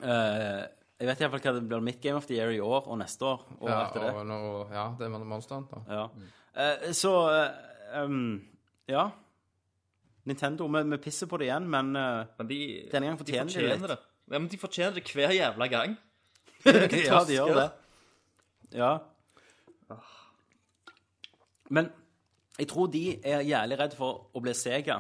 [SPEAKER 2] Eh, jeg vet iallfall hva det blir mitt Game of the Year i år og neste år. Og
[SPEAKER 1] Ja,
[SPEAKER 2] etter det.
[SPEAKER 1] og Mm. nå, ja, det er Monster Hunter.
[SPEAKER 2] Ja. Eh, så eh, um, Ja. Nintendo, vi, vi pisser på det igjen, men eh,
[SPEAKER 6] Men de,
[SPEAKER 2] Denne gangen fortjener de
[SPEAKER 6] de
[SPEAKER 2] litt.
[SPEAKER 6] fortjener det. Ja, men de fortjener det hver jævla gang.
[SPEAKER 2] *laughs* Ja, de gjør det. Ja. Men jeg tror de er jævlig redd for å bli sega.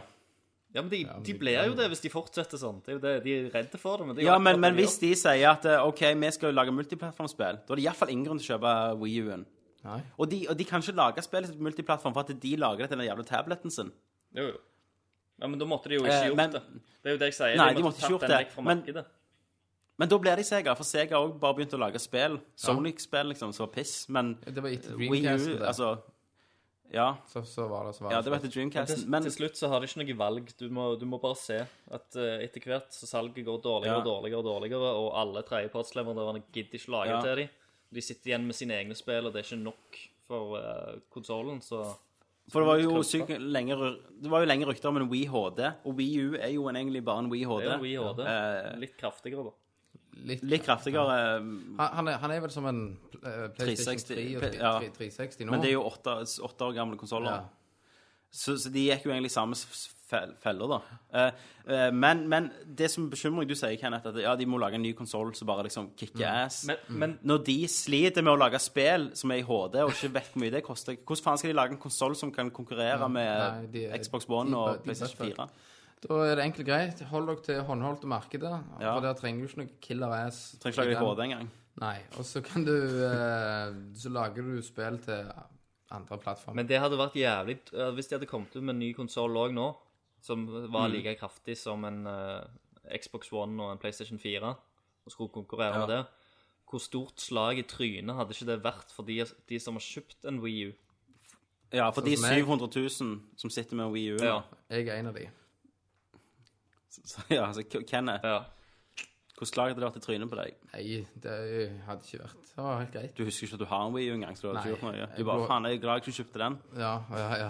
[SPEAKER 6] Ja, men de, de blir jo det hvis de fortsetter sånn. Det er jo det, de er redde for det. Men det er jo
[SPEAKER 2] Ja,
[SPEAKER 6] akkurat
[SPEAKER 2] men,
[SPEAKER 6] det
[SPEAKER 2] men
[SPEAKER 6] de gjør.
[SPEAKER 2] hvis de sier at eh, OK, vi skal jo lage multiplattformspill, da er det iallfall ingen grunn til å kjøpe Wii U-en.
[SPEAKER 1] Nei.
[SPEAKER 2] Og de, og de kan ikke lage spillet til multiplattform for at de lager det til den jævla tableten sin.
[SPEAKER 6] Jo, jo. Ja, men da måtte de jo ikke
[SPEAKER 2] Eh,
[SPEAKER 6] gjort
[SPEAKER 2] men-
[SPEAKER 6] det. Det er jo det jeg sier.
[SPEAKER 2] Nei,
[SPEAKER 6] de
[SPEAKER 2] de
[SPEAKER 6] måtte
[SPEAKER 2] måtte ikke gjort
[SPEAKER 6] tatt den
[SPEAKER 2] det,
[SPEAKER 6] vekk fra
[SPEAKER 2] men-
[SPEAKER 6] markedet.
[SPEAKER 2] Men da blir de sega, for Sega har også bare begynt å lage spill. Sonic-spill, liksom, så piss. Men
[SPEAKER 1] Det var etter
[SPEAKER 2] Wii U,
[SPEAKER 1] Dreamcasten, det.
[SPEAKER 2] altså Ja,
[SPEAKER 1] Så, så var det så var
[SPEAKER 2] ja det var
[SPEAKER 1] det.
[SPEAKER 2] etter Dreamcasten.
[SPEAKER 6] Til,
[SPEAKER 2] Men
[SPEAKER 6] til slutt så har de ikke noe valg. Du må, du må bare se at eh, etter hvert så salget går dårligere
[SPEAKER 2] Ja.
[SPEAKER 6] og dårligere, og dårligere, og alle tredjepartsleverandørene gidder ikke lage
[SPEAKER 2] Ja.
[SPEAKER 6] til dem. De sitter igjen med sine egne spill, og det er ikke nok for uh, konsollen, så
[SPEAKER 2] For det var jo
[SPEAKER 6] Klumpa.
[SPEAKER 2] sykt lenge, ry- det var jo lenge rykter om en Wii HD, og Wii U er jo en, egentlig bare en Wii
[SPEAKER 6] det er
[SPEAKER 2] HD.
[SPEAKER 6] jo Wii HD.
[SPEAKER 2] Eh,
[SPEAKER 6] Litt kraftigere, da.
[SPEAKER 1] litt,
[SPEAKER 2] Litt kraftigere, eh,
[SPEAKER 1] Han, han, er, han er vel som en eh, PlayStation 3 og
[SPEAKER 2] 360, ja.
[SPEAKER 1] 3- 360 nå.
[SPEAKER 2] men det er jo åtte, åtte år gamle konsoller.
[SPEAKER 1] Ja.
[SPEAKER 2] Så, så de gikk jo egentlig i samme s- s- fel- feller, da. Eh, eh, men, men det som bekymrer meg, du sier, Kenneth, at ja, de må lage en ny konsoll som bare liksom kicker ass.
[SPEAKER 6] Men, men
[SPEAKER 2] Når de sliter med å lage spill som er i HD, og ikke vet hvor mye det koster Hvordan faen skal de lage en konsoll som kan konkurrere med
[SPEAKER 1] nei, de-
[SPEAKER 2] Xbox
[SPEAKER 1] de-
[SPEAKER 2] One
[SPEAKER 1] de-
[SPEAKER 2] og
[SPEAKER 1] de-
[SPEAKER 2] PlayStation 4?
[SPEAKER 1] Da er det enkelt og greit. Hold dere til håndholdte markedet.
[SPEAKER 2] Ja.
[SPEAKER 1] For der trenger du ikke noe killer ass.
[SPEAKER 2] Trenger ikke lage HD engang.
[SPEAKER 1] Nei. Og så kan du eh, Så lager du spill til andre plattformer.
[SPEAKER 6] Men det hadde vært jævlig eh, Hvis de hadde kommet ut med en ny konsoll òg nå, som var
[SPEAKER 2] Mm.
[SPEAKER 6] like kraftig som en eh, Xbox One og en PlayStation 4, og skulle konkurrere med det Hvor stort slag i trynet hadde ikke det vært for de, de som har kjøpt en Wii U?
[SPEAKER 2] Ja, for de
[SPEAKER 1] som jeg.
[SPEAKER 2] 700 000 som sitter med Wii U. nå.
[SPEAKER 6] Ja.
[SPEAKER 1] Jeg er en av de.
[SPEAKER 2] *laughs* Så, ja, altså, K- Kenneth,
[SPEAKER 6] ja.
[SPEAKER 2] hvordan slag hadde det vært i trynet på deg?
[SPEAKER 1] Nei, det hadde ikke vært Det var helt greit.
[SPEAKER 2] Du husker ikke at du har en Wii U engang? så Du har ikke
[SPEAKER 1] Nei,
[SPEAKER 2] gjort noe. Du
[SPEAKER 1] jeg
[SPEAKER 2] bare
[SPEAKER 1] blå-
[SPEAKER 2] faen, jeg er glad jeg ikke kjøpte den.
[SPEAKER 1] Ja, ja, ja.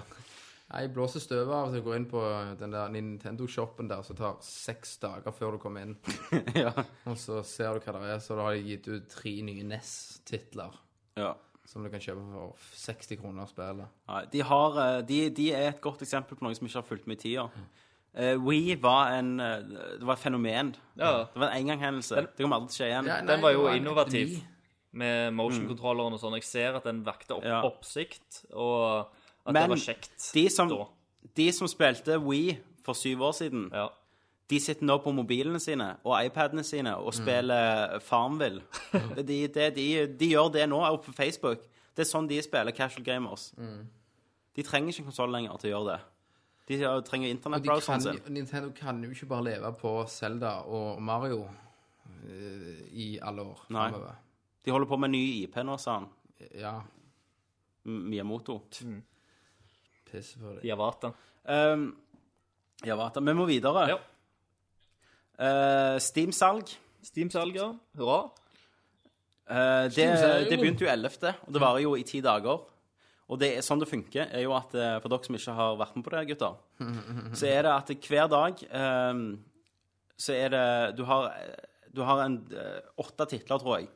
[SPEAKER 1] Nei, Jeg blåser støvet av til å gå inn på den der Nintendo-shoppen der som tar seks dager før du kommer inn.
[SPEAKER 2] ja.
[SPEAKER 1] Og så ser du hva det er, så da har de gitt ut tre nye E NES-titler
[SPEAKER 2] *laughs* ja.
[SPEAKER 1] som du kan kjøpe for 60 kroner spillet.
[SPEAKER 2] Nei, de, har, eh, de, de er et godt eksempel på noen som ikke har fulgt med i tida. Eh, Wii var en eh, Det var et fenomen.
[SPEAKER 6] Ja.
[SPEAKER 2] Det var en engangshendelse. Det kommer aldri til å skje igjen.
[SPEAKER 1] Ja, nei,
[SPEAKER 6] Den var
[SPEAKER 1] det
[SPEAKER 6] jo
[SPEAKER 1] en
[SPEAKER 6] innovativ
[SPEAKER 1] epidemi.
[SPEAKER 6] med motion-kontrolleren og sånn. Jeg ser at den vekte opp,
[SPEAKER 2] Ja.
[SPEAKER 6] oppsikt, og at
[SPEAKER 2] Men
[SPEAKER 6] det var kjekt
[SPEAKER 2] de som,
[SPEAKER 6] da.
[SPEAKER 2] de som spilte Wii for syv år siden,
[SPEAKER 6] Ja.
[SPEAKER 2] de sitter nå på mobilene sine og iPadene sine
[SPEAKER 1] Mm.
[SPEAKER 2] og spiller
[SPEAKER 1] *laughs*
[SPEAKER 2] Farmville. de, de, de, de gjør det nå oppe på Facebook. Det er sånn de spiller casual gamers.
[SPEAKER 1] Mm.
[SPEAKER 2] De trenger ikke en konsoll lenger til å gjøre det. De trenger
[SPEAKER 1] Og de
[SPEAKER 2] internettbrowseren
[SPEAKER 1] kan,
[SPEAKER 2] sin.
[SPEAKER 1] Nintendo kan jo ikke bare leve på Zelda og Mario eh, i alle år
[SPEAKER 2] Nei.
[SPEAKER 1] fremover.
[SPEAKER 2] De holder på med en ny IP nå, sa han.
[SPEAKER 1] Ja,
[SPEAKER 2] M- Miyamoto.
[SPEAKER 1] pisse på det.
[SPEAKER 6] Diavata.
[SPEAKER 2] Um, ja, Vata. Vi må videre.
[SPEAKER 6] Ja.
[SPEAKER 2] Eh, Steam-salg.
[SPEAKER 6] Steam-salger. Hurra.
[SPEAKER 2] Eh, det,
[SPEAKER 1] Steam-salg.
[SPEAKER 2] det begynte jo 11., og det varer jo i ti dager. Og det er sånn det funker, er jo at eh, for dere som ikke har vært med på det, gutter, så er det at hver dag eh, så er det Du har, du har en, eh, åtte titler, tror jeg,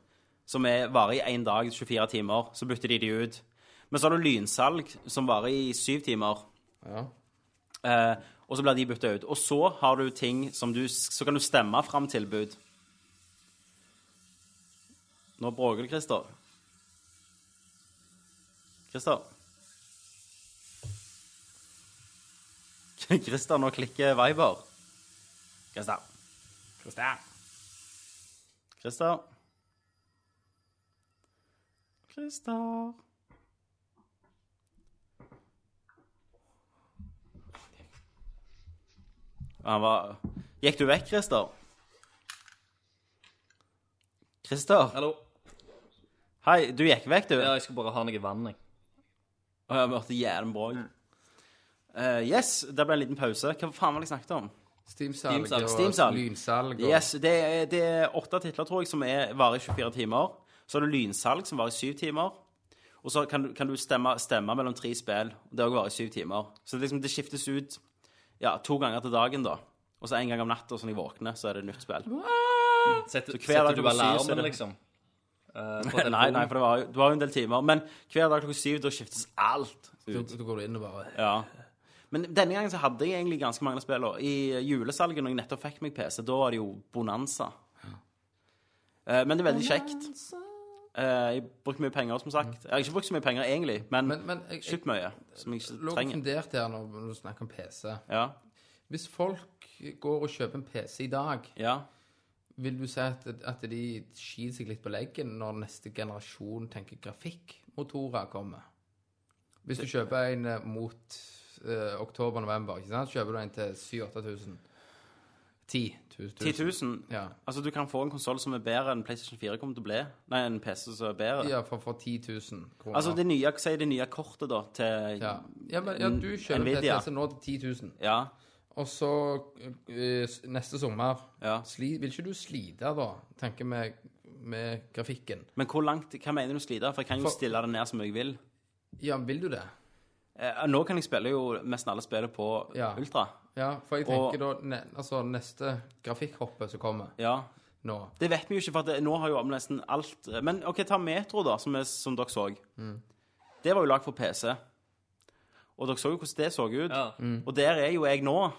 [SPEAKER 2] som er, varer i én dag, 24 timer. Så bytter de de ut. Men så har du lynsalg, som varer i syv timer.
[SPEAKER 1] Ja.
[SPEAKER 2] Eh, og så blir de bytta ut. Og så har du ting som du Så kan du stemme fram tilbud. Nå bråker det, Christer. Christer? *laughs* Christer, nå klikker Viber. Christer. Christer. Christer. Christer. Han var Gikk du vekk, Christer? Christer?
[SPEAKER 6] Hallo.
[SPEAKER 2] Hei, du gikk vekk, du?
[SPEAKER 6] Ja, jeg skal bare ha noe vann, jeg.
[SPEAKER 2] Og jeg hørte jævlig bra. Eh, yes, der ble en liten pause. Hva faen var det jeg snakket om?
[SPEAKER 1] Steam-salg
[SPEAKER 6] Steam-salg,
[SPEAKER 1] og
[SPEAKER 2] Steam-salg.
[SPEAKER 1] lynsalg og
[SPEAKER 2] Yes, det er, det er åtte titler, tror jeg, som er, varer i 24 timer. Så er det lynsalg, som varer i syv timer. Og så kan, du- kan du stemme, stemme mellom tre spill. og Det òg varer i syv timer. Så det, liksom, det skiftes ut ja, to ganger til dagen, da. Og så en gang om natta, sånn jeg våkner, så er det nytt spill.
[SPEAKER 6] Setter,
[SPEAKER 2] hver dag
[SPEAKER 6] setter du
[SPEAKER 2] klokka syv, så er
[SPEAKER 6] alarmen,
[SPEAKER 2] det-
[SPEAKER 6] liksom?
[SPEAKER 2] *laughs*
[SPEAKER 6] Eh, på
[SPEAKER 2] Nei,
[SPEAKER 6] telefonen?
[SPEAKER 2] nei, for det var, jo- det var jo en del timer. Men hver dag klokka syv, da skiftes alt.
[SPEAKER 1] Så så går du inn og bare
[SPEAKER 2] Ja. Men denne gangen så hadde jeg egentlig ganske mange spill. og I julesalget, når jeg nettopp fikk meg PC, da var det jo bonanza. Eh, Men det er veldig kjekt. Eh, Jeg brukte mye penger, som sagt. Jeg har ikke brukt så mye penger egentlig, men,
[SPEAKER 1] Men, men jeg, jeg
[SPEAKER 2] kjøpt mye som jeg ikke
[SPEAKER 1] lå og
[SPEAKER 2] trenger.
[SPEAKER 1] funderte her når når du snakker om PC.
[SPEAKER 2] Ja.
[SPEAKER 1] Hvis folk går og kjøper en PC i dag,
[SPEAKER 2] ja.
[SPEAKER 1] vil du si at, at de skiter seg litt på leggen når neste generasjon tenker grafikkmotorer kommer? Hvis du kjøper en eh, mot eh, oktober-november, ikke sant? kjøper du en til 7000-8000. 10 000.
[SPEAKER 2] 10 000.
[SPEAKER 1] Ja.
[SPEAKER 2] Altså, du kan få en konsoll som er bedre enn PlayStation 4 kommer til å bli. Nei, en PC som er bedre.
[SPEAKER 1] ja, for, for 10 000 kroner.
[SPEAKER 2] Altså, det nye, si det nye kortet, da, til
[SPEAKER 1] ja. Ja, men, ja, du kjøper en
[SPEAKER 2] Nvidia.
[SPEAKER 1] PC nå til 10 000.
[SPEAKER 2] Ja.
[SPEAKER 1] Og så eh, s- neste sommer
[SPEAKER 2] Ja.
[SPEAKER 1] sli, Vil ikke du slite da, tenker vi, med grafikken?
[SPEAKER 2] Men hvor langt, hva mener du sliter? For jeg kan jo
[SPEAKER 1] For-
[SPEAKER 2] stille det ned som jeg vil.
[SPEAKER 1] Ja, vil du det?
[SPEAKER 2] Eh, nå kan jeg spille jo nesten alle spillene på
[SPEAKER 1] Ja.
[SPEAKER 2] Ultra.
[SPEAKER 1] Ja, for jeg
[SPEAKER 2] Og-
[SPEAKER 1] tenker da ne, Altså, neste grafikkhoppet som kommer
[SPEAKER 2] Ja.
[SPEAKER 1] nå.
[SPEAKER 2] Det vet vi jo ikke, for at det, nå har jo nesten alt eh, Men OK, ta Metro, da, som, er, som dere så. Det var jo lagd for PC. Og dere så jo hvordan det Mm. så ut.
[SPEAKER 6] Ja.
[SPEAKER 2] Og der er jo jeg nå.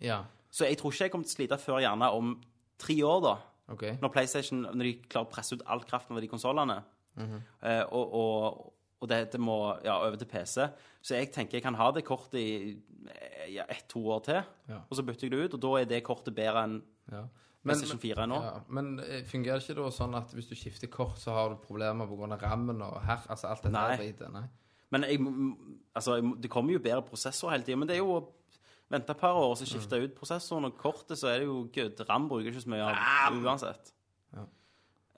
[SPEAKER 1] Ja,
[SPEAKER 2] Så jeg tror ikke jeg kommer til å slite før gjerne om tre år, da.
[SPEAKER 1] OK.
[SPEAKER 2] Når PlayStation når de klarer å presse ut all kraften av de konsollene. eh, og og, og dette må ja, over til PC. Så jeg tenker jeg kan ha det kortet i eh, ja, ett-to år til.
[SPEAKER 1] Ja.
[SPEAKER 2] Og så bytter jeg det ut, og da er det kortet bedre enn
[SPEAKER 1] Ja.
[SPEAKER 2] PlayStation 4 nå.
[SPEAKER 1] Ja, men eh, fungerer ikke da sånn at hvis du skifter kort, så har du problemer pga. rammen og her, altså alt dette her
[SPEAKER 2] Nei.
[SPEAKER 1] dritet? Nei.
[SPEAKER 2] Men jeg, må- altså, jeg, må- det kommer jo bedre prosessorer hele tiden. Men det er jo å vente et par år og så skifte ut prosessoren og kortet, så er det jo good. RAM bruker ikke så mye av det uansett.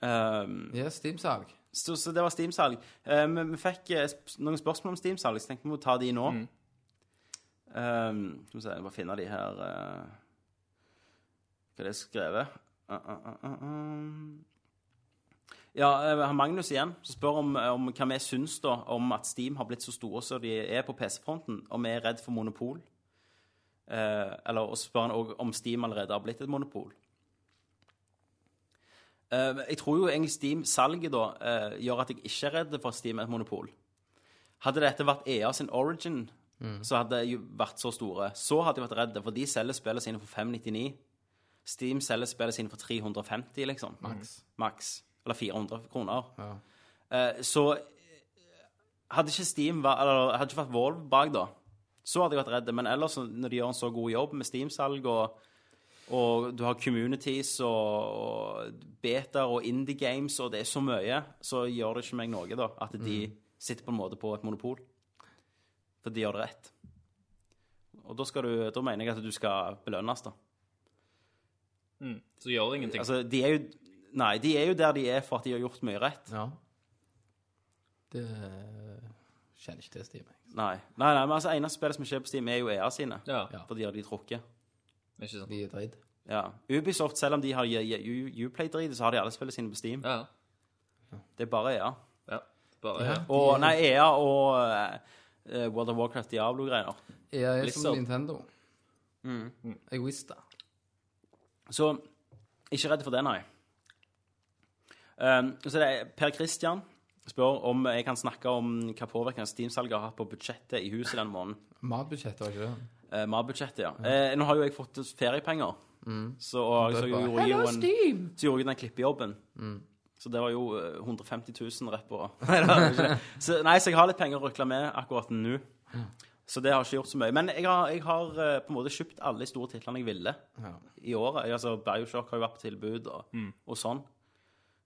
[SPEAKER 2] Um,
[SPEAKER 1] Ja, Steam-salg.
[SPEAKER 2] så, så det var Steam-salg. Eh, men vi fikk eh, sp- noen spørsmål om Steam-salg, så jeg tenkte vi må ta de nå. Um, skal vi se, jeg må bare finne de her eh, Hva er det jeg har skrevet? Uh, uh, uh, uh, uh. Ja, eh, han Magnus igjen, som spør om, eh, om hva vi syns da, om at Steam har blitt så store som de er på PC-fronten, om vi er redd for monopol. Eh, eller og så spør han også om Steam allerede har blitt et monopol. Eh, Jeg tror jo egentlig Steam-salget da eh, gjør at jeg ikke er redd for at Steam er et monopol. Hadde dette vært EA sin origin, så hadde de jo vært så store. Så hadde jeg vært redd, for de selger spillene sine for 599. Steam selger spillene sine for 350, liksom. Maks. Eller 400 kroner. Eh, Så hadde ikke Steam vært, eller hadde ikke vært Valve bak da, så hadde jeg vært redd. Men ellers, når de gjør en så god jobb med Steam-salg og og du har communities og, og betaer og indie games, og det er så mye, så gjør det ikke meg noe da, at de sitter på en måte på et monopol. For de gjør det rett. Og da, skal du, da mener jeg at du skal belønnes, da.
[SPEAKER 6] Mm. Så gjør ingenting.
[SPEAKER 2] Altså, de er jo, nei, de er jo der de er for at de har gjort mye rett.
[SPEAKER 1] Ja. Det kjenner ikke til Steam. jeg.
[SPEAKER 2] Nei, nei, nei men altså, eneste spillet som skjer på Steam, er jo EA sine.
[SPEAKER 6] ja.
[SPEAKER 1] Ja.
[SPEAKER 2] For de har de trukket.
[SPEAKER 6] Ikke sånn. sant.
[SPEAKER 1] De er dritt.
[SPEAKER 2] Ja. Ubisoft, selv om de har J- J- Uplay-dritet, så har de alle spillene sine på Steam.
[SPEAKER 6] Ja.
[SPEAKER 2] Det er bare E EA.
[SPEAKER 6] ja. Bare
[SPEAKER 1] Ja.
[SPEAKER 6] ja.
[SPEAKER 2] Og, nei, EA og eh, World of Warcraft Diablo-greier.
[SPEAKER 1] Jeg er
[SPEAKER 2] Liksom.
[SPEAKER 6] Blizzard.
[SPEAKER 1] som Nintendo.
[SPEAKER 2] Mm.
[SPEAKER 1] Mm. Egoister.
[SPEAKER 2] Så ikke redd for det, nei. Um, så det er Per Christian spør om jeg kan snakke om hva påvirkning Steam-salget har hatt på budsjettet i huset denne måneden.
[SPEAKER 1] Matbudsjettet, var ikke det?
[SPEAKER 2] Eh, Mad-budsjettet, ja. Mm. Eh, nå har jo jeg fått feriepenger, så, og, så,
[SPEAKER 1] Det er bra.
[SPEAKER 2] gjorde jeg jo en, så gjorde jeg den klippejobben. Så det var jo eh, 150 000 rett på rad. Mm. Nei, det var det ikke. *laughs* så, nei, så jeg har litt penger å rukle med akkurat nå. Så det har ikke gjort så mye. Men jeg har, jeg har eh, på en måte kjøpt alle de store titlene jeg ville i året. Jeg, altså, Bioshock har jo vært på tilbud og, og sånn.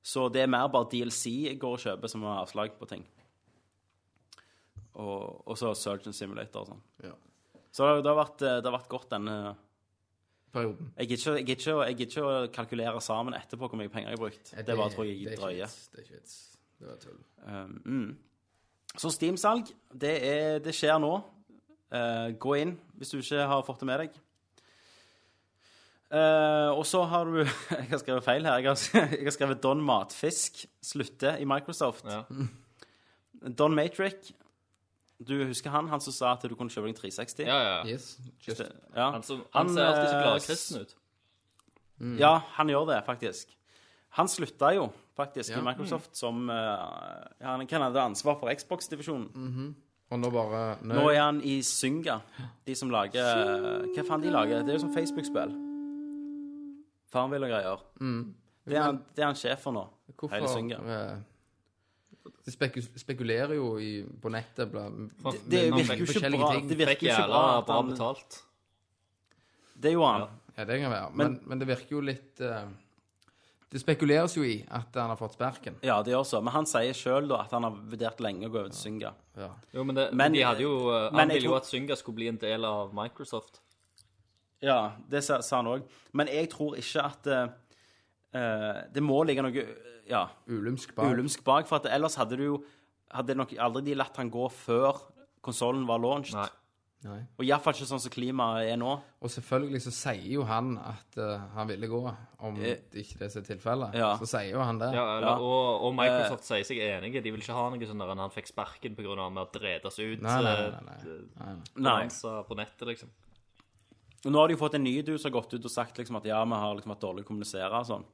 [SPEAKER 2] Så det er mer bare DLC jeg går og kjøper som har avslag på ting. Og, og så Surgeon Simulator og sånn.
[SPEAKER 1] Ja.
[SPEAKER 2] Så det, har- det, har vært, eh, det har vært godt denne
[SPEAKER 1] Perioden.
[SPEAKER 2] Jeg gidder ikke, jeg gidder ikke, å- jeg gidder ikke å kalkulere sammen etterpå hvor mye penger jeg har brukt. Det bare tror
[SPEAKER 1] det
[SPEAKER 2] jeg
[SPEAKER 1] er
[SPEAKER 2] jeg
[SPEAKER 1] ikke
[SPEAKER 2] drøyer.
[SPEAKER 1] vits, Det er ikke vits. Det var tull.
[SPEAKER 2] Um, mm. Så Steam-salg, det, er- det skjer nå. Eh, gå inn hvis du ikke har fått det med deg. Eh, og så har du *laughs* Jeg har skrevet feil her. Jeg har, *laughs* jeg har skrevet Don Matfisk slutter i Microsoft.
[SPEAKER 6] Ja.
[SPEAKER 2] Don Matrick, du husker han han som sa at du kunne kjøpe deg en 360?
[SPEAKER 6] Ja, ja. ja.
[SPEAKER 1] Yes. Just.
[SPEAKER 2] Ja.
[SPEAKER 6] Han, som,
[SPEAKER 2] Han,
[SPEAKER 6] han ser alltid så glad
[SPEAKER 2] eh,
[SPEAKER 6] og kristen ut.
[SPEAKER 1] Mm.
[SPEAKER 2] Ja, han gjør det, faktisk. Han slutta jo faktisk
[SPEAKER 1] Ja. Mm.
[SPEAKER 2] i Microsoft som eh, ja, Han kan hadde ansvar for Xbox-divisjonen.
[SPEAKER 1] Mm. Mhm. Og nå bare Nå,
[SPEAKER 2] Nå er han i Synga, de som lager Hva faen de lager? Det er jo som Facebook-spill. Farmville og greier. Det, er han, det er han sjef for nå. hele
[SPEAKER 1] Hvorfor
[SPEAKER 2] Synga.
[SPEAKER 1] eh, De speku spekulerer jo i, på nettet blant
[SPEAKER 6] Det,
[SPEAKER 2] Det
[SPEAKER 1] Men han
[SPEAKER 2] virker jo
[SPEAKER 1] fikk
[SPEAKER 2] ikke
[SPEAKER 1] forskjellige
[SPEAKER 2] bra.
[SPEAKER 1] ting.
[SPEAKER 2] Det virker
[SPEAKER 6] Fikk
[SPEAKER 2] jo ikke
[SPEAKER 6] jævla
[SPEAKER 2] bra at
[SPEAKER 6] bra
[SPEAKER 2] han
[SPEAKER 6] betalt.
[SPEAKER 2] Det gjorde han.
[SPEAKER 1] Ja, det kan være. Men, men det virker jo litt eh, Det spekuleres jo i at han har fått sparken.
[SPEAKER 2] Ja, det gjør så. Men han sier sjøl at han har vurdert lenge å gå over til Synga.
[SPEAKER 1] Ja.
[SPEAKER 6] Jo, men, det,
[SPEAKER 2] Men-
[SPEAKER 6] de hadde jo eh,
[SPEAKER 2] men
[SPEAKER 6] Han
[SPEAKER 2] jeg
[SPEAKER 6] ville jo
[SPEAKER 2] tror-
[SPEAKER 6] at Synga skulle bli en del av Microsoft.
[SPEAKER 2] Ja, det sa, sa han òg. Men jeg tror ikke at eh, eh, Det må ligge noe ja,
[SPEAKER 1] Ulumsk bak.
[SPEAKER 2] ulumsk bak, for at ellers hadde du jo Hadde nok aldri de latt han gå før konsollen var launched.
[SPEAKER 6] Nei.
[SPEAKER 1] Nei.
[SPEAKER 2] Og iallfall ikke sånn som klimaet er nå.
[SPEAKER 1] Og selvfølgelig så sier jo han at eh, han ville gå, om
[SPEAKER 2] Eh,
[SPEAKER 1] det ikke det er tilfellet.
[SPEAKER 2] ja.
[SPEAKER 1] Så sier jo han det.
[SPEAKER 6] Ja, eller,
[SPEAKER 2] Ja. Eh.
[SPEAKER 6] Og, og Microsoft sier seg enige. De vil ikke ha noe sånn der enn han fikk sparken pga. at han dretes ut.
[SPEAKER 1] Nei, nei,
[SPEAKER 6] eh,
[SPEAKER 1] nei, nei, nei.
[SPEAKER 2] Nei.
[SPEAKER 6] konkurranser på nettet, liksom.
[SPEAKER 2] Og nå har de jo fått en ny du som har gått ut og sagt liksom at ja, vi har liksom vært dårlig å kommunisere og sånn.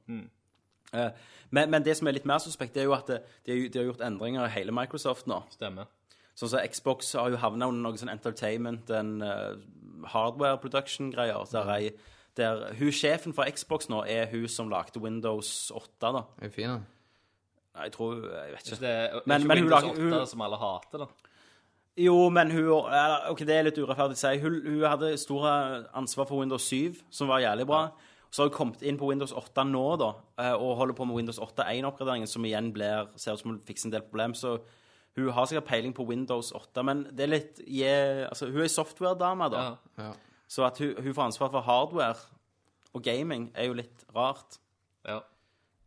[SPEAKER 2] Eh, Men, men det som er litt mer suspekt, det er jo at det- de har, jo- de har gjort endringer i hele Microsoft nå.
[SPEAKER 6] Stemmer.
[SPEAKER 2] Sånn som Xbox har jo havna under noe sånn entertainment and eh, hardware production-greier. Der, ei- der hun sjefen for Xbox nå er hun som lagde Windows 8, da.
[SPEAKER 1] Er jo fin, da.
[SPEAKER 2] Nei, jeg tror Jeg vet ikke.
[SPEAKER 6] Det er
[SPEAKER 2] Men-
[SPEAKER 6] ikke
[SPEAKER 2] men hun
[SPEAKER 6] Windows
[SPEAKER 2] lager-
[SPEAKER 6] 8
[SPEAKER 2] hun-
[SPEAKER 6] som alle hater, da.
[SPEAKER 2] Jo, men hun eller, OK, det er litt urettferdig å si. Hun, hun hadde store ansvar for Windows 7, som var jævlig bra. Så har hun kommet inn på Windows 8 nå, da, eh, og holder på med Windows 8.1-oppgraderingen, som igjen blir, ser ut som hun fikser en del problem. Så hun har sikkert peiling på Windows 8, men det er litt je- altså, Hun er software-dame, da.
[SPEAKER 6] Ja.
[SPEAKER 1] Ja.
[SPEAKER 2] Så at hun, hun får ansvar for hardware og gaming, er jo litt rart.
[SPEAKER 6] Ja.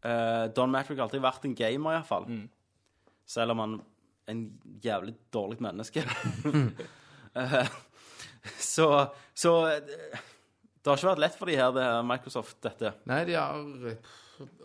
[SPEAKER 2] Eh, Don Matrick har alltid vært en gamer, iallfall. fall Selv om han er en jævlig dårlig menneske. Eh, så så eh, det har ikke vært lett for de her, det her Microsoft, dette.
[SPEAKER 1] Nei, de har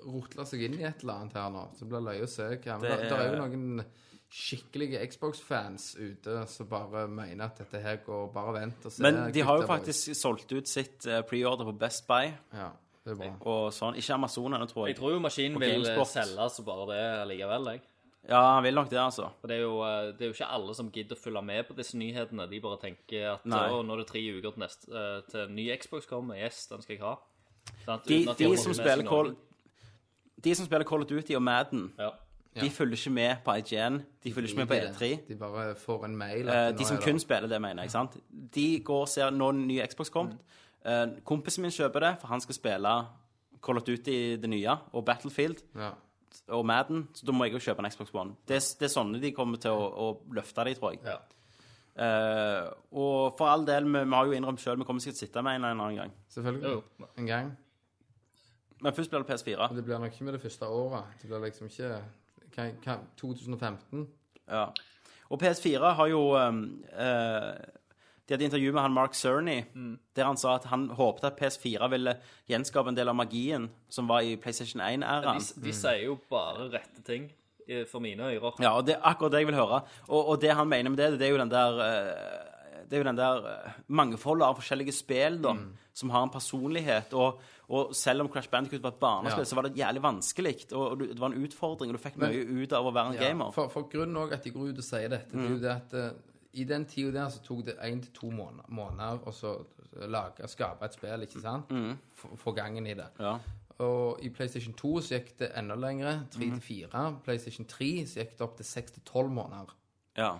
[SPEAKER 1] rotla seg inn i et eller annet her nå. Så det blir løye å se hva Men det,
[SPEAKER 2] Det er-
[SPEAKER 1] er jo noen skikkelige Xbox-fans ute som bare mener at dette her går Bare vent og se.
[SPEAKER 2] Men de har jo
[SPEAKER 1] Gutter, boys.
[SPEAKER 2] faktisk solgt ut sitt eh, preorder på Best Buy
[SPEAKER 1] Ja, det er bra.
[SPEAKER 2] og sånn. Ikke Amazon ennå, tror
[SPEAKER 6] Jeg
[SPEAKER 2] jeg.
[SPEAKER 6] tror jo maskinen
[SPEAKER 2] Og
[SPEAKER 6] vil eh,
[SPEAKER 2] GameSpot.
[SPEAKER 6] selge så bare det likevel, jeg.
[SPEAKER 2] Ja, han vil nok det, altså.
[SPEAKER 6] For det er, jo, eh, det er jo ikke alle som gidder å følge med på disse nyhetene. De bare tenker at
[SPEAKER 2] Nei.
[SPEAKER 6] å, nå er det tre uker til, neste, eh, til ny Xbox kommer. Yes, den skal jeg ha. Sant?
[SPEAKER 2] De,
[SPEAKER 6] Uten at
[SPEAKER 2] de,
[SPEAKER 6] har
[SPEAKER 2] som
[SPEAKER 6] fått med seg
[SPEAKER 2] spiller Call,
[SPEAKER 6] noen.
[SPEAKER 2] de som spiller Call of Duty og Madden,
[SPEAKER 6] Ja.
[SPEAKER 2] de følger ikke med på IGN. De følger ikke med på E E3.
[SPEAKER 1] De bare får en mail.
[SPEAKER 2] Eh,
[SPEAKER 1] at nå
[SPEAKER 2] de som
[SPEAKER 1] er det-
[SPEAKER 2] kun spiller det, mener jeg. sant? De går og ser når den nye Xbox kom. Eh, kompisen min kjøper det, for han skal spille Call of Duty det nye og Battlefield
[SPEAKER 1] ja.
[SPEAKER 2] og Madden. Så da må jeg jo kjøpe en Xbox One. Det, er- det er sånne de kommer til å, å løfte de, tror jeg.
[SPEAKER 6] Ja.
[SPEAKER 2] Eh, og for all del, vi, vi har jo innrømt sjøl, vi kommer sikkert til å sitte med en eller annen gang.
[SPEAKER 1] Selvfølgelig.
[SPEAKER 6] Jo.
[SPEAKER 1] En gang.
[SPEAKER 2] Men først blir det PS4.
[SPEAKER 1] Men det blir nok ikke med det første året. Det blir liksom ikke hva- hva- 2015?
[SPEAKER 2] Ja. Og PS4 har jo eh, eh, De hadde intervju med han Mark Cerny,
[SPEAKER 1] Mm.
[SPEAKER 2] der han sa at han håpet at PS4 ville gjenskape en del av magien som var i PlayStation 1-æraen.
[SPEAKER 6] De, de sier jo bare rette ting eh, for mine ører.
[SPEAKER 2] Mm. Ja, og det er akkurat det jeg vil høre. Og, og det han mener med det, det er jo den der eh, det er jo den der eh, mangfoldet av forskjellige spill da,
[SPEAKER 1] Mm.
[SPEAKER 2] som har en personlighet. Og, og selv om Crash Bandicoot var et barnespill,
[SPEAKER 1] Ja.
[SPEAKER 2] så var det jævlig vanskelig. Og, og du- det var en utfordring, og du fikk
[SPEAKER 1] Men-
[SPEAKER 2] mye ut av å være en gamer. Mm.
[SPEAKER 1] For, for grunnen òg at de går ut og sier dette, det er jo det at eh, i den tida der så tok det én til to måneder, måneder å så eh, lage, skape et spill, ikke sant?
[SPEAKER 2] Mm.
[SPEAKER 1] Få- Få gangen i det.
[SPEAKER 2] Ja.
[SPEAKER 1] Og i PlayStation 2 så gikk det enda lengre, tre
[SPEAKER 2] Mm.
[SPEAKER 1] til fire. PlayStation 3 så gikk det opp til seks til tolv måneder.
[SPEAKER 2] Ja.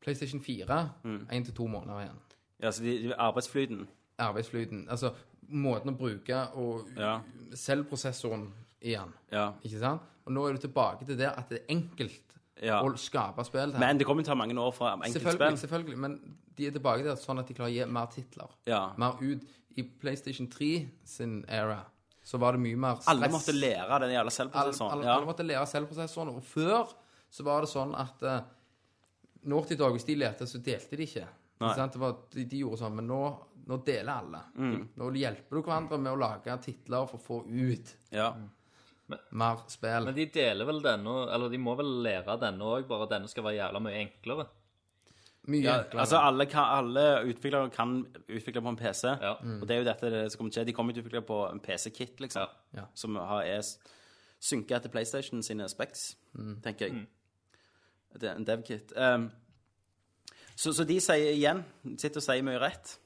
[SPEAKER 1] PlayStation 4
[SPEAKER 2] Mm.
[SPEAKER 1] én til to måneder igjen.
[SPEAKER 2] ja, så de, de, arbeidsflyten.
[SPEAKER 1] Arbeidsflyten. Altså måten å bruke og
[SPEAKER 2] Ja.
[SPEAKER 1] selvprosessoren igjen.
[SPEAKER 2] ja.
[SPEAKER 1] Ikke sant? Og nå er du tilbake til det at det er enkelt
[SPEAKER 2] Ja.
[SPEAKER 1] å skape spill. til.
[SPEAKER 2] Men det kommer til å ta mange år fra
[SPEAKER 1] Selvfølgelig,
[SPEAKER 2] enkeltspill.
[SPEAKER 1] selvfølgelig, men de er tilbake der sånn at de klarer å gi mer titler.
[SPEAKER 2] Ja.
[SPEAKER 1] Mer ut. I PlayStation 3 sin era så var det mye mer stress.
[SPEAKER 2] Alle måtte lære den jævla
[SPEAKER 1] Alle, alle,
[SPEAKER 2] selvprosessoren.
[SPEAKER 1] alle
[SPEAKER 2] Ja.
[SPEAKER 1] måtte lære selvprosessoren. sånn, Og før så var det sånn at uh, Naughty Dog, hvis de lærte, så delte de ikke.
[SPEAKER 2] Nei.
[SPEAKER 1] Ikke sant? Det var, de, de gjorde sånn, men nå, nå deler alle.
[SPEAKER 2] Mm.
[SPEAKER 1] Nå hjelper du hverandre med å lage titler for å få ut
[SPEAKER 2] Ja.
[SPEAKER 1] Mm. mer spill.
[SPEAKER 6] Men de deler vel denne, eller de må vel lære denne òg, bare at denne skal være jævla mye enklere.
[SPEAKER 1] Mye
[SPEAKER 2] Ja,
[SPEAKER 1] enklere.
[SPEAKER 2] altså alle, kan, alle utviklere kan utvikle på en PC,
[SPEAKER 6] Ja.
[SPEAKER 2] og det er jo dette det som kommer til å skje. De kommer til å utvikle på en PC-kit, liksom,
[SPEAKER 1] Ja. Ja.
[SPEAKER 2] som har, er s- synket etter PlayStation sine specs,
[SPEAKER 1] Mm.
[SPEAKER 2] tenker
[SPEAKER 6] Mm.
[SPEAKER 2] jeg. Det er en dev-kit. Um, så, så de sier igjen, sitter og sier mye rett.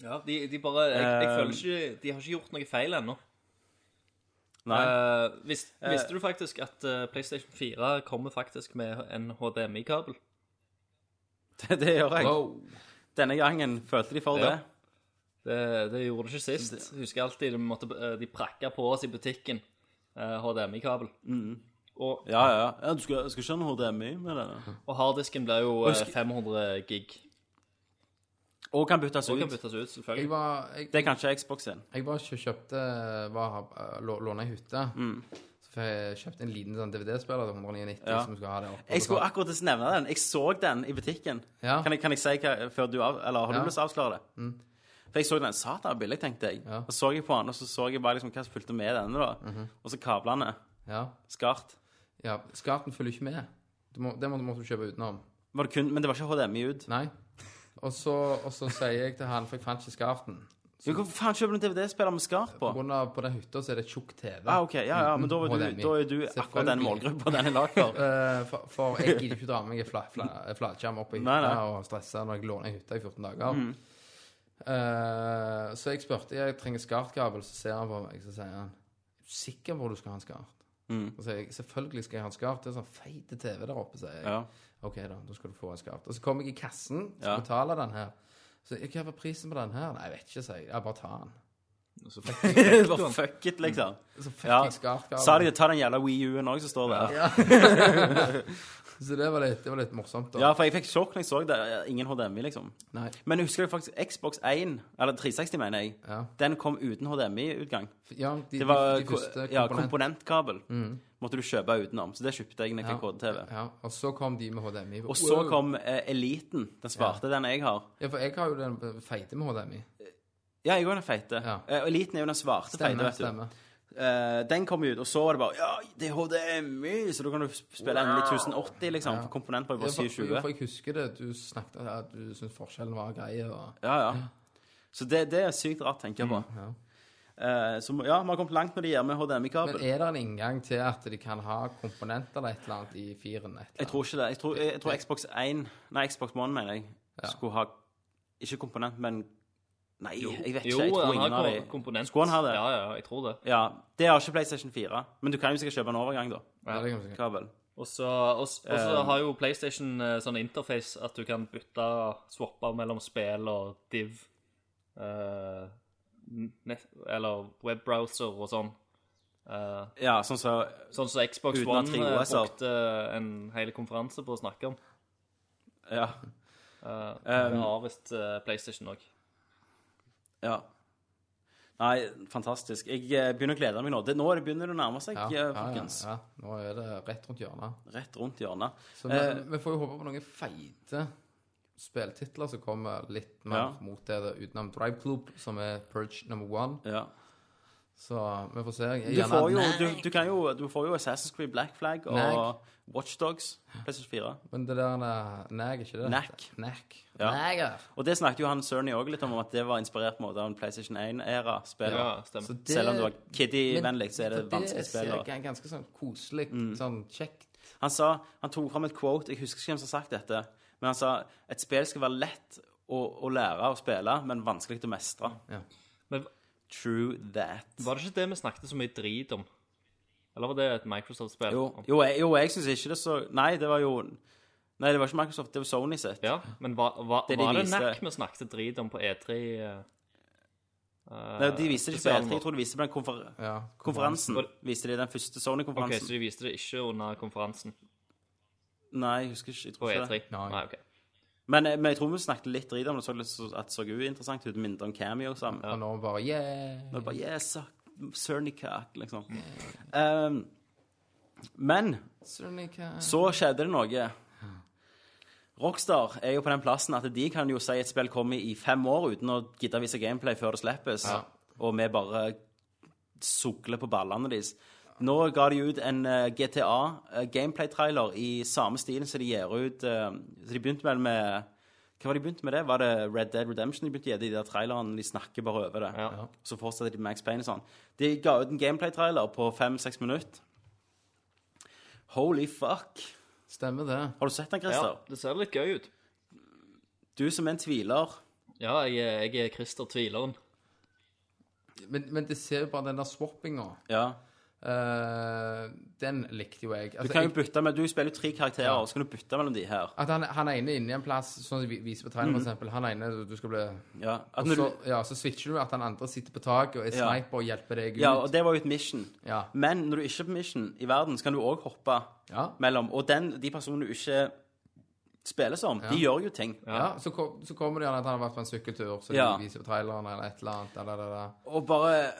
[SPEAKER 6] Ja, de, de bare Jeg, jeg
[SPEAKER 2] Eh,
[SPEAKER 6] føler ikke De har ikke gjort noe feil ennå.
[SPEAKER 2] Nei.
[SPEAKER 6] Eh, vis, visste du faktisk at eh, PlayStation 4 kommer faktisk med en HDMI-kabel?
[SPEAKER 2] *laughs* det, det gjør jeg.
[SPEAKER 1] Wow.
[SPEAKER 2] Denne gangen følte de for
[SPEAKER 6] Ja.
[SPEAKER 2] det.
[SPEAKER 6] Det, det gjorde det ikke sist. Jeg husker alltid de, måtte, eh, de prakka på oss i butikken eh, HDMI-kabel.
[SPEAKER 2] Mm.
[SPEAKER 6] Og,
[SPEAKER 2] Ja, ja. ja du skal, skal ikke ha noe HDMI med det.
[SPEAKER 6] og harddisken ble jo eh,
[SPEAKER 2] husker-
[SPEAKER 6] 500 gig.
[SPEAKER 2] Og kan byttes
[SPEAKER 6] Så
[SPEAKER 2] ut.
[SPEAKER 6] kan byttes ut,
[SPEAKER 1] Jeg
[SPEAKER 6] selvfølgelig.
[SPEAKER 1] var, jeg,
[SPEAKER 2] Det kan ikke Xbox sin.
[SPEAKER 1] Jeg var ikke kjøpte eh, var, lå- Låna ei hytte.
[SPEAKER 2] Mm.
[SPEAKER 1] Så får jeg kjøpt en liten sånn DVD-spiller til 199
[SPEAKER 2] Ja.
[SPEAKER 1] som skal ha det oppe.
[SPEAKER 2] Jeg skulle akkurat til å nevne den. Jeg så den i butikken.
[SPEAKER 1] Ja.
[SPEAKER 2] Kan, jeg, kan jeg si hva før du av, Eller har du
[SPEAKER 1] Ja.
[SPEAKER 2] lyst til å avsløre det? For jeg så den satan var billig, tenkte jeg.
[SPEAKER 1] Ja.
[SPEAKER 2] Og så jeg på den, og så så jeg bare liksom hva som fulgte med denne, da. Og så kablene.
[SPEAKER 1] ja.
[SPEAKER 2] Skart.
[SPEAKER 1] ja. Skarten følger ikke med. Du må, det må, måtte du kjøpe utenom.
[SPEAKER 2] Var det kun, men det var ikke HDMI ut.
[SPEAKER 1] Nei. Og så, og så sier jeg til han, for jeg fant ikke skarten
[SPEAKER 2] Jo, Hvorfor faen kjøper du en DVD-spiller med skar på?
[SPEAKER 1] På grunn av på den hytta så er det tjukk TV.
[SPEAKER 2] Ah, ok, ja, ja, men da, var du,
[SPEAKER 1] HDMI.
[SPEAKER 2] da er du akkurat den
[SPEAKER 1] Selvfølgelig.
[SPEAKER 2] målgruppa den er lagd *laughs* for.
[SPEAKER 1] Eh, for, for jeg gidder ikke dra med meg en fla- fla- flatskjerm opp på
[SPEAKER 2] Nei,
[SPEAKER 1] hytta
[SPEAKER 2] nei. Mm.
[SPEAKER 1] og stresse når jeg låner en hytte i 14 dager. Eh, så jeg spurte jeg trenger skartkabel, så ser han på meg så sier han, er du sikker på hvor du skal ha en skart?
[SPEAKER 2] Mm.
[SPEAKER 1] Og så sier jeg, selvfølgelig skal jeg ha en skart. Det er sånn feit TV der oppe, sier jeg.
[SPEAKER 2] Ja.
[SPEAKER 1] OK, da, da skal du få en skart. Og så kom jeg i kassen, skal
[SPEAKER 2] Ja.
[SPEAKER 1] betale den her. Så jeg, hva var prisen på den her? Nei, jeg vet ikke, sier jeg. Ja, bare ta den.
[SPEAKER 6] Så fikk
[SPEAKER 2] *laughs*
[SPEAKER 6] jeg-
[SPEAKER 2] Bare fuck it, liksom.
[SPEAKER 1] Så fikk
[SPEAKER 2] Ja.
[SPEAKER 1] jeg skartkabel.
[SPEAKER 2] Sa de det, ta den jævla Wii U-en òg som står der. Ja.
[SPEAKER 1] Så det var litt, det var litt morsomt. Da.
[SPEAKER 2] for jeg fikk sjokk når jeg så det. Ingen HDMI, liksom.
[SPEAKER 1] Nei.
[SPEAKER 2] Men jeg husker jeg faktisk Xbox 1, eller 360, mener jeg,
[SPEAKER 1] Ja.
[SPEAKER 2] den kom uten HDMI-utgang.
[SPEAKER 1] Ja, de,
[SPEAKER 2] Det var
[SPEAKER 1] de, de første
[SPEAKER 2] ja,
[SPEAKER 1] komponentene.
[SPEAKER 2] komponentkabel. Måtte du kjøpe utenom. Så det kjøpte jeg når jeg fikk HDTV.
[SPEAKER 1] Ja, og så kom de med HDMI.
[SPEAKER 2] Og så
[SPEAKER 1] Wow.
[SPEAKER 2] kom eh, Eliten, den svarte, den jeg har.
[SPEAKER 1] Ja, for jeg har jo den feite med HDMI.
[SPEAKER 2] Ja, jeg er jo den feite.
[SPEAKER 1] Ja.
[SPEAKER 2] Eh, Eliten er jo den svarte feite,
[SPEAKER 1] Stemmer.
[SPEAKER 2] vet du.
[SPEAKER 1] stemmer.
[SPEAKER 2] Eh, den kom jo ut, og så var det bare Ja, det er HDMI! Så da kan du sp- spille endelig 1080, liksom. For komponent var jo
[SPEAKER 1] Ja,
[SPEAKER 2] bare
[SPEAKER 1] for, jo, for
[SPEAKER 2] 720.
[SPEAKER 1] jeg husker det. Du snakket om at du syntes forskjellen var grei. Og...
[SPEAKER 2] Ja, ja. Så det, det er sykt rart, tenker jeg på.
[SPEAKER 1] Mm, ja.
[SPEAKER 2] Eh, så må- ja, vi har kommet langt når det gjør med
[SPEAKER 1] Men
[SPEAKER 2] HDMI-kabel.
[SPEAKER 1] er det en inngang til at de kan ha komponenter eller et eller annet i firen? Et eller
[SPEAKER 2] Jeg tror
[SPEAKER 1] annet?
[SPEAKER 2] ikke det. Jeg tror, jeg, jeg tror Xbox 1 Nei, Xbox One, mener jeg, skulle ha Ikke komponent, men Nei, jeg vet ikke.
[SPEAKER 6] Jo,
[SPEAKER 2] jeg tror
[SPEAKER 6] han
[SPEAKER 2] ingen av
[SPEAKER 6] har
[SPEAKER 2] de
[SPEAKER 6] kom- komponent.
[SPEAKER 2] Skulle han ha det?
[SPEAKER 6] Ja, ja, jeg tror det.
[SPEAKER 2] Ja. Det har ikke PlayStation 4. Men du kan jo sikkert kjøpe en overgang, da.
[SPEAKER 1] Ja, det kan vi sikkert.
[SPEAKER 2] Kabel.
[SPEAKER 6] Og så og s- og
[SPEAKER 2] Eh.
[SPEAKER 6] så har jo PlayStation eh, sånn interface at du kan bytte swappe mellom spill og div. eh, nett, eller webbrowser og sånn. Eh,
[SPEAKER 2] Ja, sånn som så,
[SPEAKER 6] sånn som Xbox
[SPEAKER 2] Uten at
[SPEAKER 6] One eh,
[SPEAKER 2] 3OS-er.
[SPEAKER 6] brukte en hel konferanse på å snakke om.
[SPEAKER 2] Ja.
[SPEAKER 6] Eh,
[SPEAKER 2] Um,
[SPEAKER 6] det har visst eh, PlayStation òg.
[SPEAKER 2] Ja. Nei, fantastisk. Jeg eh, begynner å glede meg nå. Det, nå er det begynner det å nærme seg,
[SPEAKER 1] Ja,
[SPEAKER 2] eh,
[SPEAKER 1] ja, ja,
[SPEAKER 2] folkens.
[SPEAKER 1] ja. Nå er det rett rundt hjørnet.
[SPEAKER 2] Rett rundt hjørnet.
[SPEAKER 1] Så vi,
[SPEAKER 2] Eh,
[SPEAKER 1] vi får jo håpe på noen feite spilltitler som kommer litt mer
[SPEAKER 2] Ja.
[SPEAKER 1] mot det der utenom Drive Club, som er Purge number one.
[SPEAKER 2] Ja.
[SPEAKER 1] Så vi får se. Jeg,
[SPEAKER 2] Du
[SPEAKER 1] gjerne-
[SPEAKER 2] får jo, du, du kan jo, du får jo Assassin's Creed Black Flag og
[SPEAKER 1] Nei.
[SPEAKER 2] Watchdogs. PlayStation 4.
[SPEAKER 1] Men det der eh, Nag, ikke det?
[SPEAKER 2] Nack.
[SPEAKER 1] Nack.
[SPEAKER 2] Ja.
[SPEAKER 1] Nager.
[SPEAKER 2] Og det snakket jo han Cerny òg litt om, at det var inspirert på en måte av en PlayStation 1-æra-spiller.
[SPEAKER 6] Ja,
[SPEAKER 1] Så
[SPEAKER 6] stemmer.
[SPEAKER 1] det-
[SPEAKER 2] Selv om det var kiddy-vennlig, så er det
[SPEAKER 1] for
[SPEAKER 2] vanskelig spill.
[SPEAKER 1] Det
[SPEAKER 2] og-
[SPEAKER 1] ser jeg ganske sånn koselig,
[SPEAKER 2] Mm.
[SPEAKER 1] sånn kjekt.
[SPEAKER 2] Han sa, han tok fram et quote, jeg husker ikke hvem som har sagt dette, men han sa et spill skal være lett å, å lære å spille, men vanskelig å mestre.
[SPEAKER 6] Men
[SPEAKER 2] True that.
[SPEAKER 6] var det ikke det vi snakket så mye drit om? Eller var det et Microsoft-spill?
[SPEAKER 2] Jo, jo jeg, jo, jeg syns ikke det så Nei, det var jo Nei, det var ikke Microsoft, det var Sony sitt.
[SPEAKER 6] Ja, men hva, hva,
[SPEAKER 2] Det de
[SPEAKER 6] var det
[SPEAKER 2] viste-
[SPEAKER 6] NAC vi snakket drit om på E3? eh,
[SPEAKER 2] Nei, de viste det ikke på
[SPEAKER 6] spesialen
[SPEAKER 2] E3, jeg tror de viste det på den konfer
[SPEAKER 1] Ja.
[SPEAKER 2] konferansen.
[SPEAKER 6] Var det-
[SPEAKER 2] Viste de den første
[SPEAKER 6] OK,
[SPEAKER 2] Sony-konferansen?
[SPEAKER 6] så de viste det ikke under konferansen
[SPEAKER 2] Nei, jeg husker ikke. Jeg
[SPEAKER 6] på
[SPEAKER 2] tror ikke
[SPEAKER 6] E3?
[SPEAKER 2] det.
[SPEAKER 1] Nei.
[SPEAKER 6] Nei, ok.
[SPEAKER 2] Men, eh, men jeg tror vi snakket litt drit om det, så litt så, at det så uinteressant ut, mindre om cameo sammen.
[SPEAKER 1] Og nå bare yeah.
[SPEAKER 2] Og bare yeah, suck, Cernicak, liksom. Um, men
[SPEAKER 1] Sonica.
[SPEAKER 2] så skjedde det noe. Rockstar er jo på den plassen at de kan jo si et spill kommer i fem år uten å gidde å vise gameplay før det slippes, og vi bare sukler på ballene deres. Nå ga de ut en eh, GTA eh, gameplay-trailer i samme stil som de gjør ut eh, Så de begynte vel med Hva var de begynte med det? Var det Red Dead Redemption de begynte å gjøre i de der trailerne? De snakker bare over det.
[SPEAKER 6] Ja.
[SPEAKER 2] Så fortsetter de med Max Payne og sånn. De ga ut en gameplay-trailer på fem-seks minutter. Holy fuck.
[SPEAKER 1] Stemmer det.
[SPEAKER 2] Har du sett den,
[SPEAKER 6] Ja,
[SPEAKER 2] Christer?
[SPEAKER 6] det ser litt gøy ut.
[SPEAKER 2] Du som er en tviler.
[SPEAKER 6] Ja, jeg, er- jeg er Christer Tvileren.
[SPEAKER 1] Men, men det ser jo bare den der swappinga.
[SPEAKER 2] Ja.
[SPEAKER 1] eh, den likte jo jeg.
[SPEAKER 2] Du
[SPEAKER 1] Altså,
[SPEAKER 2] kan jo
[SPEAKER 1] jeg
[SPEAKER 2] bytte med, du spiller jo tre karakterer, og så kan du bytte mellom de her.
[SPEAKER 1] at han, han ene er inne i en plass, sånn som vi viser på tegnet, for eksempel. Han ene du skal bli
[SPEAKER 2] Ja, Mm. at
[SPEAKER 1] og
[SPEAKER 2] når
[SPEAKER 1] så,
[SPEAKER 2] du,
[SPEAKER 1] ja, så switcher du at han andre sitter på taket og er
[SPEAKER 2] Ja.
[SPEAKER 1] sniper og hjelper deg ut.
[SPEAKER 2] ja og det var jo et mission.
[SPEAKER 1] Ja.
[SPEAKER 2] Men når du ikke er på mission i verden, så kan du òg hoppe
[SPEAKER 1] Ja.
[SPEAKER 2] mellom. Og den, de personene du ikke spiller som, de gjør jo ting.
[SPEAKER 1] Ja, så, kom, så kommer det gjerne at han har vært på en sykkeltur, så
[SPEAKER 2] Ja.
[SPEAKER 1] de viser på traileren eller et eller annet. Eller, eller, eller.
[SPEAKER 2] Og bare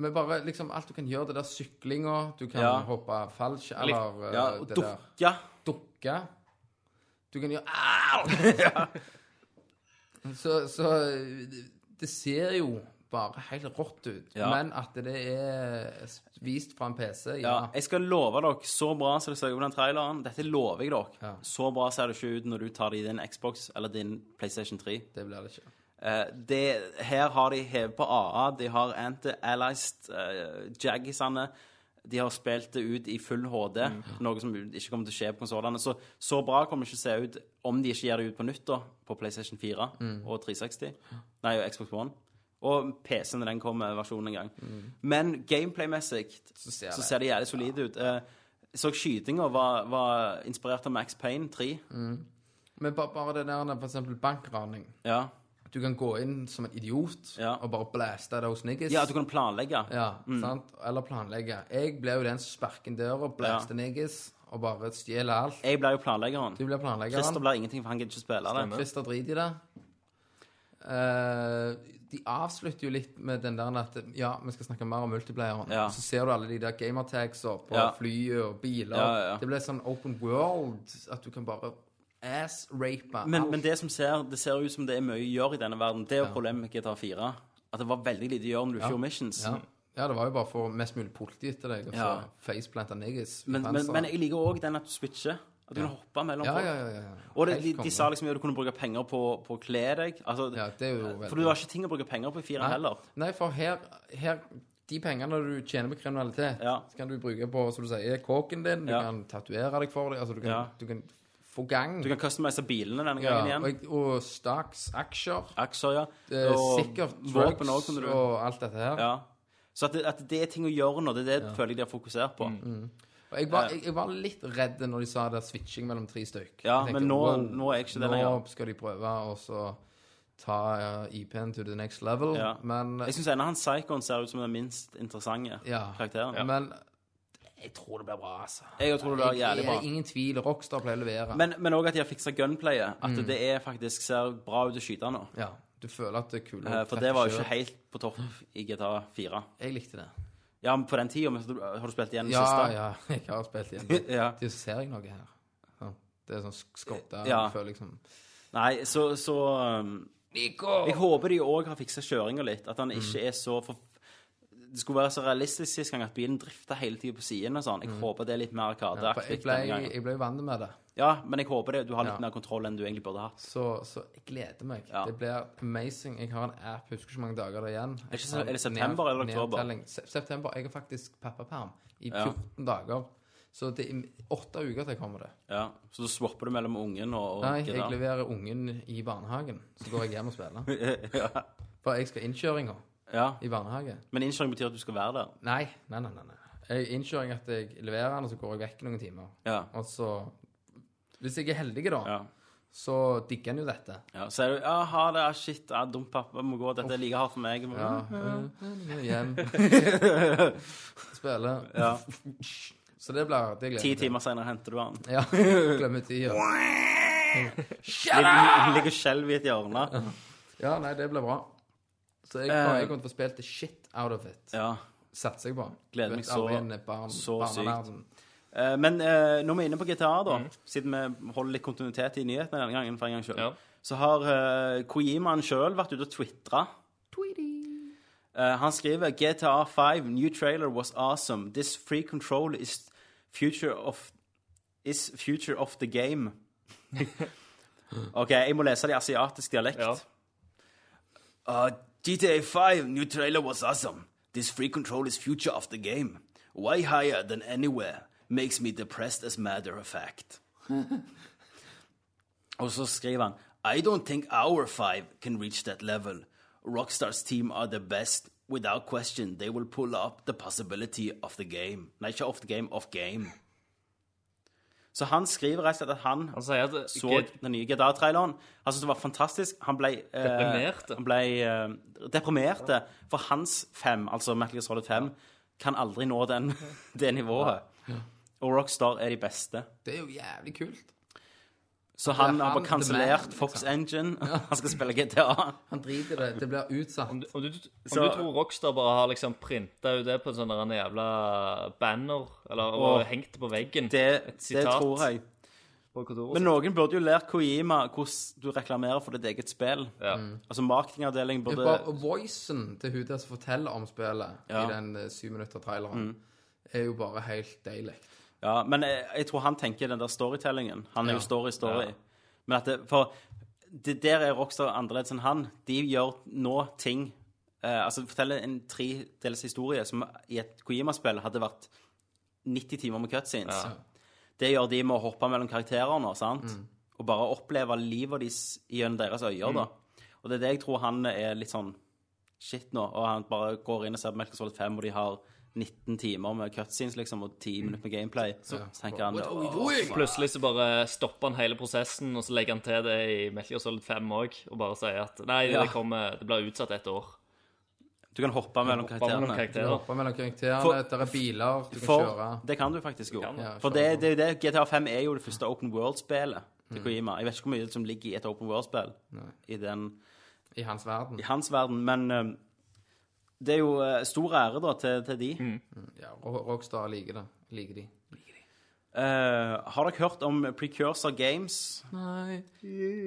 [SPEAKER 1] Men bare liksom alt du kan gjøre, det der syklinga, du kan
[SPEAKER 2] Ja.
[SPEAKER 1] hoppe falsk, eller eh,
[SPEAKER 2] Ja, og
[SPEAKER 1] det der
[SPEAKER 2] dukke.
[SPEAKER 1] dukke. Du kan gjøre
[SPEAKER 2] *laughs*
[SPEAKER 1] Au! så, så det ser jo bare helt rått ut.
[SPEAKER 2] Ja.
[SPEAKER 1] Men at det er vist fra en PC,
[SPEAKER 2] Ja,
[SPEAKER 1] ja.
[SPEAKER 2] jeg skal love dere, så bra ser det seg ut på den traileren. Dette lover jeg dere.
[SPEAKER 1] Ja.
[SPEAKER 2] Så bra ser det ikke ut når du tar det i din Xbox eller din PlayStation 3.
[SPEAKER 1] Det blir det ikke.
[SPEAKER 2] Eh, det, her har de hevet på AA, de har anti-allies, uh, jaggisene. De har spilt det ut i full HD,
[SPEAKER 1] Mm.
[SPEAKER 2] noe som ikke kommer til å skje på konsollene. Så, så bra kommer det ikke til å se ut om de ikke gir det ut på nytt, da, på PlayStation 4
[SPEAKER 1] Mm.
[SPEAKER 2] og 360. Nei, og Xbox One. Og PC når den kommer, versjonen en gang. Men gameplay-messig så
[SPEAKER 1] Mm. ser
[SPEAKER 2] ser,
[SPEAKER 1] det-
[SPEAKER 2] det jævlig solid ut. Eh, Jeg så skytinga var, var inspirert av Max Payne 3.
[SPEAKER 1] Mm. Men bare, bare det der, for eksempel bankraning.
[SPEAKER 2] Ja.
[SPEAKER 1] Du kan gå inn som en idiot
[SPEAKER 2] Ja.
[SPEAKER 1] og bare blaste those niggas.
[SPEAKER 2] ja, at du kunne planlegge.
[SPEAKER 1] Ja,
[SPEAKER 2] Mm.
[SPEAKER 1] sant? Eller planlegge. Jeg ble jo den som sparker inn døra, blaster niggas og bare stjeler alt.
[SPEAKER 2] Jeg ble jo planleggeren.
[SPEAKER 1] Du blir
[SPEAKER 2] Christer
[SPEAKER 1] planleggeren.
[SPEAKER 2] blir ingenting, for han gidder ikke spille det.
[SPEAKER 1] Christer driter i det. Eh, de avslutter jo litt med den der at ja, vi skal snakke mer om multiplayeren.
[SPEAKER 2] Ja.
[SPEAKER 1] Så ser du alle de der gamertagsa på
[SPEAKER 2] Ja.
[SPEAKER 1] flyet og biler.
[SPEAKER 2] Ja, ja, ja.
[SPEAKER 1] Det blir sånn open world at du kan bare ass-rape
[SPEAKER 2] Men, men det som ser, det ser ut som det er mye å gjøre i denne verden, det er jo problemet med GTA 4. At det var veldig lite å gjøre når du ikke gjorde missions.
[SPEAKER 1] ja. ja, det var jo bare for mest mulig politi etter deg. Og så
[SPEAKER 2] Ja.
[SPEAKER 1] faceplanta niggas. i
[SPEAKER 2] Men, men,
[SPEAKER 1] panseret.
[SPEAKER 2] men jeg liker òg den at du switcher. At du kan hoppe mellom
[SPEAKER 1] ja,
[SPEAKER 2] folk.
[SPEAKER 1] ja, ja, ja.
[SPEAKER 2] Og det,
[SPEAKER 1] Helt
[SPEAKER 2] de, de
[SPEAKER 1] konge.
[SPEAKER 2] sa liksom at du kunne bruke penger på, på å kle deg. Altså,
[SPEAKER 1] Ja, det er jo veldig
[SPEAKER 2] For det var ikke ting å bruke penger på i fire
[SPEAKER 1] Nei.
[SPEAKER 2] heller.
[SPEAKER 1] Nei, for her, her De pengene du tjener på kriminalitet,
[SPEAKER 2] Ja.
[SPEAKER 1] så kan du bruke på som du sier, kåken din, du
[SPEAKER 2] Ja.
[SPEAKER 1] kan tatovere deg for det, altså du kan,
[SPEAKER 2] Ja.
[SPEAKER 1] du kan få gang.
[SPEAKER 2] Du kan customise bilene denne
[SPEAKER 1] ja,
[SPEAKER 2] gangen igjen.
[SPEAKER 1] og, og stocks, aksjer,
[SPEAKER 2] Aksjer, ja.
[SPEAKER 1] eh, sikkert
[SPEAKER 2] våpen
[SPEAKER 1] drugs
[SPEAKER 2] også kunne du
[SPEAKER 1] og alt dette her.
[SPEAKER 2] Ja. Så at det, at det er ting å gjøre nå, det er det føler jeg de har fokusert på.
[SPEAKER 1] Mm. Og jeg var, jeg, jeg var litt redd når de sa det er switching mellom tre stykk.
[SPEAKER 2] Ja,
[SPEAKER 1] Jeg tenkte,
[SPEAKER 2] men nå,
[SPEAKER 1] wow,
[SPEAKER 2] nå er jeg ikke det
[SPEAKER 1] nå
[SPEAKER 2] lenger.
[SPEAKER 1] skal de prøve å så ta eh, IP-en to the next level,
[SPEAKER 2] Ja.
[SPEAKER 1] men
[SPEAKER 2] Jeg syns ennå han psykoen ser ut som den minst interessante
[SPEAKER 1] ja.
[SPEAKER 2] karakteren.
[SPEAKER 1] Men jeg tror det blir bra, altså.
[SPEAKER 2] Jeg tror det blir
[SPEAKER 1] Jeg-
[SPEAKER 2] jævlig bra.
[SPEAKER 1] jeg- Ingen tvil. Rockstar pleier å levere.
[SPEAKER 2] Men, men også at de har fiksa gunplayet. At det er faktisk ser bra ut å skyte nå.
[SPEAKER 1] ja, du føler at det er kule.
[SPEAKER 2] Eh, For det var jo ikke helt på topp i GTA 4.
[SPEAKER 1] Jeg likte det.
[SPEAKER 2] Ja, men på den tida men så- har du spilt igjen den
[SPEAKER 1] Ja,
[SPEAKER 2] siste.
[SPEAKER 1] ja. *laughs* Jeg har spilt
[SPEAKER 2] *laughs*
[SPEAKER 1] igjen. det.
[SPEAKER 2] Ja.
[SPEAKER 1] Det ser jeg noe her. Ja, Det er sånn skodda
[SPEAKER 2] Ja.
[SPEAKER 1] Jeg føler liksom
[SPEAKER 2] Nei, så, så um, Jeg håper de òg har fiksa kjøringa litt. At han ikke er så for... Det skulle være så realistisk sist gang at bilen drifta hele tida på siden og sånn. Jeg håper det er litt mer
[SPEAKER 1] For jeg
[SPEAKER 2] arkadeaktig
[SPEAKER 1] ble,
[SPEAKER 2] denne gangen.
[SPEAKER 1] jeg ble jo vant med det.
[SPEAKER 2] Ja, men jeg håper det, du har litt
[SPEAKER 1] Ja.
[SPEAKER 2] mer kontroll enn du egentlig burde hatt.
[SPEAKER 1] Så, så jeg gleder meg.
[SPEAKER 2] Ja.
[SPEAKER 1] Det blir amazing. Jeg har en app, husker ikke hvor mange dager det er igjen.
[SPEAKER 2] ikke se- er det september eller oktober?
[SPEAKER 1] Nedtelling. Se- September. Jeg har faktisk pappaperm i 14 dager. Så det er åtte uker til jeg kommer det.
[SPEAKER 2] Ja. Så da swapper du mellom ungen og, og
[SPEAKER 1] Nei, jeg
[SPEAKER 2] GTA.
[SPEAKER 1] leverer ungen i barnehagen. Så går jeg hjem og
[SPEAKER 2] *laughs*
[SPEAKER 1] spiller. For jeg skal innkjøringa
[SPEAKER 2] Ja.
[SPEAKER 1] i barnehage.
[SPEAKER 2] Men innkjøring betyr at du skal være der.
[SPEAKER 1] Nei, nei, nei. nei, nei. Jeg innkjøring at jeg leverer den, og så går jeg vekk noen timer.
[SPEAKER 2] Ja.
[SPEAKER 1] Og så Hvis jeg er heldig, da,
[SPEAKER 2] Ja.
[SPEAKER 1] så digger en jo dette.
[SPEAKER 2] Ja, så er du Ja, ha det, ah, shit, ah, dumt, pappa må gå, dette er like hardt for meg. *laughs*
[SPEAKER 1] Hjem. Spiller.
[SPEAKER 2] Ja.
[SPEAKER 1] Så det blir det gleder jeg meg
[SPEAKER 2] Ti
[SPEAKER 1] til.
[SPEAKER 2] timer senere henter du han.
[SPEAKER 1] Ja. Glemmer tida.
[SPEAKER 2] Ligger ligger og skjelver i et hjørne.
[SPEAKER 1] Ja, nei, det blir bra. Så jeg,
[SPEAKER 2] Eh.
[SPEAKER 1] jeg kommer til å få spilt the shit out of it.
[SPEAKER 2] Ja.
[SPEAKER 1] Satser jeg på.
[SPEAKER 2] Gleder
[SPEAKER 1] Du
[SPEAKER 2] meg
[SPEAKER 1] vet,
[SPEAKER 2] så-
[SPEAKER 1] aldri en barn,
[SPEAKER 2] så
[SPEAKER 1] barneverden.
[SPEAKER 2] Eh, Men eh, når vi er inne på GTA, da,
[SPEAKER 6] Mm.
[SPEAKER 2] siden vi holder litt kontinuitet i nyhetene denne gangen, for en gang selv,
[SPEAKER 6] Ja.
[SPEAKER 2] så har uh, Kojimaen sjøl vært ute og twitra. Eh, han skriver GTA 5, new trailer was awesome. This free control is future of Is future of the
[SPEAKER 6] *laughs*
[SPEAKER 2] game. OK, jeg må lese det i asiatisk dialekt.
[SPEAKER 6] Ja.
[SPEAKER 2] Uh, GTA 5 new trailer was awesome. This free control is future of the game. Way higher than anywhere. Makes me depressed as matter of fact. *laughs* Og så skriver han I don't think our five can reach that level. Rockstars team are the best. Without question, they will pull up the possibility of the game. Nei, ikke of the game, of game. Så han skriver rett og slett at han
[SPEAKER 6] Han sier at
[SPEAKER 2] så er
[SPEAKER 6] G-
[SPEAKER 2] den nye GTA-traileren. Han syntes det var fantastisk. Han ble eh,
[SPEAKER 6] Deprimerte.
[SPEAKER 2] Han ble eh, deprimerte. For hans fem, altså Metal Gear Solid 5, kan aldri nå den, *laughs* det nivået. Og Rockstar er de beste.
[SPEAKER 1] Det er jo jævlig kult.
[SPEAKER 2] Så han,
[SPEAKER 1] Ja,
[SPEAKER 2] har
[SPEAKER 1] han,
[SPEAKER 2] bare
[SPEAKER 1] the man,
[SPEAKER 2] kansellert
[SPEAKER 1] liksom.
[SPEAKER 2] Fox Engine. *laughs* Han skal spille GTA.
[SPEAKER 1] Han driter i det. Det blir utsatt.
[SPEAKER 6] Om, du- om, du, om
[SPEAKER 2] Så-
[SPEAKER 6] du tror Rockstar bare har liksom printa ut det på en sånn der en jævla banner, eller og
[SPEAKER 2] Åh.
[SPEAKER 6] hengt det på veggen
[SPEAKER 2] Det,
[SPEAKER 6] Et
[SPEAKER 2] det
[SPEAKER 6] sitat
[SPEAKER 2] tror jeg.
[SPEAKER 6] på kontoret
[SPEAKER 2] Men noen burde jo lært Kojima hvordan du reklamerer for ditt eget spill.
[SPEAKER 6] ja.
[SPEAKER 2] Altså marketingavdelingen
[SPEAKER 1] Det er
[SPEAKER 2] burde
[SPEAKER 1] bare voicen til hun der som forteller om spillet
[SPEAKER 2] Ja. Mm.
[SPEAKER 1] i den eh, syv minutter traileren, er jo bare helt deilig.
[SPEAKER 2] Ja, men jeg, jeg tror han tenker den der storytellingen. Han er
[SPEAKER 1] Ja.
[SPEAKER 2] jo story-story. Men at det, For det der er Rockstar annerledes enn han. De gjør nå ting eh, Altså forteller en tredels historie som i et Kojima-spill hadde vært 90 timer med cutscenes. Det gjør de med å hoppe mellom karakterer nå, sant?
[SPEAKER 1] Mm.
[SPEAKER 2] Og bare oppleve livet deres gjennom deres øyer,
[SPEAKER 1] Mm.
[SPEAKER 2] da. Og det er det jeg tror han er litt sånn shit nå, og han bare går inn og ser på Metal Gear Solid 5, og de har 19 timer med cutscenes, liksom, og 10 minutter med gameplay. Så, tenker han
[SPEAKER 1] Mm. What are we doing?
[SPEAKER 6] Plutselig så bare stopper han hele prosessen, og så legger han til det i Metal Gear Solid 5 òg, og bare sier at nei,
[SPEAKER 2] Ja.
[SPEAKER 6] det, kommer, det blir utsatt et år.
[SPEAKER 2] Du kan hoppe mellom
[SPEAKER 6] Bare med
[SPEAKER 2] karakterene.
[SPEAKER 6] noen karakterer.
[SPEAKER 1] Hoppe mellom karakterene,
[SPEAKER 2] For-
[SPEAKER 1] der er biler, du kan kjøre.
[SPEAKER 2] For, det kan du faktisk jo.
[SPEAKER 6] du.
[SPEAKER 1] Ja,
[SPEAKER 2] For
[SPEAKER 1] kjøre.
[SPEAKER 2] det, det er jo det GTA 5 er jo det første open world-spillet
[SPEAKER 1] Mm.
[SPEAKER 2] til Kojima. Jeg vet ikke hvor mye som ligger i et open world-spill i, den-
[SPEAKER 1] I hans verden.
[SPEAKER 2] i hans verden, men eh, det er jo eh, stor ære da til, til de.
[SPEAKER 6] Mm.
[SPEAKER 1] Ja, Ro- Rockstar liker det. Liker de.
[SPEAKER 2] Eh, har dere hørt om Precursor Games?
[SPEAKER 1] Nei.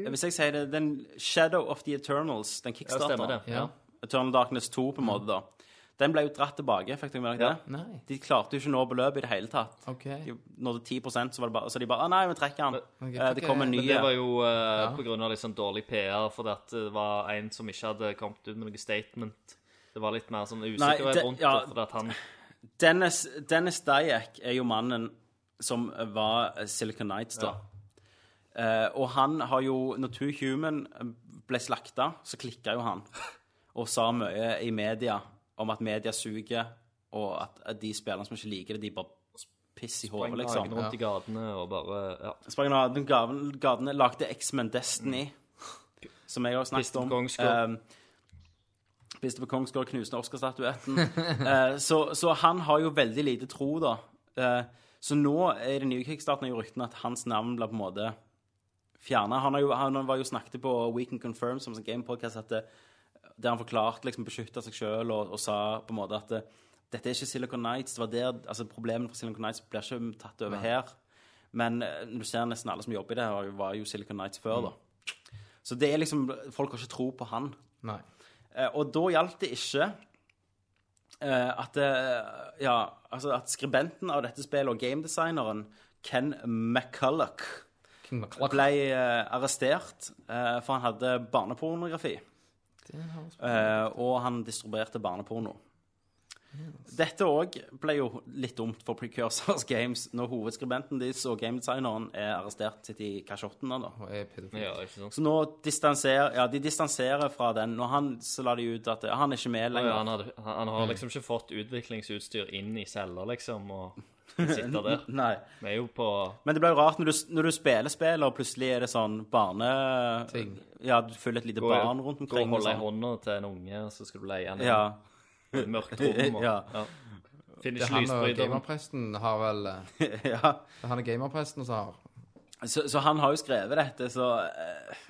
[SPEAKER 2] Hvis jeg sier det, den Shadow of the Eternals, den
[SPEAKER 6] Ja, det stemmer
[SPEAKER 2] kickstarteren,
[SPEAKER 6] det.
[SPEAKER 1] Ja.
[SPEAKER 2] Eternal Darkness 2 på en måte da, den ble jo dratt tilbake, fikk dere med dere
[SPEAKER 6] Ja.
[SPEAKER 2] det?
[SPEAKER 1] Nei.
[SPEAKER 2] De klarte jo ikke å nå beløpet i det hele tatt.
[SPEAKER 1] OK.
[SPEAKER 2] De nådde 10 så, var det bare, så de bare ah, Nei, vi trekker den.
[SPEAKER 1] Ok,
[SPEAKER 2] Eh, det kommer en ny.
[SPEAKER 6] Men det var jo eh, på grunn av litt sånn dårlig PR, fordi at det var en som ikke hadde kommet ut med noe statement. Det var litt mer sånn usikkerhet
[SPEAKER 2] det-
[SPEAKER 6] rundt
[SPEAKER 2] ja.
[SPEAKER 6] det, fordi at han
[SPEAKER 2] Dennis, Dennis Dyack er jo mannen som var Silicon Nights, da. Eh, og han har jo Når Two Human ble slakta, så klikka jo han. Og sa mye i media om at media suger, og at at de spillerne som ikke liker det, de bare piss i hodet, liksom.
[SPEAKER 6] sprang rundt i gatene og bare ja,
[SPEAKER 2] Sprang han av den gaven- gatene, lagde X-Men Destiny, som jeg har snakket
[SPEAKER 6] Piste på
[SPEAKER 2] om.
[SPEAKER 6] Kongsgård.
[SPEAKER 2] Eh, Piste på Kongsgård, knuste Oscar-statuetten. *laughs* Eh, så, så han har jo veldig lite tro, da. Eh, så nå er det nye kickstarten jo ryktene at hans navn blir på en måte fjerna. Han, har jo- han var jo snakket på Weekend Confirm, som en gamepodcast, at det, der han forklarte liksom beskytta seg sjøl og, og sa på en måte at det, dette er ikke Silicon Nights. Det var der, altså Problemene for Silicon Nights blir ikke tatt over her. Men eh, når du ser nesten alle som jobber i det, har jo- var jo Silicon Nights før, da. Så det er liksom Folk har ikke tro på han.
[SPEAKER 1] Nei.
[SPEAKER 2] Eh, og da gjaldt det ikke eh, at eh, Ja, altså at skribenten av dette spillet og gamedesigneren Ken McCulloch ble eh, arrestert eh, for han hadde barnepornografi. Eh, og han distribuerte barneporno. Dette òg ble jo litt dumt for Precursors Games når hovedskribenten deres og gamedesigneren er arrestert, sitter i kasjotten. da.
[SPEAKER 1] Og er pedofil.
[SPEAKER 6] ja, ikke sant.
[SPEAKER 2] Så nå distanserer Ja, de distanserer fra den. Når han så la de ut at eh, han er ikke med
[SPEAKER 6] Ja,
[SPEAKER 2] lenger.
[SPEAKER 6] han, hadde, han han har liksom ikke fått utviklingsutstyr inn i celler, liksom, og sitte der.
[SPEAKER 2] Nei.
[SPEAKER 6] Vi er jo på
[SPEAKER 2] Men det blir jo rart når du, når du spiller spill, og plutselig er det sånn barne...
[SPEAKER 1] Ting.
[SPEAKER 2] Ja, du følger et lite barn rundt
[SPEAKER 6] Gå og
[SPEAKER 2] omkring. og
[SPEAKER 6] holde i
[SPEAKER 2] sånn.
[SPEAKER 6] hånda til en unge, og så skal du leie han *laughs*
[SPEAKER 2] Ja.
[SPEAKER 6] i et mørkt rom. Og, ja.
[SPEAKER 2] *laughs* Ja.
[SPEAKER 6] Finner
[SPEAKER 1] Det er
[SPEAKER 6] ikke
[SPEAKER 1] han og
[SPEAKER 6] lysbryteren.
[SPEAKER 1] gamerpresten har vel eh, Det
[SPEAKER 2] ja. *laughs*
[SPEAKER 1] er han og gamerpresten som har
[SPEAKER 2] Så, så han har jo skrevet dette, så eh,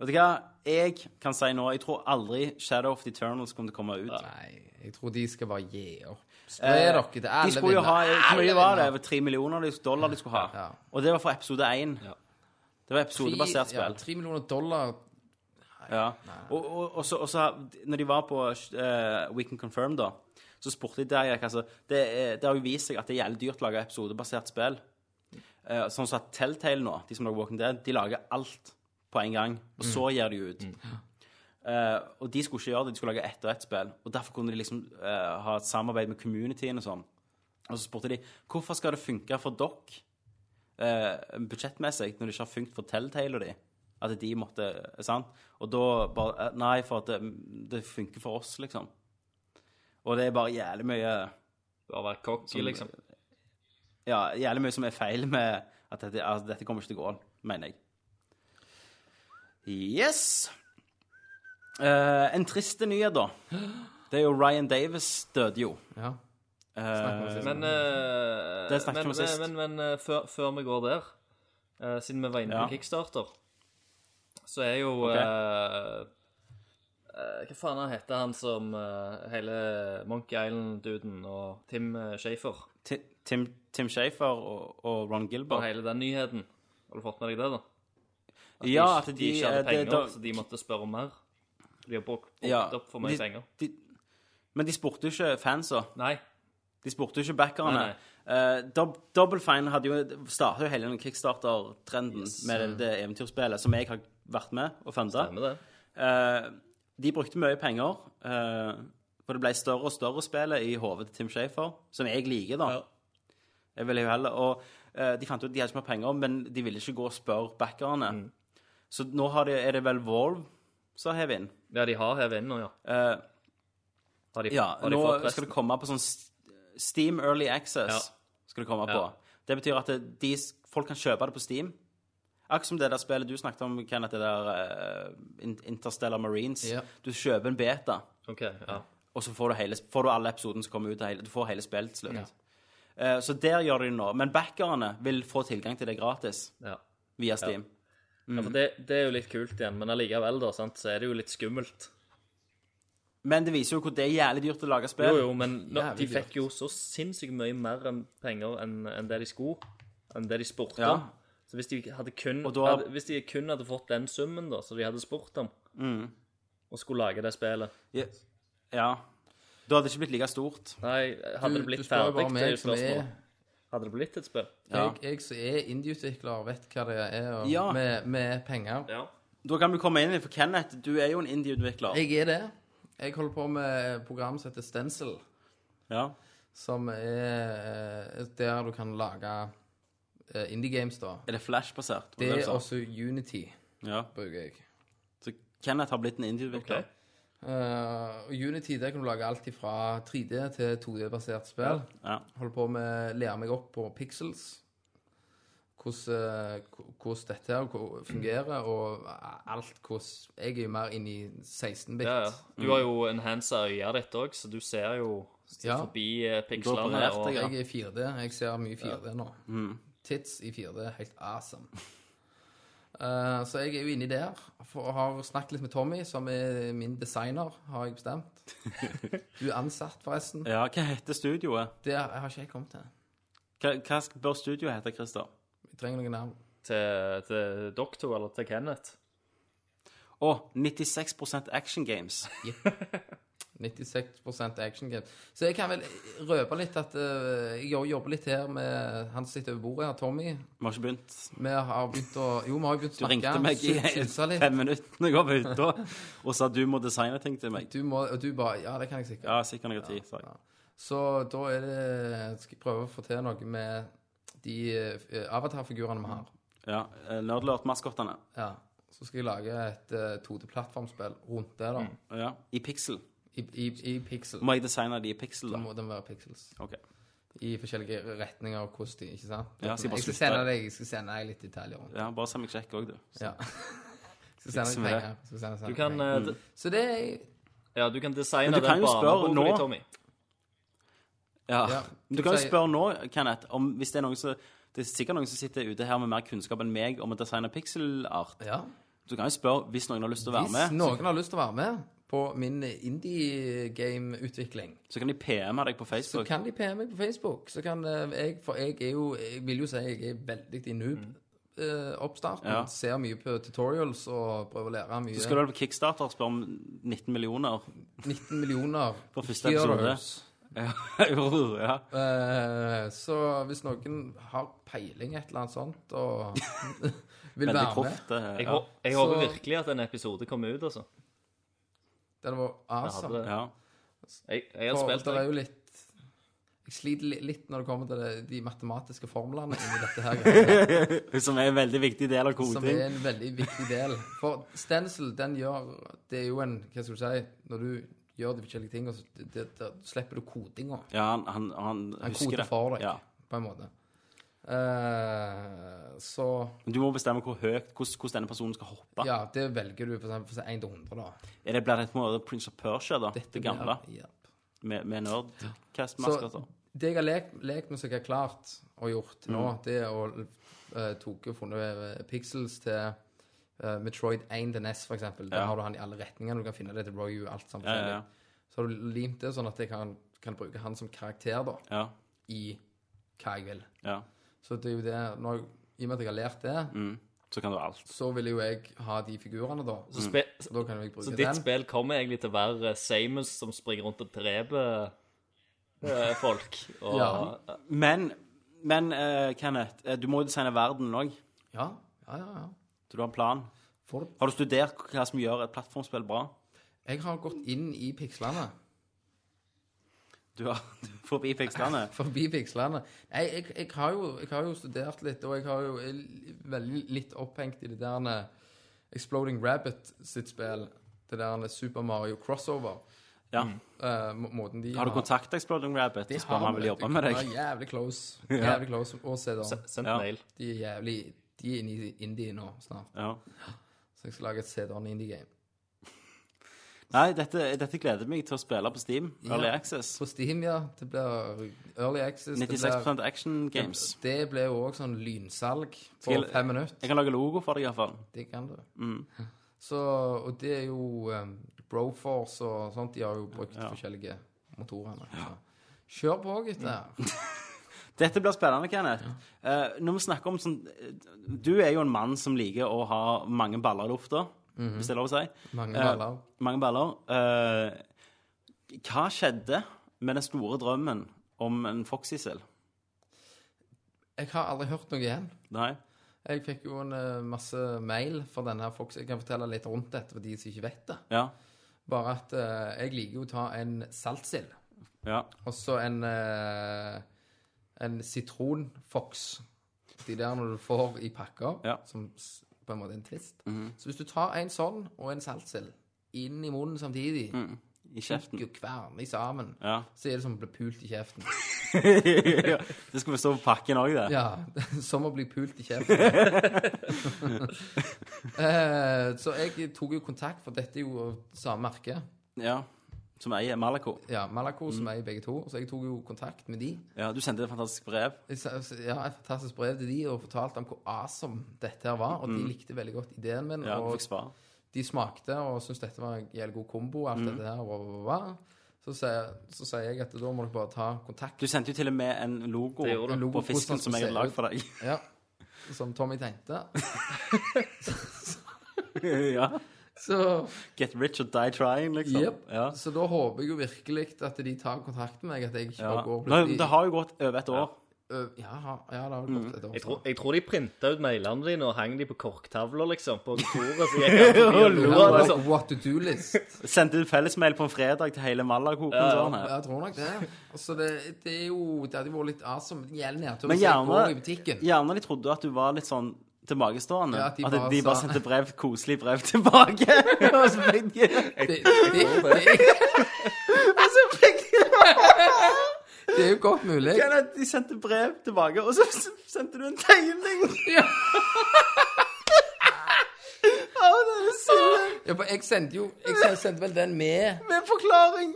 [SPEAKER 2] Vet du hva? Jeg kan si nå Jeg tror aldri Shadow of the Eternals kommer til å komme ut. Eh,
[SPEAKER 1] Nei, jeg tror de skal bare gi opp. Spre dere til alle
[SPEAKER 2] de skulle jo ha eh,
[SPEAKER 1] vinner.
[SPEAKER 2] Hvor mye
[SPEAKER 1] Alle
[SPEAKER 2] var det?
[SPEAKER 1] vinner.
[SPEAKER 2] Over Tre millioner de- dollar de skulle ha.
[SPEAKER 1] Ja.
[SPEAKER 2] Og det var for episode én.
[SPEAKER 6] Ja.
[SPEAKER 2] Det var episodebasert
[SPEAKER 1] Ja,
[SPEAKER 2] spill.
[SPEAKER 1] Tre millioner dollar
[SPEAKER 2] Ja. Og, og, og, så, og så, når de var på uh, We Can Confirm, da, så spurte de Derek altså, det, er- det har jo vist seg at det er jævlig dyrt å lage episodebasert spill. Eh, sånn som at Telltale nå, de som lager Walking Dead, de lager alt på en gang, og så gir de ut. Eh, og de skulle ikke gjøre det, de skulle lage ett og ett spill. Og derfor kunne de liksom eh, ha et samarbeid med communityen og sånn. Og så spurte de hvorfor skal det funke for dere eh, budsjettmessig når det ikke har funket for Telltale og de? At de måtte Sant? Og da bare eh, Nei, for at det, det funker for oss, liksom. Og det er bare jævlig mye
[SPEAKER 6] Bare være cocky, liksom.
[SPEAKER 2] Ja, jævlig mye som er feil med at dette, altså, dette kommer ikke til å gå, mener jeg. Yes. Eh, en triste nyhet, da. Det er jo Ryan Davis døde jo.
[SPEAKER 1] Ja.
[SPEAKER 2] Eh,
[SPEAKER 6] Men, eh,
[SPEAKER 2] Det snakket vi om
[SPEAKER 6] men,
[SPEAKER 2] sist.
[SPEAKER 6] men, men, eh, før, før vi går der, eh, siden vi var inne
[SPEAKER 2] Ja.
[SPEAKER 6] på Kickstarter, så er jo
[SPEAKER 2] Ok.
[SPEAKER 6] eh, eh, Hva faen han heter han som eh, hele Monkey Island-duden og Tim eh, Schafer
[SPEAKER 2] Ti- Tim, Tim Schafer og, og Ron
[SPEAKER 6] og
[SPEAKER 2] Gilbert.
[SPEAKER 6] hele den nyheten? Har du fått med deg det, da?
[SPEAKER 2] ja, at
[SPEAKER 6] de,
[SPEAKER 2] de,
[SPEAKER 6] ikke hadde
[SPEAKER 2] eh,
[SPEAKER 6] penger,
[SPEAKER 2] det- da-
[SPEAKER 6] så de måtte spørre om mer. De har brukt brukt
[SPEAKER 2] Ja,
[SPEAKER 6] opp for mye
[SPEAKER 2] de-
[SPEAKER 6] penger.
[SPEAKER 2] de, Men de spurte jo ikke fansa.
[SPEAKER 6] Nei.
[SPEAKER 2] De spurte jo ikke backerne.
[SPEAKER 6] Nei, nei.
[SPEAKER 2] Eh, Dob Double Fine hadde jo starta jo hele den kickstarter-trenden med det, det eventyrspillet, som jeg har vært med og funda.
[SPEAKER 6] Stemmer det.
[SPEAKER 2] Eh, de brukte mye penger, eh, for det ble større og større spillet i hodet til Tim Shafer, som jeg liker, da.
[SPEAKER 6] Ja.
[SPEAKER 2] Jeg ville jo heller, og eh, De fant ut at de hadde ikke mer penger, men de ville ikke gå og spørre backerne.
[SPEAKER 6] Mm.
[SPEAKER 2] Så nå har de, er det vel Volve som har hevet inn.
[SPEAKER 6] Ja, de har hevet inn nå, ja.
[SPEAKER 2] Eh,
[SPEAKER 6] Har de,
[SPEAKER 2] ja,
[SPEAKER 6] har de
[SPEAKER 2] nå
[SPEAKER 6] fått
[SPEAKER 2] skal
[SPEAKER 6] resten?
[SPEAKER 2] det komme på sånn s- Steam Early Access.
[SPEAKER 6] Ja.
[SPEAKER 2] skal det komme på.
[SPEAKER 6] Ja.
[SPEAKER 2] Det betyr at det, de, s- folk kan kjøpe det på Steam. Akkurat som det der spillet du snakket om, Kenneth, det der eh, In- Interstellar Marines.
[SPEAKER 1] Ja.
[SPEAKER 2] Du kjøper en beta,
[SPEAKER 6] Ok, ja.
[SPEAKER 2] og så får du, hele, får du alle episoden som kommer ut. av Hele, du får hele spillet til slutt. Eh, så der gjør de det nå. Men backerne vil få tilgang til det gratis
[SPEAKER 6] ja.
[SPEAKER 2] via Steam.
[SPEAKER 6] ja for det, det er jo litt kult igjen, men allikevel, da, sant, så er det jo litt skummelt.
[SPEAKER 2] Men det viser jo hvor det er jævlig dyrt å lage
[SPEAKER 6] Jo,
[SPEAKER 2] spill.
[SPEAKER 6] jo, men nå,
[SPEAKER 1] Jævlig
[SPEAKER 6] de
[SPEAKER 1] dyrt.
[SPEAKER 6] fikk jo så sinnssykt mye mer enn penger enn enn det de skulle, enn det de spurte
[SPEAKER 2] Ja.
[SPEAKER 6] om. Så hvis de, hadde kun,
[SPEAKER 2] Og da-
[SPEAKER 6] hadde, hvis de kun hadde fått den summen da, som de hadde spurt om, og skulle lage det spillet
[SPEAKER 2] Ja. ja. Da hadde det ikke blitt like stort.
[SPEAKER 6] Nei, hadde det blitt
[SPEAKER 1] du spør jo
[SPEAKER 6] ferdig,
[SPEAKER 1] bare
[SPEAKER 6] det er
[SPEAKER 1] meg
[SPEAKER 6] jo
[SPEAKER 1] som er
[SPEAKER 6] spørsmålet. Hadde det blitt et spill?
[SPEAKER 2] Ja.
[SPEAKER 1] Jeg, jeg som er indieutvikler, vet hva det er og,
[SPEAKER 2] Ja.
[SPEAKER 1] med, med penger.
[SPEAKER 6] Ja.
[SPEAKER 2] Da kan vi komme inn i for Kenneth, du er jo en indie-utvikler.
[SPEAKER 1] Jeg er det. Jeg holder på med et program som heter Stencil,
[SPEAKER 2] Ja.
[SPEAKER 1] som er eh, der du kan lage eh, indie games, da.
[SPEAKER 2] Er det Flash-basert? var
[SPEAKER 1] Det
[SPEAKER 2] du
[SPEAKER 1] er
[SPEAKER 2] sa?
[SPEAKER 1] også Unity,
[SPEAKER 2] Ja.
[SPEAKER 1] bruker jeg.
[SPEAKER 2] Så Kenneth har blitt en indie-utvikler.
[SPEAKER 6] Ok.
[SPEAKER 1] Eh, og Unity der kan du lage alt fra 3D til 2D-basert spill.
[SPEAKER 2] Ja.
[SPEAKER 1] Holder på med å lære meg opp på pixels. Hvordan, eh, hvor- hvordan dette her hvor- fungerer, og alt hvordan Jeg er jo mer inne i 16-bit.
[SPEAKER 6] Ja, ja. Du har jo enhansa øya ditt òg, så du ser jo
[SPEAKER 1] Ja.
[SPEAKER 6] forbi eh, pikslene.
[SPEAKER 2] opererte
[SPEAKER 6] Og,
[SPEAKER 2] jeg, ja.
[SPEAKER 1] Jeg er 4D. Jeg ser mye 4D nå.
[SPEAKER 6] Mm.
[SPEAKER 1] Tits i 4D er helt awesome. Eh, så jeg er jo inni der. For, har snakket litt med Tommy, som er min designer, har jeg bestemt.
[SPEAKER 6] *laughs*
[SPEAKER 1] Du er ansatt, forresten.
[SPEAKER 2] ja, hva heter studioet?
[SPEAKER 1] Det har ikke jeg kommet til.
[SPEAKER 2] Hva, hva sk- bør studioet hete, Christer?
[SPEAKER 1] Jeg trenger noen navn.
[SPEAKER 6] til, til doktor eller til Kenneth.
[SPEAKER 2] Å, 96 Action Games.
[SPEAKER 1] 96 action game. Så jeg kan vel røpe litt at eh, jeg jo- jobber litt her med han som sitter over bordet her, Tommy.
[SPEAKER 2] Vi har ikke begynt.
[SPEAKER 1] Vi har begynt å Jo, vi har jo begynt å
[SPEAKER 2] Du ringte
[SPEAKER 1] snakke.
[SPEAKER 2] meg i
[SPEAKER 1] susse litt.
[SPEAKER 2] fem minutter når jeg var ute og sa du må designe ting til meg.
[SPEAKER 1] Du må, og du bare Ja, det kan jeg sikkert.
[SPEAKER 2] Ja, sikkert noe tid, sa jeg.
[SPEAKER 1] Så da er det Skal jeg prøve å få til noe med de eh, avatarfigurene vi har.
[SPEAKER 2] Ja, eh, Nerdlurt-maskottene.
[SPEAKER 1] Ja. Så skal jeg lage et eh, 2D-plattformspill rundt det, da.
[SPEAKER 2] Ja. I pixel.
[SPEAKER 1] I, i, i pixel.
[SPEAKER 2] Må jeg designe de i pixel,
[SPEAKER 1] Da
[SPEAKER 2] da?
[SPEAKER 1] må den være pixels.
[SPEAKER 2] Ok.
[SPEAKER 1] I forskjellige retninger og hvordan de Ikke sant?
[SPEAKER 2] Ja, skal jeg bare
[SPEAKER 1] jeg, skal
[SPEAKER 2] slutte?
[SPEAKER 1] sende deg, jeg skal sende deg litt detaljer rundt.
[SPEAKER 2] Ja, bare se meg kjekk òg, du.
[SPEAKER 1] Ja. Jeg skal sende
[SPEAKER 2] Fikser
[SPEAKER 1] deg
[SPEAKER 2] vi det.
[SPEAKER 1] penger. Jeg Skal sende, sende
[SPEAKER 6] Du kan,
[SPEAKER 1] penger.
[SPEAKER 6] eh, d-
[SPEAKER 1] Så det er
[SPEAKER 6] ja, du kan designe
[SPEAKER 2] Men du kan
[SPEAKER 6] den
[SPEAKER 2] jo spørre
[SPEAKER 6] barneboka
[SPEAKER 2] nå.
[SPEAKER 6] di, Tommy.
[SPEAKER 2] Ja.
[SPEAKER 1] Ja.
[SPEAKER 2] Men Du kan jo
[SPEAKER 1] Så jeg-
[SPEAKER 2] spørre nå, Kenneth, om hvis det er noen som Det er sikkert noen som sitter ute her med mer kunnskap enn meg om å designe pixelart.
[SPEAKER 1] Ja.
[SPEAKER 2] Du kan jo spørre hvis noen har lyst til å være
[SPEAKER 1] Hvis
[SPEAKER 2] med,
[SPEAKER 1] noen har lyst til å være med på min indie-game-utvikling
[SPEAKER 2] så kan de PM-e deg på
[SPEAKER 1] Så
[SPEAKER 2] Facebook.
[SPEAKER 1] kan de PM meg på Facebook. Så kan eh, jeg, for jeg er jo Jeg vil jo si jeg er veldig i noob-oppstarten.
[SPEAKER 2] Mm. Ja.
[SPEAKER 1] Ser mye på tutorials og prøver å lære mye.
[SPEAKER 2] Så skal du vel på Kickstarter og spørre om 19 millioner.
[SPEAKER 1] 19
[SPEAKER 2] *laughs*
[SPEAKER 1] millioner
[SPEAKER 2] På første episode.
[SPEAKER 1] heroes.
[SPEAKER 2] Ja. *laughs* ja.
[SPEAKER 1] Eh, så hvis noen har peiling et eller annet sånt
[SPEAKER 2] *laughs*
[SPEAKER 1] og vil
[SPEAKER 2] Veldig
[SPEAKER 1] være med
[SPEAKER 2] kroft. det,
[SPEAKER 6] Jeg,
[SPEAKER 2] Ja.
[SPEAKER 6] hå- jeg
[SPEAKER 1] Så-
[SPEAKER 6] håper virkelig at en episode kommer ut, altså.
[SPEAKER 1] Det hadde vært
[SPEAKER 6] Jeg, hadde
[SPEAKER 1] awesome.
[SPEAKER 6] det.
[SPEAKER 2] ja. *laughs*
[SPEAKER 6] jeg, jeg har
[SPEAKER 1] For
[SPEAKER 6] spilt
[SPEAKER 1] det er
[SPEAKER 6] det.
[SPEAKER 1] jo litt Jeg sliter li- litt når det kommer til det, de matematiske formlene inni dette her. greiene.
[SPEAKER 2] *laughs* Som er en veldig viktig del av
[SPEAKER 1] Som er
[SPEAKER 2] koding.
[SPEAKER 1] en veldig viktig del. For stencil, den gjør Det er jo en Hva skal du si Når du gjør de forskjellige tingene, så det, det, da slipper du kodinga.
[SPEAKER 2] Ja, han, han, han
[SPEAKER 1] Han
[SPEAKER 2] husker
[SPEAKER 1] koder
[SPEAKER 2] det.
[SPEAKER 1] for deg,
[SPEAKER 2] Ja.
[SPEAKER 1] på en måte. Eh, så
[SPEAKER 2] Men du må bestemme hvor høyt, hvordan, hvordan denne personen skal hoppe.
[SPEAKER 1] Ja, det velger du for eksempel fra 1 til 100, da.
[SPEAKER 2] Er det blir det på en måte Prince of Persia, da? det gamle?
[SPEAKER 1] blir- ja.
[SPEAKER 2] Med, med
[SPEAKER 1] Så
[SPEAKER 2] nerdcast-maskotter?
[SPEAKER 1] det jeg har lekt, lekt med som jeg har klart og gjort nå,
[SPEAKER 2] Mm.
[SPEAKER 1] det er å uh, tok og funnet eh, pixels til eh, Metroid 1 til NES, for eksempel. Der
[SPEAKER 2] Ja.
[SPEAKER 1] har du han i alle retninger. Du kan finne det til Royu, alt sammen.
[SPEAKER 2] Ja, ja, ja.
[SPEAKER 1] Så har du limt det sånn at jeg kan, kan bruke han som karakter, da,
[SPEAKER 2] Ja.
[SPEAKER 1] i hva jeg vil.
[SPEAKER 2] ja.
[SPEAKER 1] Så det er jo det når, jeg- I og med at jeg har lært det,
[SPEAKER 2] Mm. Så kan du alt.
[SPEAKER 1] så vil jo jeg ha de figurene, da.
[SPEAKER 6] Så, spe,
[SPEAKER 1] Så da kan jo jeg bruke
[SPEAKER 6] så ditt
[SPEAKER 1] den.
[SPEAKER 6] spill kommer egentlig til å være Samus som springer rundt og dreper eh, folk. Og,
[SPEAKER 1] Ja.
[SPEAKER 2] Men, men eh, Kenneth, eh, du må jo designe verden òg.
[SPEAKER 1] Ja, ja, ja. ja.
[SPEAKER 2] Så du har en plan.
[SPEAKER 1] Får du?
[SPEAKER 2] Har du studert hva som gjør et plattformspill bra?
[SPEAKER 1] Jeg har gått inn i pikslene.
[SPEAKER 2] Du har *laughs* du er forbi pikslene.
[SPEAKER 1] *laughs* Forbi pikslene. Nei, jeg, jeg, har jo, jeg har jo studert litt, og jeg har jo er li- veldig litt opphengt i det der eh, Exploding Rabbit sitt spill. Det der eh, Super Mario crossover.
[SPEAKER 2] Ja.
[SPEAKER 1] eh, må- måten de
[SPEAKER 2] Har du kontakta Exploding Rabbit og spør om han vil jobbe med deg?
[SPEAKER 1] De er jævlig
[SPEAKER 2] *laughs*
[SPEAKER 1] close. Jævlig close. Og se da.
[SPEAKER 6] Sendt
[SPEAKER 2] Ja.
[SPEAKER 6] mail.
[SPEAKER 1] De er jævlig De er inne i indie nå snart.
[SPEAKER 2] Ja.
[SPEAKER 1] Så jeg skal lage et CD-on indie game.
[SPEAKER 2] Nei, dette, dette gleder jeg meg til å spille på Steam. Early Access.
[SPEAKER 1] På Steam, ja. Det blir Early Access. det blir-
[SPEAKER 2] 96 action games.
[SPEAKER 1] Det ble jo òg sånn lynsalg på
[SPEAKER 2] Skal jeg-
[SPEAKER 1] fem minutter.
[SPEAKER 2] Jeg kan lage logo for deg, iallfall.
[SPEAKER 1] Det kan du. Så, og det er jo um, Broforce og sånt. De har jo brukt forskjellige motorene. Så. Kjør på, gutter.
[SPEAKER 2] Dette blir spennende, Kenneth. Eh, når vi snakker om sånn eh, Du er jo en mann som liker å ha mange baller i lufta, hvis det er lov å si.
[SPEAKER 1] Mange
[SPEAKER 2] Eh,
[SPEAKER 1] baller.
[SPEAKER 2] mange baller. Eh, hva skjedde med den store drømmen om en foxysel?
[SPEAKER 1] Jeg har aldri hørt noe igjen.
[SPEAKER 2] Nei?
[SPEAKER 1] Jeg fikk jo en eh, masse mail fra denne her Fox. Jeg kan fortelle litt rundt dette for de som ikke vet det.
[SPEAKER 2] Ja.
[SPEAKER 1] Bare at eh, jeg liker jo å ta en saltsild,
[SPEAKER 2] Ja.
[SPEAKER 1] og så en eh, en sitronfox. De der når du får i pakker,
[SPEAKER 2] Ja. Mhm.
[SPEAKER 1] som s- på en måte er en twist. Så hvis du tar en sånn og en saltsild inn i munnen samtidig, mm.
[SPEAKER 2] I kjeften.
[SPEAKER 1] og kverner sammen,
[SPEAKER 2] Mhm. Ja. *laughs*
[SPEAKER 1] så er det som å bli pult i kjeften.
[SPEAKER 2] ja. Det skulle stå på pakken òg, det.
[SPEAKER 1] Ja, *laughs* som å bli pult i
[SPEAKER 2] *laughs*
[SPEAKER 1] kjeften. Eh, så jeg tok jo kontakt, for dette er jo av samme merke.
[SPEAKER 2] Ja. Som eier Malaco.
[SPEAKER 1] Ja, Malaco,
[SPEAKER 2] Mhm.
[SPEAKER 1] som er i begge to. Så jeg tok jo kontakt med de.
[SPEAKER 2] Ja, du sendte et fantastisk brev.
[SPEAKER 1] Jeg sa- Ja, Et fantastisk brev til de og fortalte om hvor awesome dette her var. Og de likte veldig godt ideen min.
[SPEAKER 2] Mm. Ja, du
[SPEAKER 1] og
[SPEAKER 2] fikk svar.
[SPEAKER 1] de smakte og syntes dette var en jævlig god kombo. Alt
[SPEAKER 2] Mm.
[SPEAKER 1] dette her, bla, bla, bla. Så sier, så sier jeg at da må dere bare ta kontakt.
[SPEAKER 2] Du sendte jo til og med en logo,
[SPEAKER 6] Det gjorde du.
[SPEAKER 1] En logo
[SPEAKER 2] på
[SPEAKER 1] på
[SPEAKER 2] fisken
[SPEAKER 1] hvordan
[SPEAKER 2] som jeg
[SPEAKER 1] den ser
[SPEAKER 2] hadde lagd
[SPEAKER 1] ut.
[SPEAKER 2] for deg.
[SPEAKER 1] Ja, Som Tommy tenkte.
[SPEAKER 2] *laughs* ja.
[SPEAKER 1] Så
[SPEAKER 2] Get rich or die trying, liksom.
[SPEAKER 1] Jep.
[SPEAKER 2] Ja.
[SPEAKER 1] Så da håper jeg jo virkelig at de tar kontakt med meg, at jeg ikke
[SPEAKER 2] Ja.
[SPEAKER 1] bare går
[SPEAKER 2] Nå, det har Mm. jo gått over et år.
[SPEAKER 1] Ø, ja, ha- ja, det har det gått et år.
[SPEAKER 6] Jeg tror, jeg tror de printa ut mailene dine og hang de på korktavler, liksom, på kontoret. Så
[SPEAKER 1] *laughs*
[SPEAKER 6] gikk jeg forbi og lo av det
[SPEAKER 1] Ja,
[SPEAKER 2] liksom.
[SPEAKER 6] sånn.
[SPEAKER 1] what to
[SPEAKER 2] *laughs*
[SPEAKER 1] do-list.
[SPEAKER 2] Sendte ut fellesmail på en fredag til hele Malaco-konsernet.
[SPEAKER 1] Jeg tror nok det. Altså, det, det er jo Det hadde jo vært litt awesome. Det Gjelder nedtur
[SPEAKER 2] Men
[SPEAKER 1] hvis jeg går i
[SPEAKER 2] gjerne,
[SPEAKER 1] butikken.
[SPEAKER 2] gjerne de trodde at du var litt sånn tilbakestående.
[SPEAKER 1] Ja,
[SPEAKER 2] at de bare,
[SPEAKER 1] sa-
[SPEAKER 2] sendte brev, koselig brev tilbake. *laughs* og så fikk de
[SPEAKER 1] Det, det, det, det er jo godt mulig.
[SPEAKER 2] Kenneth, De sendte brev tilbake, og så sendte du en tegning!
[SPEAKER 1] Ja.
[SPEAKER 2] *laughs* Å, det er så
[SPEAKER 1] Ja, for jeg sendte jo Jeg sendte vel den med
[SPEAKER 2] Med forklaring!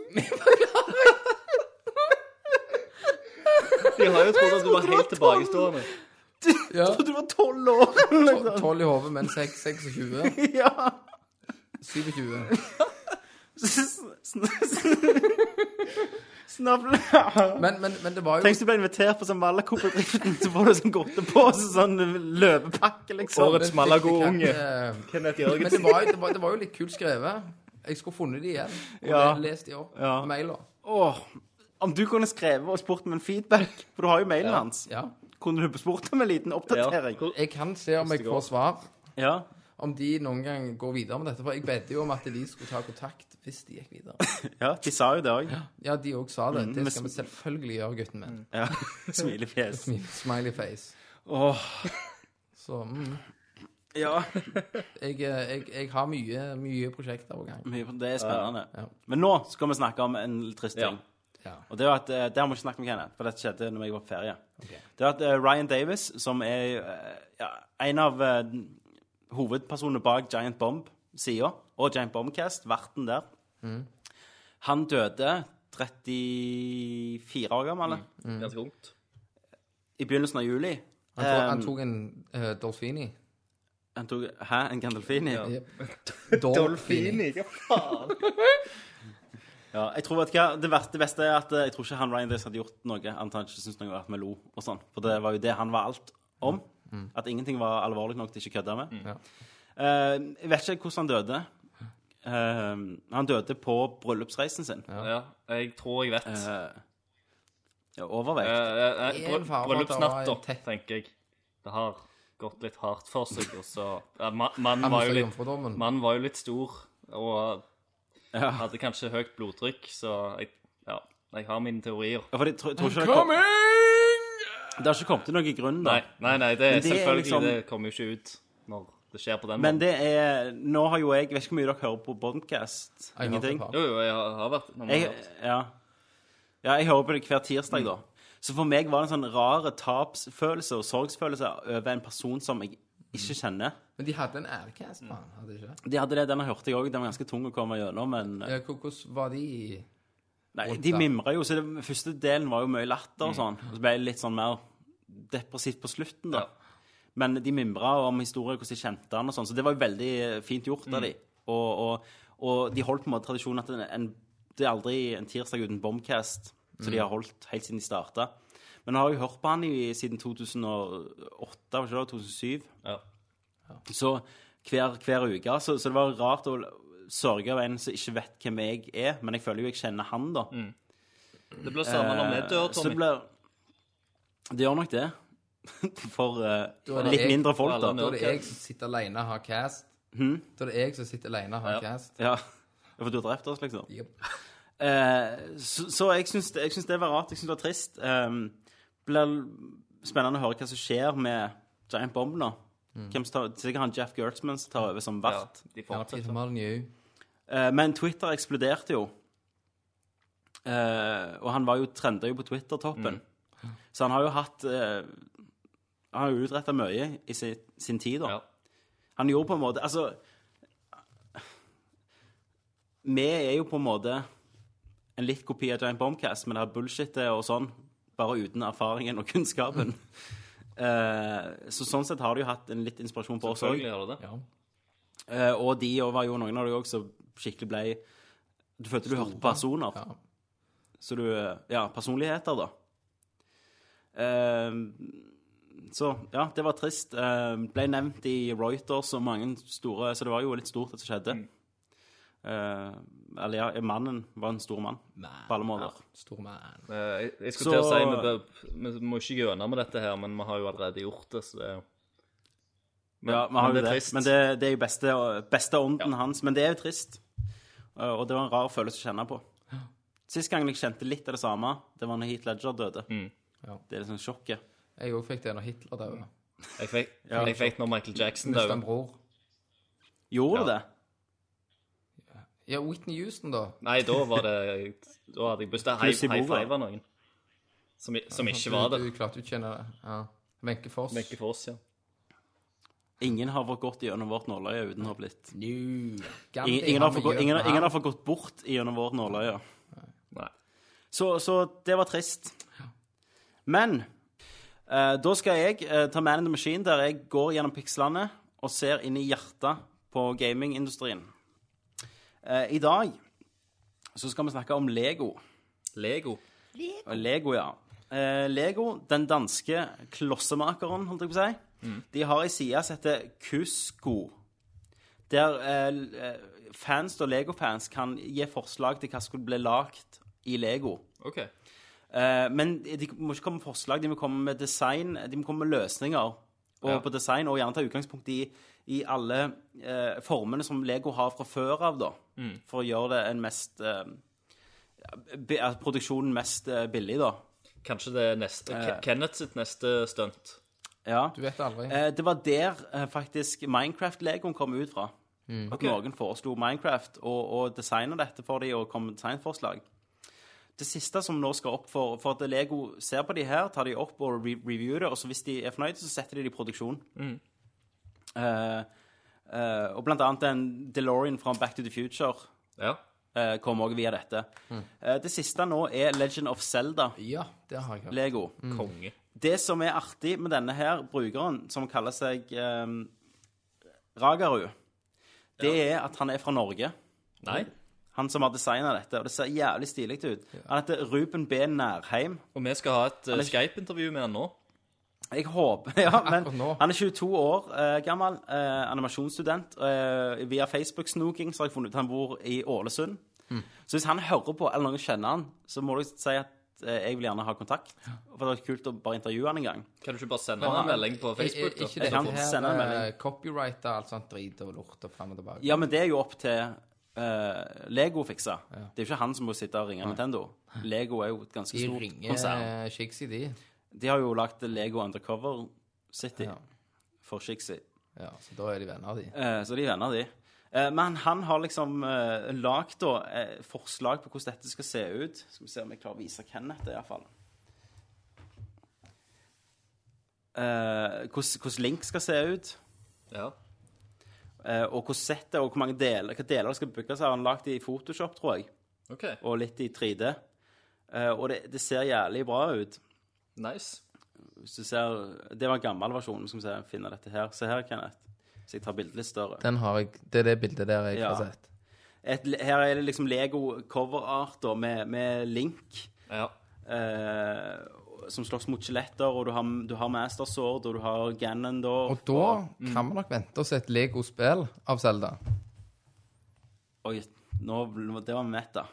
[SPEAKER 6] De har jo trodd at du var helt tilbakestående.
[SPEAKER 1] ja,
[SPEAKER 2] Du var tolv år! liksom.
[SPEAKER 1] 12 i hodet, men 6, 26.
[SPEAKER 2] *laughs* Ja.
[SPEAKER 1] 27.
[SPEAKER 2] Snavle
[SPEAKER 1] *laughs* Men, men, men det var jo
[SPEAKER 2] Tenk hvis du ble invitert på sånn Malaco-bedriften, så får du sånn godtepose, sånn løpepakke, liksom.
[SPEAKER 6] Årets Malago-unge.
[SPEAKER 1] Eh, Men det
[SPEAKER 6] Kenneth Jørgensen.
[SPEAKER 1] var, jo- det, var, det var jo litt kult skrevet. Jeg skulle funnet de igjen. Og
[SPEAKER 2] Ja.
[SPEAKER 1] le- lest de opp.
[SPEAKER 2] Ja.
[SPEAKER 1] Mailer.
[SPEAKER 2] Åh, om du kunne skrevet og spurt om en feedback, for du har jo mailen hans,
[SPEAKER 1] Ja.
[SPEAKER 2] kunne du spurt om en liten
[SPEAKER 6] Ja.
[SPEAKER 2] oppdatering?
[SPEAKER 6] Hvor-
[SPEAKER 1] Jeg kan se om jeg
[SPEAKER 6] det går.
[SPEAKER 1] får svar.
[SPEAKER 2] Ja.
[SPEAKER 1] Om de noen gang går videre med dette. For jeg bedte jo om at de skulle ta kontakt hvis de gikk videre.
[SPEAKER 2] ja, de sa jo det òg.
[SPEAKER 1] Ja, de òg sa
[SPEAKER 2] Mm,
[SPEAKER 1] det. Det skal vi selvfølgelig gjøre, gutten min.
[SPEAKER 2] Ja. *laughs* Smilefjes.
[SPEAKER 1] Smiley face.
[SPEAKER 2] Åh,
[SPEAKER 1] Så mm.
[SPEAKER 2] ja.
[SPEAKER 1] jeg, eh, jeg, jeg har mye, mye prosjekter på gang.
[SPEAKER 2] Mye på- Det er spennende.
[SPEAKER 1] Ja.
[SPEAKER 2] Men nå skal vi snakke om en litt trist ting.
[SPEAKER 6] Ja.
[SPEAKER 1] Ja.
[SPEAKER 2] Og det var at, eh, det har vi ikke snakket om, Kenneth, for dette skjedde når jeg var på ferie. Det var at eh, Ryan Davis, som er eh, ja, en av eh, hovedpersonene bak Giant Bomb-sida, og Giant Bombcast, verten der, han døde 34 år gammel,
[SPEAKER 1] Mm.
[SPEAKER 6] Ganske ungt.
[SPEAKER 2] i begynnelsen av juli.
[SPEAKER 1] Han, tok, han
[SPEAKER 2] Eh,
[SPEAKER 1] tok en eh, Dolfini.
[SPEAKER 2] han tok Hæ, en Gandolfini? Ja.
[SPEAKER 1] Jep. Dolfini.
[SPEAKER 2] jeg tror vet du hva, det, verste, det beste er at eh, jeg tror ikke han Ryan Davis hadde gjort noe, annet han ikke syntes noe om at vi lo og sånn. For det var jo det han var alt om. At ingenting var alvorlig nok til ikke å kødde med.
[SPEAKER 1] Mm. Ja.
[SPEAKER 2] Eh, jeg vet ikke hvordan han døde. Eh, han døde på bryllupsreisen sin.
[SPEAKER 6] Ja, jeg tror jeg vet.
[SPEAKER 2] Eh, ja, overvekt.
[SPEAKER 6] Eh, eh, eh,
[SPEAKER 1] En far for at det var en
[SPEAKER 6] Bryllupsnatta,
[SPEAKER 1] tett-
[SPEAKER 6] tenker jeg. Det har gått litt hardt for seg, og så ja, ma- Mannen var, jo litt-
[SPEAKER 1] Jomfrudommen.
[SPEAKER 6] mannen var jo litt stor og
[SPEAKER 2] Ja.
[SPEAKER 6] hadde kanskje høyt blodtrykk, så jeg, ja, jeg har mine teorier.
[SPEAKER 2] For jeg tror, tror ikke det, kom,
[SPEAKER 1] Coming!
[SPEAKER 2] det har ikke kommet til noen grunn, da.
[SPEAKER 6] Nei, nei, nei det er
[SPEAKER 2] det er
[SPEAKER 6] selvfølgelig
[SPEAKER 2] liksom-
[SPEAKER 6] Det kommer jo ikke ut når det skjer på den
[SPEAKER 2] Men
[SPEAKER 6] måten.
[SPEAKER 2] det er Nå har jo jeg Jeg vet ikke hvor mye dere hører på Bodcast.
[SPEAKER 1] Jeg har
[SPEAKER 2] Ingenting?
[SPEAKER 1] ikke hørt.
[SPEAKER 6] Jo, jo, jeg har, har vært når man
[SPEAKER 2] Jeg,
[SPEAKER 6] har hørt.
[SPEAKER 2] ja. ja, jeg hører på det hver tirsdag, da. Så for meg var det en sånn rar tapsfølelse og sorgsfølelse over en person som jeg ikke kjenner.
[SPEAKER 1] Men de hadde en Adcast, mann. Hadde de ikke? det?
[SPEAKER 2] De hadde det, Den hørte jeg òg. Den var ganske tung å komme gjennom. Men
[SPEAKER 1] Ja, hvor- hvordan var de i
[SPEAKER 2] nei,
[SPEAKER 1] rundt
[SPEAKER 2] de
[SPEAKER 1] der.
[SPEAKER 2] mimra jo, så den første delen var jo mye latter og sånn. Og så ble det litt sånn mer depressivt på slutten, da. Men de mimra om historier, hvordan de kjente han og sånn. Så det var jo veldig fint gjort av de. Og, og, og de holdt på en måte tradisjonen at en, en, det er aldri en tirsdag uten Bombcast. Så de har holdt helt siden de starta. Men jeg har jo hørt på han i, siden 2008, var ikke det? 2007.
[SPEAKER 6] Ja.
[SPEAKER 2] Så hver, hver uke. Så, så det var rart å sørge over en som ikke vet hvem jeg er, men jeg føler jo jeg kjenner han, da.
[SPEAKER 6] Det blir samme når vi dør,
[SPEAKER 2] Eh, Så det
[SPEAKER 6] Tommy.
[SPEAKER 2] blir Det gjør nok det. *laughs* For eh,
[SPEAKER 1] er det
[SPEAKER 2] litt
[SPEAKER 1] jeg-
[SPEAKER 2] mindre folk,
[SPEAKER 6] alle
[SPEAKER 2] da. Mhm.
[SPEAKER 1] Da er det
[SPEAKER 6] Ok.
[SPEAKER 1] jeg som sitter alene og har cast. Da er det jeg som sitter alene og har
[SPEAKER 6] Ja.
[SPEAKER 1] cast.
[SPEAKER 2] Ja, for du har drept oss, liksom.
[SPEAKER 1] Jep.
[SPEAKER 2] Eh, så, så jeg syns jeg syns det var rart. Jeg syns det var trist. Um, blir spennende å høre hva som skjer med Giant Bomb nå. Hvem som tar, sikkert han Jeff Gertzman som tar over som
[SPEAKER 6] Ja,
[SPEAKER 2] vert.
[SPEAKER 6] de
[SPEAKER 1] Mm. Ja,
[SPEAKER 6] fortsetter.
[SPEAKER 1] Peter Molyneux.
[SPEAKER 2] Eh, men Twitter eksploderte jo. Eh, og han var jo trenda jo på Twitter-toppen.
[SPEAKER 6] Mm.
[SPEAKER 2] Så han har jo hatt eh, Han har jo utretta mye i sin, sin tid, da.
[SPEAKER 6] Ja.
[SPEAKER 2] Han gjorde på en måte Altså Vi er jo på en måte en litt kopi av Giant Bombcast, men det er bullshit og sånn, bare uten erfaringen og *laughs* kunnskapen. Eh, så sånn sett har de jo hatt en litt inspirasjon på oss òg.
[SPEAKER 6] Selvfølgelig har du det.
[SPEAKER 1] Ja.
[SPEAKER 2] Eh, og de og var jo noen av de òg som skikkelig ble Du følte du hørte personer.
[SPEAKER 1] Ja.
[SPEAKER 2] Så du eh, Ja, personligheter, da. Eh, så ja, det var trist. Eh, ble nevnt i Reuters og mange store Så det var jo litt stort, det som skjedde. Eh, eller ja, mannen var en stor mann på alle måter.
[SPEAKER 1] Stor mann.
[SPEAKER 6] Eh, Jeg, jeg
[SPEAKER 2] Så-
[SPEAKER 6] skulle til å si vi, bør, vi må ikke gønne med dette her, men vi har jo allerede gjort det, så det er jo men,
[SPEAKER 2] Ja, vi har
[SPEAKER 6] men
[SPEAKER 2] jo det. Men det, det er jo beste, beste ånden hans. Men det er jo trist. Uh, Og det var en rar følelse å kjenne på. Sist gang jeg kjente litt av det samme, det var når Heath Ledger døde.
[SPEAKER 1] Ja.
[SPEAKER 2] Det er liksom sjokket.
[SPEAKER 1] Jeg òg fikk det når Hitler døde.
[SPEAKER 6] Jeg fikk, jeg fikk når Michael Jackson
[SPEAKER 1] Mista en
[SPEAKER 6] døde.
[SPEAKER 1] bror.
[SPEAKER 2] Gjorde du det?
[SPEAKER 1] Ja, Whitney Houston, da.
[SPEAKER 6] Nei, da var det Da hadde jeg bestilt high,
[SPEAKER 2] Plutselig
[SPEAKER 6] high
[SPEAKER 2] bor det.
[SPEAKER 6] five av noen. Som, i- som ikke var det.
[SPEAKER 1] Du, du klarte å utkjenne det. Ja. Wenche Foss.
[SPEAKER 6] Wenche Foss, ja.
[SPEAKER 2] Ingen har fått gått gjennom vårt nåløye uten å ha blitt
[SPEAKER 1] New.
[SPEAKER 2] Ingen, ingen, har fått gå- ingen, ingen har fått gått bort gjennom vårt nåløye.
[SPEAKER 6] Nei.
[SPEAKER 2] Så, så det var trist. Men eh, da skal jeg eh, ta Man in the Machine, der jeg går gjennom pikslene og ser inn i hjertet på gamingindustrien. Eh, I dag så skal vi snakke om Lego.
[SPEAKER 6] Lego.
[SPEAKER 2] Lego, ja. Eh, Lego, den danske klossemakeren, holdt jeg på å si, de har ei side som heter Kusko. Der eh, l- eh, fans og Lego-fans kan gi forslag til hva som skulle bli lagd i Lego.
[SPEAKER 6] OK.
[SPEAKER 2] Eh, men de må ikke komme med forslag, de må komme med design, de må komme med løsninger. Og
[SPEAKER 6] Ja.
[SPEAKER 2] på design, og gjerne ta utgangspunkt i, i alle eh, formene som Lego har fra før av, da. For å gjøre det en mest eh, be- altså, Produksjonen mest eh, billig, da.
[SPEAKER 6] Kanskje det er neste
[SPEAKER 1] Eh.
[SPEAKER 6] Ke- Kenneth sitt neste stunt.
[SPEAKER 2] Ja.
[SPEAKER 1] Du vet aldri.
[SPEAKER 2] Eh, det var der eh, faktisk Minecraft-legoen kom ut fra. At noen foreslo Minecraft og, og designa dette for dem og kom med designforslag. Det siste som nå skal opp for, for at Lego ser på de her, tar de opp og re reviewer det, og så hvis de er fornøyde, så setter de det i produksjon. Eh, eh, og blant annet den DeLorean fra Back to the Future
[SPEAKER 6] Ja.
[SPEAKER 2] eh, kom også via dette. Eh, det siste nå er Legend of Zelda-lego.
[SPEAKER 1] Ja, det har jeg hørt. Mm.
[SPEAKER 6] Konge.
[SPEAKER 2] Det som er artig med denne her brukeren, som kaller seg eh, Ragaru, det er at han er fra Norge.
[SPEAKER 6] Nei.
[SPEAKER 2] Han som har designa dette. Og det ser jævlig stilig ut. Han heter Ruben B. Nærheim.
[SPEAKER 6] Og vi skal ha et eh,
[SPEAKER 2] er-
[SPEAKER 6] Skype-intervju med han nå.
[SPEAKER 2] Jeg håper *laughs* Ja, men
[SPEAKER 1] Akkurat nå.
[SPEAKER 2] han er 22 år eh, gammel. eh, animasjonsstudent. eh, via Facebook-snoking
[SPEAKER 1] Mm.
[SPEAKER 2] så har jeg funnet ut at han bor i Ålesund. Så hvis han hører på, eller noen kjenner han, så må du si at eh, jeg vil gjerne ha kontakt. For det var kult å bare intervjue han en gang.
[SPEAKER 6] Kan du ikke bare sende han en melding på
[SPEAKER 1] Er
[SPEAKER 6] Facebook?
[SPEAKER 1] er Eh, ikke
[SPEAKER 6] da?
[SPEAKER 1] det
[SPEAKER 2] kan sende en
[SPEAKER 1] her
[SPEAKER 2] melding.
[SPEAKER 1] copyrighta alt sånt drit og lort og fram og tilbake?
[SPEAKER 2] Ja, men det er jo opp til eh, Lego å fikse. Det er jo ikke han som må sitte og ringe Nintendo. Lego er jo et ganske
[SPEAKER 1] De
[SPEAKER 2] stort konsern.
[SPEAKER 1] ringer Shigs i de.
[SPEAKER 2] De har jo lagd Lego Undercover City
[SPEAKER 1] Ja.
[SPEAKER 2] for Shixie.
[SPEAKER 1] Ja, så da er de venner, de.
[SPEAKER 2] Eh, så de er venner, de. Eh, men han har liksom eh, lagd da, eh, forslag på hvordan dette skal se ut. Skal vi se om jeg klarer å vise Kenneth det, iallfall. Eh, hvordan hvordan Link skal se ut,
[SPEAKER 6] Ja.
[SPEAKER 2] eh, og hvordan settet og hvor mange deler, hva deler det skal bygges av. Han har lagd det i Photoshop, tror jeg,
[SPEAKER 6] OK.
[SPEAKER 2] og litt i 3D. Eh, og det, det ser jævlig bra ut.
[SPEAKER 6] Nice.
[SPEAKER 2] Hvis du ser, Det var en gammel versjon. Skal vi se, finne dette her. Se her, Kenneth. Så jeg tar bildet litt større.
[SPEAKER 1] Den har jeg, det er det bildet der jeg
[SPEAKER 2] Ja.
[SPEAKER 1] har sett.
[SPEAKER 2] et, her er det liksom Lego coverart da, med, med Link
[SPEAKER 6] Ja.
[SPEAKER 2] eh, som slåss mot skjeletter, og du har, du har Master Sword, og du har Ganon da.
[SPEAKER 1] Og da
[SPEAKER 2] mm.
[SPEAKER 1] kan vi nok vente oss et Lego-spill av Zelda.
[SPEAKER 2] Oi, nå, ble- det var mett, da.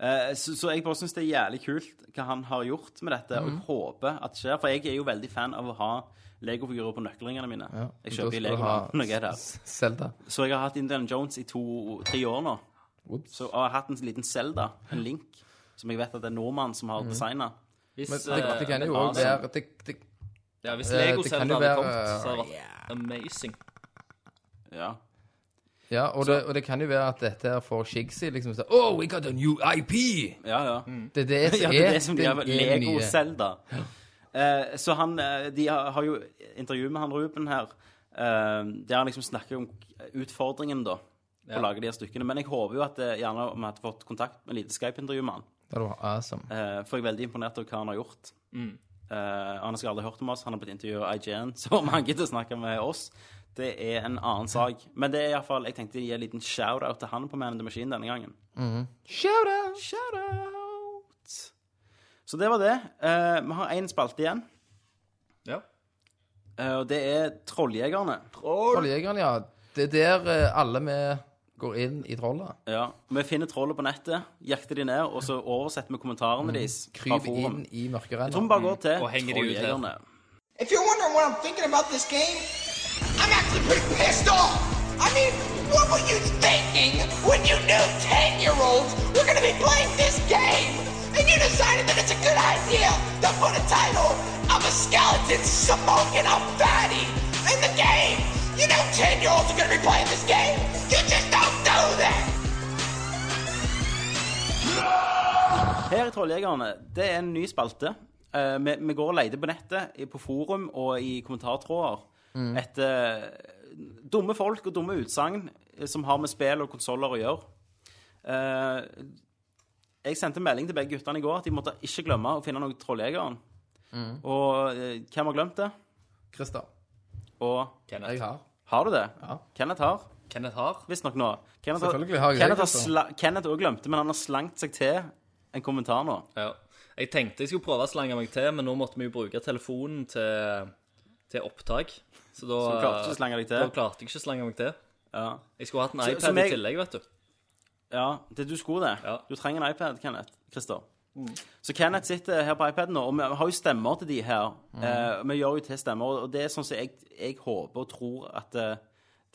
[SPEAKER 2] Eh, så, så jeg bare syns det er jævlig kult hva han har gjort med
[SPEAKER 1] Mhm.
[SPEAKER 2] dette, og jeg håper at det skjer. For jeg er jo veldig fan av å ha Lego-figurer på nøkkelringene mine. Jeg
[SPEAKER 1] Da
[SPEAKER 2] kjøper i
[SPEAKER 1] skal du
[SPEAKER 2] Lego
[SPEAKER 1] ha
[SPEAKER 2] når jeg er der.
[SPEAKER 1] S- Zelda.
[SPEAKER 2] Så jeg har hatt Indiana Jones i to-tre år nå.
[SPEAKER 1] Ops.
[SPEAKER 2] Så jeg har hatt en liten Zelda, en Link, som jeg vet at det er en nordmann som
[SPEAKER 1] Mhm.
[SPEAKER 2] har designa.
[SPEAKER 6] Hvis,
[SPEAKER 1] Men det, det kan jo
[SPEAKER 6] eh,
[SPEAKER 1] òg være det, det,
[SPEAKER 6] ja, hvis
[SPEAKER 1] eh,
[SPEAKER 6] Lego
[SPEAKER 1] det kan jo
[SPEAKER 6] Zelda hadde
[SPEAKER 1] være-
[SPEAKER 6] kommet, så hadde det vært amazing.
[SPEAKER 2] Ja.
[SPEAKER 1] Ja, og det, og det kan jo være at dette her får Shigsy liksom sånn Oh, we got a new IP!
[SPEAKER 2] Ja, *laughs* ja.
[SPEAKER 1] Det er det som er
[SPEAKER 2] *laughs* ja, det er det som de har
[SPEAKER 1] er
[SPEAKER 2] Lego
[SPEAKER 1] nye.
[SPEAKER 2] Zelda. Eh, så han eh, De har, har jo intervju med han Ruben her, eh, der han liksom snakker om utfordringen, da, på å lage de her stykkene. Men jeg håper jo at eh, gjerne om jeg hadde fått kontakt med et lite Skype-intervju med han.
[SPEAKER 1] Ja, det var awesome.
[SPEAKER 2] Eh, for jeg er veldig imponert over hva han har gjort. Eh, han har sikkert aldri hørt om oss, han har blitt intervjuet av IGN, *laughs* så om han gidder å snakke med oss, det er en annen sak. Men det er iallfall Jeg tenkte å gi en liten shout-out til han på Man in the Machine denne gangen.
[SPEAKER 1] Shout out!
[SPEAKER 2] Shout-out! Så det var det. Eh, vi har én spalte igjen,
[SPEAKER 6] Ja.
[SPEAKER 2] eh, og det er Trolljegerne.
[SPEAKER 1] Trolljegeren, ja. Det er der eh, alle vi går inn i trollet.
[SPEAKER 2] Ja, Vi finner trollet på nettet, jakter de ned, og så oversetter vi
[SPEAKER 6] Mm.
[SPEAKER 2] kommentarene deres fra
[SPEAKER 1] Kryper
[SPEAKER 2] forum.
[SPEAKER 1] inn i
[SPEAKER 2] Jeg tror vi
[SPEAKER 1] mørkerennet.
[SPEAKER 2] bare går til
[SPEAKER 6] Og henger de ut her.
[SPEAKER 2] Trolljegerne.
[SPEAKER 9] If you're wondering what I'm thinking about this game, I'm actually pretty pissed off. I mean, what were you thinking when you knew 10 year olds were going to be playing this game? And you decided that it's a good idea to put a title of a skeleton smoking a fatty in the game. You know 10 year olds are going to be playing this game. You just don't do that.
[SPEAKER 2] Her i Trolljegerne, det er en ny spalte. Eh, vi, vi går og leter på nettet, i- på forum og i kommentartråder
[SPEAKER 6] Mm.
[SPEAKER 2] etter eh, dumme folk og dumme utsagn eh, som har med spill og konsoller å gjøre. Eh, jeg sendte melding til begge guttene i går at de måtte ikke glemme å finne noe Trolljegeren.
[SPEAKER 6] Mm.
[SPEAKER 2] Og eh, hvem har glemt det?
[SPEAKER 1] Christer,
[SPEAKER 2] Og
[SPEAKER 1] jeg
[SPEAKER 6] Kenneth,
[SPEAKER 1] har.
[SPEAKER 2] har du det?
[SPEAKER 1] Ja.
[SPEAKER 2] Kenneth har.
[SPEAKER 6] Kenneth har.
[SPEAKER 2] Visstnok nå. Kenneth har,
[SPEAKER 1] Selvfølgelig har jeg det,
[SPEAKER 2] Kenneth har,
[SPEAKER 1] Christer.
[SPEAKER 2] sla, Kenneth også glemte, men han har slangt seg til en kommentar nå.
[SPEAKER 6] Ja. Jeg tenkte jeg skulle prøve å slange meg til, men nå måtte vi jo bruke telefonen til, til opptak. Så da
[SPEAKER 2] Så du klarte ikke å slange deg til?
[SPEAKER 6] Da klarte jeg ikke å slange meg til.
[SPEAKER 2] Ja.
[SPEAKER 6] Jeg skulle hatt en
[SPEAKER 2] Så-
[SPEAKER 6] iPad
[SPEAKER 2] som jeg-
[SPEAKER 6] i tillegg, vet du.
[SPEAKER 2] Ja, det du skulle det.
[SPEAKER 6] Ja.
[SPEAKER 2] Du trenger en iPad, Kenneth. Christer.
[SPEAKER 1] Mm.
[SPEAKER 2] Så Kenneth sitter her på iPaden nå, og vi har jo stemmer til de her.
[SPEAKER 1] Mm.
[SPEAKER 2] Eh, vi gjør jo til stemmer, og- og det er sånn som jeg, jeg håper og tror at eh,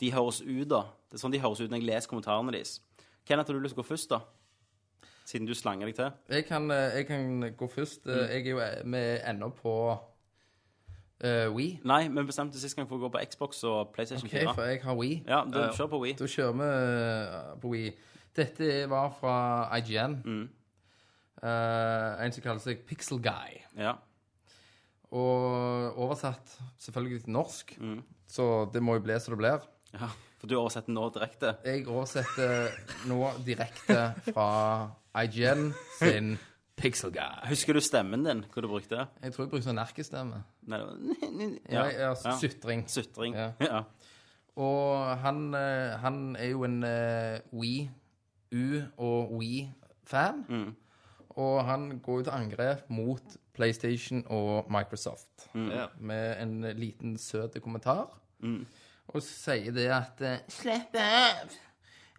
[SPEAKER 2] de høres ut, da. Det er sånn de høres ut når jeg leser kommentarene deres. Kenneth, har du lyst til å gå først, da? Siden du slanger deg til.
[SPEAKER 1] Jeg kan, eh, jeg kan gå først. Eh, Jeg er jo eh, vi er ennå på uh, We.
[SPEAKER 2] Nei, vi bestemte sist gang for å gå på Xbox og PlayStation
[SPEAKER 1] Okay,
[SPEAKER 2] 4.
[SPEAKER 1] for jeg har We.
[SPEAKER 2] Ja, du kjør på Wii.
[SPEAKER 1] Da kjører vi eh, på We. Dette var fra IGN. Eh, en som kaller seg Pixel Guy.
[SPEAKER 2] Ja.
[SPEAKER 1] Og oversatt selvfølgelig til norsk, så det må jo bli som det blir.
[SPEAKER 2] ja. For du oversetter nå direkte.
[SPEAKER 1] Jeg oversetter nå direkte fra IGN sin Pixel Guy.
[SPEAKER 2] Husker du stemmen din, hvor du brukte?
[SPEAKER 1] Jeg tror jeg bruker sånn nerkestemme.
[SPEAKER 2] Nei, det var- *laughs*
[SPEAKER 1] Ja, ja, sutring.
[SPEAKER 2] Sutring.
[SPEAKER 1] Ja.
[SPEAKER 2] *laughs* ja.
[SPEAKER 1] Og han, eh, han er jo en eh, Wii U og Wii-fan. Og han går jo til angrep mot PlayStation og Microsoft
[SPEAKER 6] Ja.
[SPEAKER 1] med en Mm. liten søt kommentar. Og sier det at eh, Slipp av!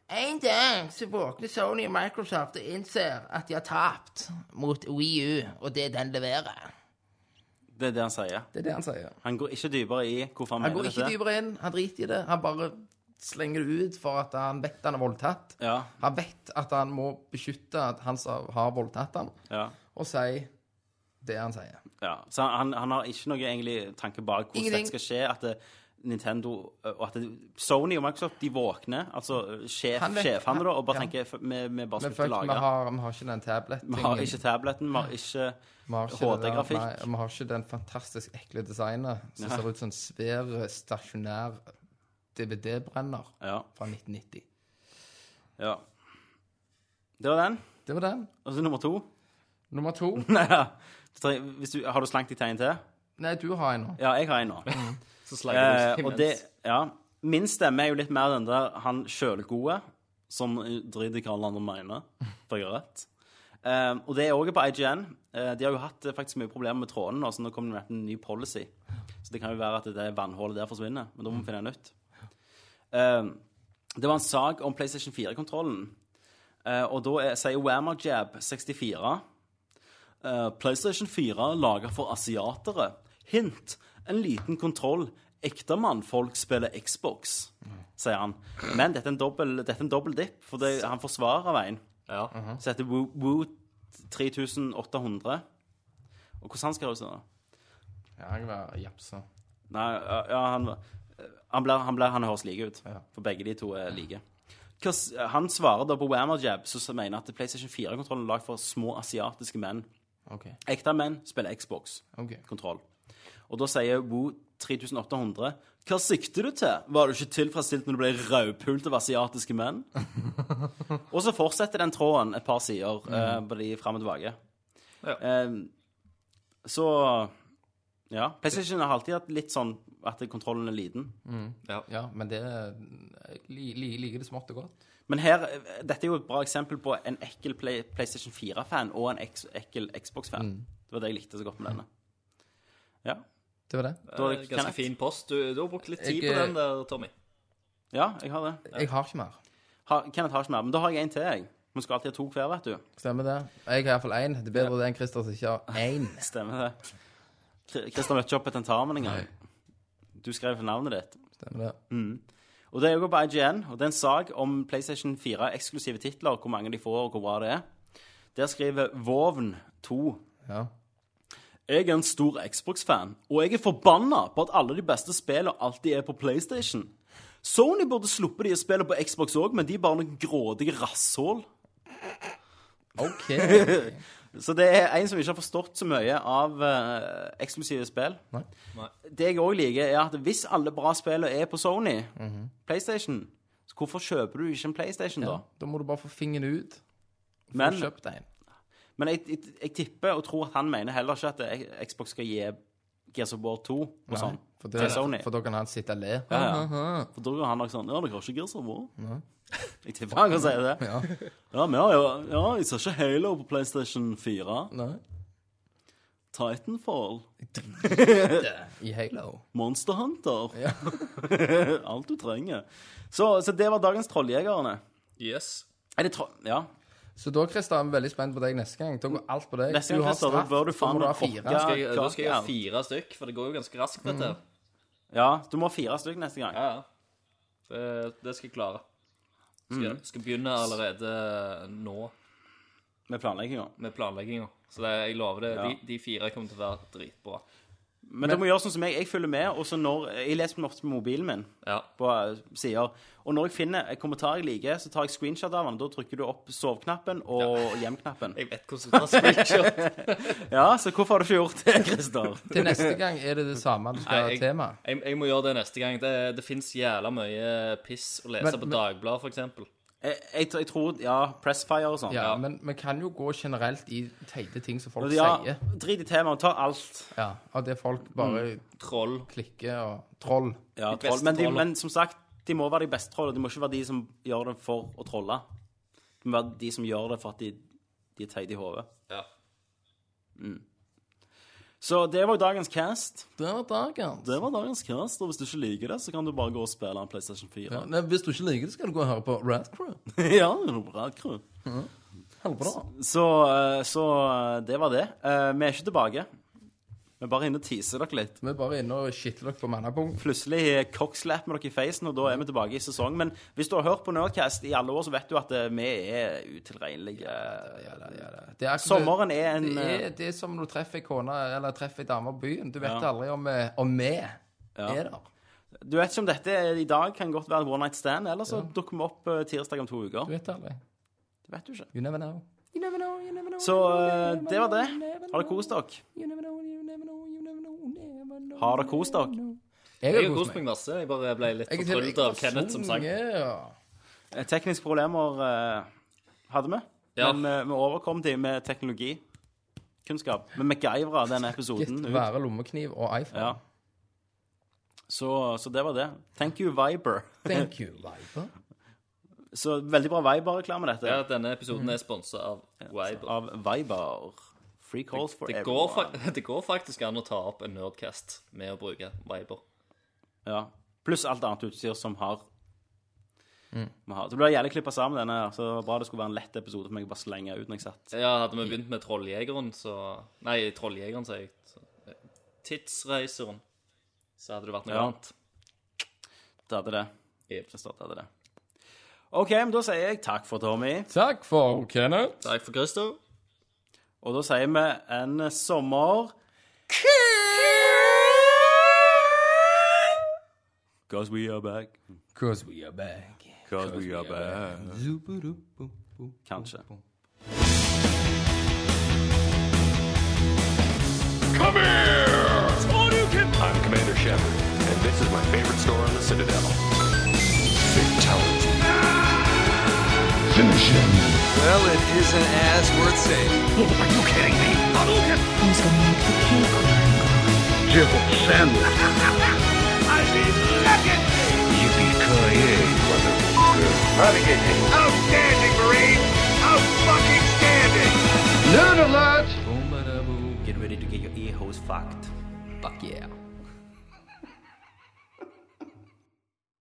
[SPEAKER 10] En dag så våkner Sony og Microsoft og innser at de har tapt mot Wii U, og det den leverer.
[SPEAKER 2] Det er det han sier.
[SPEAKER 1] Det er det han sier.
[SPEAKER 2] Han går ikke dypere i hvorfor han,
[SPEAKER 1] Han går
[SPEAKER 2] mener
[SPEAKER 1] ikke
[SPEAKER 2] dette.
[SPEAKER 1] dypere inn, han driter i det. Han bare slenger det ut for at han vet han er voldtatt.
[SPEAKER 2] Ja,
[SPEAKER 1] Han vet at han må beskytte at han som har voldtatt han,
[SPEAKER 2] ja,
[SPEAKER 1] og si det han sier.
[SPEAKER 2] ja. Så han, han har ikke noe egentlig tanke bak hvordan
[SPEAKER 1] Ingenting.
[SPEAKER 2] dette skal skje. At det, Nintendo og at det, Sony og Microsoft de våkner, altså sjef,
[SPEAKER 1] Han vet-
[SPEAKER 2] sjefene, da, og bare
[SPEAKER 1] han-
[SPEAKER 2] tenker "F- vi, vi bare
[SPEAKER 1] Men
[SPEAKER 2] slutter å
[SPEAKER 1] fuck, vi
[SPEAKER 2] lage.
[SPEAKER 1] har, vi har ikke den
[SPEAKER 2] Vi har
[SPEAKER 1] tablet-tingen.
[SPEAKER 2] ikke tableten, vi har ikke
[SPEAKER 1] Vi har ikke det der-
[SPEAKER 2] HD-grafikk.
[SPEAKER 1] nei, Vi har ikke den fantastisk ekle designet som
[SPEAKER 2] Nei.
[SPEAKER 1] ser ut som en svær, stasjonær DVD-brenner
[SPEAKER 2] Ja,
[SPEAKER 1] fra 1990.
[SPEAKER 2] ja. Det var den.
[SPEAKER 1] Det var den.
[SPEAKER 2] Og så nummer to.
[SPEAKER 1] Nummer to.
[SPEAKER 2] Nei, ja. Du trenger- Hvis du, har du slankt i tegn til?
[SPEAKER 1] Nei, du har en nå.
[SPEAKER 2] Ja, jeg har en nå.
[SPEAKER 6] Så slager
[SPEAKER 2] Eh,
[SPEAKER 6] du
[SPEAKER 2] og det, ja. Min stemme er jo litt mer den der han sjølgode som driter i hva alle andre mener, for jeg har rett. Eh, og det er òg på IGN. Eh, de har jo hatt eh, faktisk mye problemer med trådene, nå, så nå kommer det med en ny policy. Så det kan jo være at det vannhullet der forsvinner, men da må vi finne nytt. Eh, det var en sak om PlayStation 4-kontrollen. Eh, og da er, sier Wammerjab 64 Eh, PlayStation 4 lager for asiatere. Hint. En liten kontroll. Ekte mannfolk spiller Xbox, sier han. Men dette er en dobbel, dette er en dobbel dipp, for det, han forsvarer veien.
[SPEAKER 6] Ja.
[SPEAKER 2] Så heter Woo, Woo 3800. Og hvordan skal det ut sånn? da?
[SPEAKER 1] Ja, jeg var japsa.
[SPEAKER 2] Nei, ja, han, eh, han, ble, han, ble, han høres like ut.
[SPEAKER 1] Ja.
[SPEAKER 2] For begge de to er like. Hva s- Han svarer da på Wammerjab, som mener at PlayStation 4-kontrollen er lagd for små asiatiske menn.
[SPEAKER 1] OK.
[SPEAKER 2] Ekte menn spiller Xbox.
[SPEAKER 1] ok.
[SPEAKER 2] kontroll. Og da sier Wu 3800 Hva sikter du til? Var du ikke tilfredsstilt når du ble raupult av asiatiske menn? og så fortsetter den tråden et par sider eh, på de fram og tilbake.
[SPEAKER 6] Ja.
[SPEAKER 2] Eh, så Ja. PlayStation har alltid hatt litt sånn at kontrollen er liten.
[SPEAKER 1] Ja, men det Jeg li, li, liker det smått og godt.
[SPEAKER 2] Men her, eh, dette er jo et bra eksempel på en ekkel Play, PlayStation 4-fan og en eks- ekkel Xbox-fan. Det var det jeg likte så godt med denne. Ja.
[SPEAKER 1] Det var det.
[SPEAKER 2] Da er det
[SPEAKER 6] Eh, Ganske
[SPEAKER 2] Kenneth.
[SPEAKER 6] fin post. Du, du har brukt litt tid
[SPEAKER 1] Jeg,
[SPEAKER 6] på
[SPEAKER 1] eh,
[SPEAKER 6] den der, Tommy.
[SPEAKER 2] ja, jeg har det.
[SPEAKER 1] Jeg har ikke mer.
[SPEAKER 2] Ha, Kenneth har ikke mer, men da har jeg en til, jeg. Vi skal alltid ha to hver, vet du.
[SPEAKER 1] Stemmer det. Jeg har iallfall én. Det er bedre det enn Christer som ikke har én.
[SPEAKER 2] Stemmer det. Kri- Christian møtte ikke opp på tentamen engang. Du skrev navnet ditt.
[SPEAKER 1] Stemmer det.
[SPEAKER 2] Og det er jo på IGN, og det er en sak om PlayStation 4 eksklusive titler, hvor mange de får, og hvor bra det er. Der skriver Vovn 2
[SPEAKER 1] Ja.
[SPEAKER 2] Jeg er en stor Xbox-fan, og jeg er forbanna på at alle de beste spillene alltid er på PlayStation. Sony burde sluppe de spillene på Xbox òg, men de er bare noen grådige rasshål. *laughs*
[SPEAKER 1] OK.
[SPEAKER 2] Så det er en som ikke har forstått så mye av eh, eksklusive spill.
[SPEAKER 1] Nei.
[SPEAKER 6] Nei.
[SPEAKER 2] Det jeg òg liker, er at hvis alle bra spillene er på Sony, PlayStation, så hvorfor kjøper du ikke en PlayStation da?
[SPEAKER 1] Da må du bare få fingeren ut.
[SPEAKER 2] Men,
[SPEAKER 1] Få kjøpt en.
[SPEAKER 2] men jeg, jeg, jeg tipper og tror at han mener heller ikke at eh, Xbox skal gi Gears of War 2 og sånn.
[SPEAKER 1] For,
[SPEAKER 2] til
[SPEAKER 1] det,
[SPEAKER 2] Sony.
[SPEAKER 1] for da kan han sitte og le.
[SPEAKER 2] Ja, ja. For da går han nok sånn Ja, dere har ikke Gears of War? *laughs* Jeg tipper han kan si det. Ja, men ja, ja, ja, jeg ser ikke Halo på PlayStation 4.
[SPEAKER 1] Nei.
[SPEAKER 2] Titanfall.
[SPEAKER 1] I Halo.
[SPEAKER 2] Monster Hunter. *laughs* Alt du trenger. Så, så det var dagens Trolljegerne.
[SPEAKER 6] Yes.
[SPEAKER 2] Er det troll... Ja.
[SPEAKER 1] Så da, Christer, er vi veldig spent på deg neste gang. Da går alt på deg.
[SPEAKER 2] Neste gang,
[SPEAKER 1] Du har
[SPEAKER 2] Christer, da
[SPEAKER 1] straff,
[SPEAKER 2] bør du
[SPEAKER 1] så må
[SPEAKER 2] faen
[SPEAKER 1] ha
[SPEAKER 2] meg
[SPEAKER 1] fire.
[SPEAKER 2] fucke.
[SPEAKER 6] Skal jeg, da skal jeg ha
[SPEAKER 2] klart,
[SPEAKER 6] fire stykk, for det går jo ganske raskt, dette. her.
[SPEAKER 2] ja, du må ha fire stykker neste gang.
[SPEAKER 6] Mhm. Ja, ja. Eh, Det skal jeg klare. Skal, skal begynne allerede eh, nå
[SPEAKER 2] Med planlegginga.
[SPEAKER 6] med planlegginga. Så det, jeg lover det.
[SPEAKER 2] Ja.
[SPEAKER 6] De, de fire kommer til å være dritbra.
[SPEAKER 2] Men, du må gjøre sånn som jeg. Jeg følger med, og så når Jeg leser den ofte på mobilen min.
[SPEAKER 6] Ja.
[SPEAKER 2] På eh, sider. Og når jeg finner en kommentar jeg liker, så tar jeg screenshot av den. Da trykker du opp soveknappen og hjem-knappen.
[SPEAKER 6] Jeg vet hvordan du tar screenshot.
[SPEAKER 2] Ja, så hvorfor har du ikke gjort det, Christer?
[SPEAKER 1] *laughs* Til neste gang er
[SPEAKER 2] *laughs*
[SPEAKER 1] det det samme du skal ha
[SPEAKER 6] Nei, jeg-
[SPEAKER 1] tema.
[SPEAKER 6] Jeg, jeg må gjøre det neste gang. Det, det fins jævla mye piss å lese
[SPEAKER 1] Men-
[SPEAKER 6] på
[SPEAKER 1] men-
[SPEAKER 6] Dagbladet, for eksempel.
[SPEAKER 2] Jeg, jeg, jeg tror Ja, Pressfire og sånn.
[SPEAKER 1] Ja, men vi kan jo gå generelt i teite ting som folk
[SPEAKER 2] Ja,
[SPEAKER 1] sier.
[SPEAKER 2] drit i temaet. Ta alt.
[SPEAKER 1] Ja, Av det folk
[SPEAKER 2] Mm.
[SPEAKER 1] bare
[SPEAKER 6] Troll.
[SPEAKER 1] klikker og Troll.
[SPEAKER 2] Ja,
[SPEAKER 6] De beste
[SPEAKER 2] troll. Men, de,
[SPEAKER 6] trollene.
[SPEAKER 2] men som sagt, de må være de beste trollene. De må ikke være de som gjør det for å trolle. De må være de som gjør det for at de, de er teite i hodet.
[SPEAKER 6] Ja.
[SPEAKER 2] Mm. Så det var jo dagens cast.
[SPEAKER 1] Det var dagens.
[SPEAKER 2] Det var dagens cast, og hvis du ikke liker det, så kan du bare gå og spille en PlayStation 4.
[SPEAKER 1] Ja, nei, hvis du ikke liker det, skal du gå og høre på Rad Crew.
[SPEAKER 2] *laughs* ja det er bra, crew.
[SPEAKER 1] Held på, da.
[SPEAKER 2] Så, eh, så eh, det var det. Eh, Vi er ikke tilbake. Vi er bare inne og teaser dere litt.
[SPEAKER 1] Vi er bare inne og skitler dere på mannapunkt.
[SPEAKER 2] Plutselig eh, cockslap med dere i facen, og da er vi tilbake i sesong. Men hvis du har hørt på Nerdcast i alle år, så vet du at eh, vi er utilregnelige.
[SPEAKER 1] Det er akkurat-
[SPEAKER 2] Sommeren er en, eh,
[SPEAKER 1] Det er, det er som når du treffer ei kone eller treffer ei dame på byen. Du vet aldri om, eh, om vi er der.
[SPEAKER 2] Du vet ikke om dette er- i dag kan godt være en one night stand, eller så dukker vi opp eh, tirsdag om to
[SPEAKER 1] Du
[SPEAKER 2] uker.
[SPEAKER 1] vet aldri.
[SPEAKER 2] Det vet du ikke.
[SPEAKER 1] You never know. You never know, you never know.
[SPEAKER 2] Så eh, det var det. Har dere kost dere?
[SPEAKER 1] You never know, you never know, you never know, never know.
[SPEAKER 2] Har dere kost dere?
[SPEAKER 1] Jeg
[SPEAKER 6] Jeg
[SPEAKER 1] har
[SPEAKER 6] har
[SPEAKER 1] kost
[SPEAKER 6] kost
[SPEAKER 1] meg.
[SPEAKER 6] meg masse. Jeg bare ble litt
[SPEAKER 1] Jeg er til- jeg
[SPEAKER 6] fortryllet av
[SPEAKER 1] har
[SPEAKER 6] Kenneth som sang.
[SPEAKER 1] sunget, ja.
[SPEAKER 2] Eh, Tekniske problemer eh, hadde vi,
[SPEAKER 6] Ja.
[SPEAKER 2] men eh, vi overkom dem med teknologi. Kunnskap. Vi MacGyvra denne episoden.
[SPEAKER 1] Gitt
[SPEAKER 2] ut.
[SPEAKER 1] være lommekniv og iPhone.
[SPEAKER 2] Ja. Så, så det var det. Thank you, Viber.
[SPEAKER 1] Thank you, Viber.
[SPEAKER 2] Så veldig bra Viber-reklame, dette.
[SPEAKER 6] Ja, denne episoden er sponset av Viber.
[SPEAKER 2] Av Viber. Free calls for
[SPEAKER 6] Det går,
[SPEAKER 2] everyone.
[SPEAKER 6] fak- *laughs* det går faktisk an å ta opp en Nerdcast med å bruke Viber.
[SPEAKER 2] Ja. Pluss alt annet utstyr som har. vi har. Det ble jævlig klippa sammen, denne. her, Så bra det skulle være en lett episode for meg å bare slenge ut når jeg satt.
[SPEAKER 6] Ja, hadde vi begynt med Trolljegeren, så Nei, Trolljegeren, sier jeg. Så- eh, Tidsreiseren. Så hadde det vært noe
[SPEAKER 2] Ja.
[SPEAKER 6] annet.
[SPEAKER 2] Det hadde det.
[SPEAKER 6] Yep.
[SPEAKER 2] Det stod, det hadde det. OK, men da sier jeg takk for Tommy.
[SPEAKER 1] Takk for Kenneth.
[SPEAKER 6] Takk for Christer.
[SPEAKER 2] Og da sier vi en sommer Cause we are back.
[SPEAKER 1] Cause we are back.
[SPEAKER 2] Cause we are back.
[SPEAKER 1] Zuburubu.
[SPEAKER 2] Kanskje.
[SPEAKER 3] Come here! I'm Commander Shepard, and this is my favorite store on the Citadel.
[SPEAKER 4] Well, it isn't as worth saying.
[SPEAKER 3] Outstanding, Marine! Out fucking standing!
[SPEAKER 1] Boomeraboo.
[SPEAKER 2] Get ready to get your ear holes fucked.
[SPEAKER 1] Fuck yeah.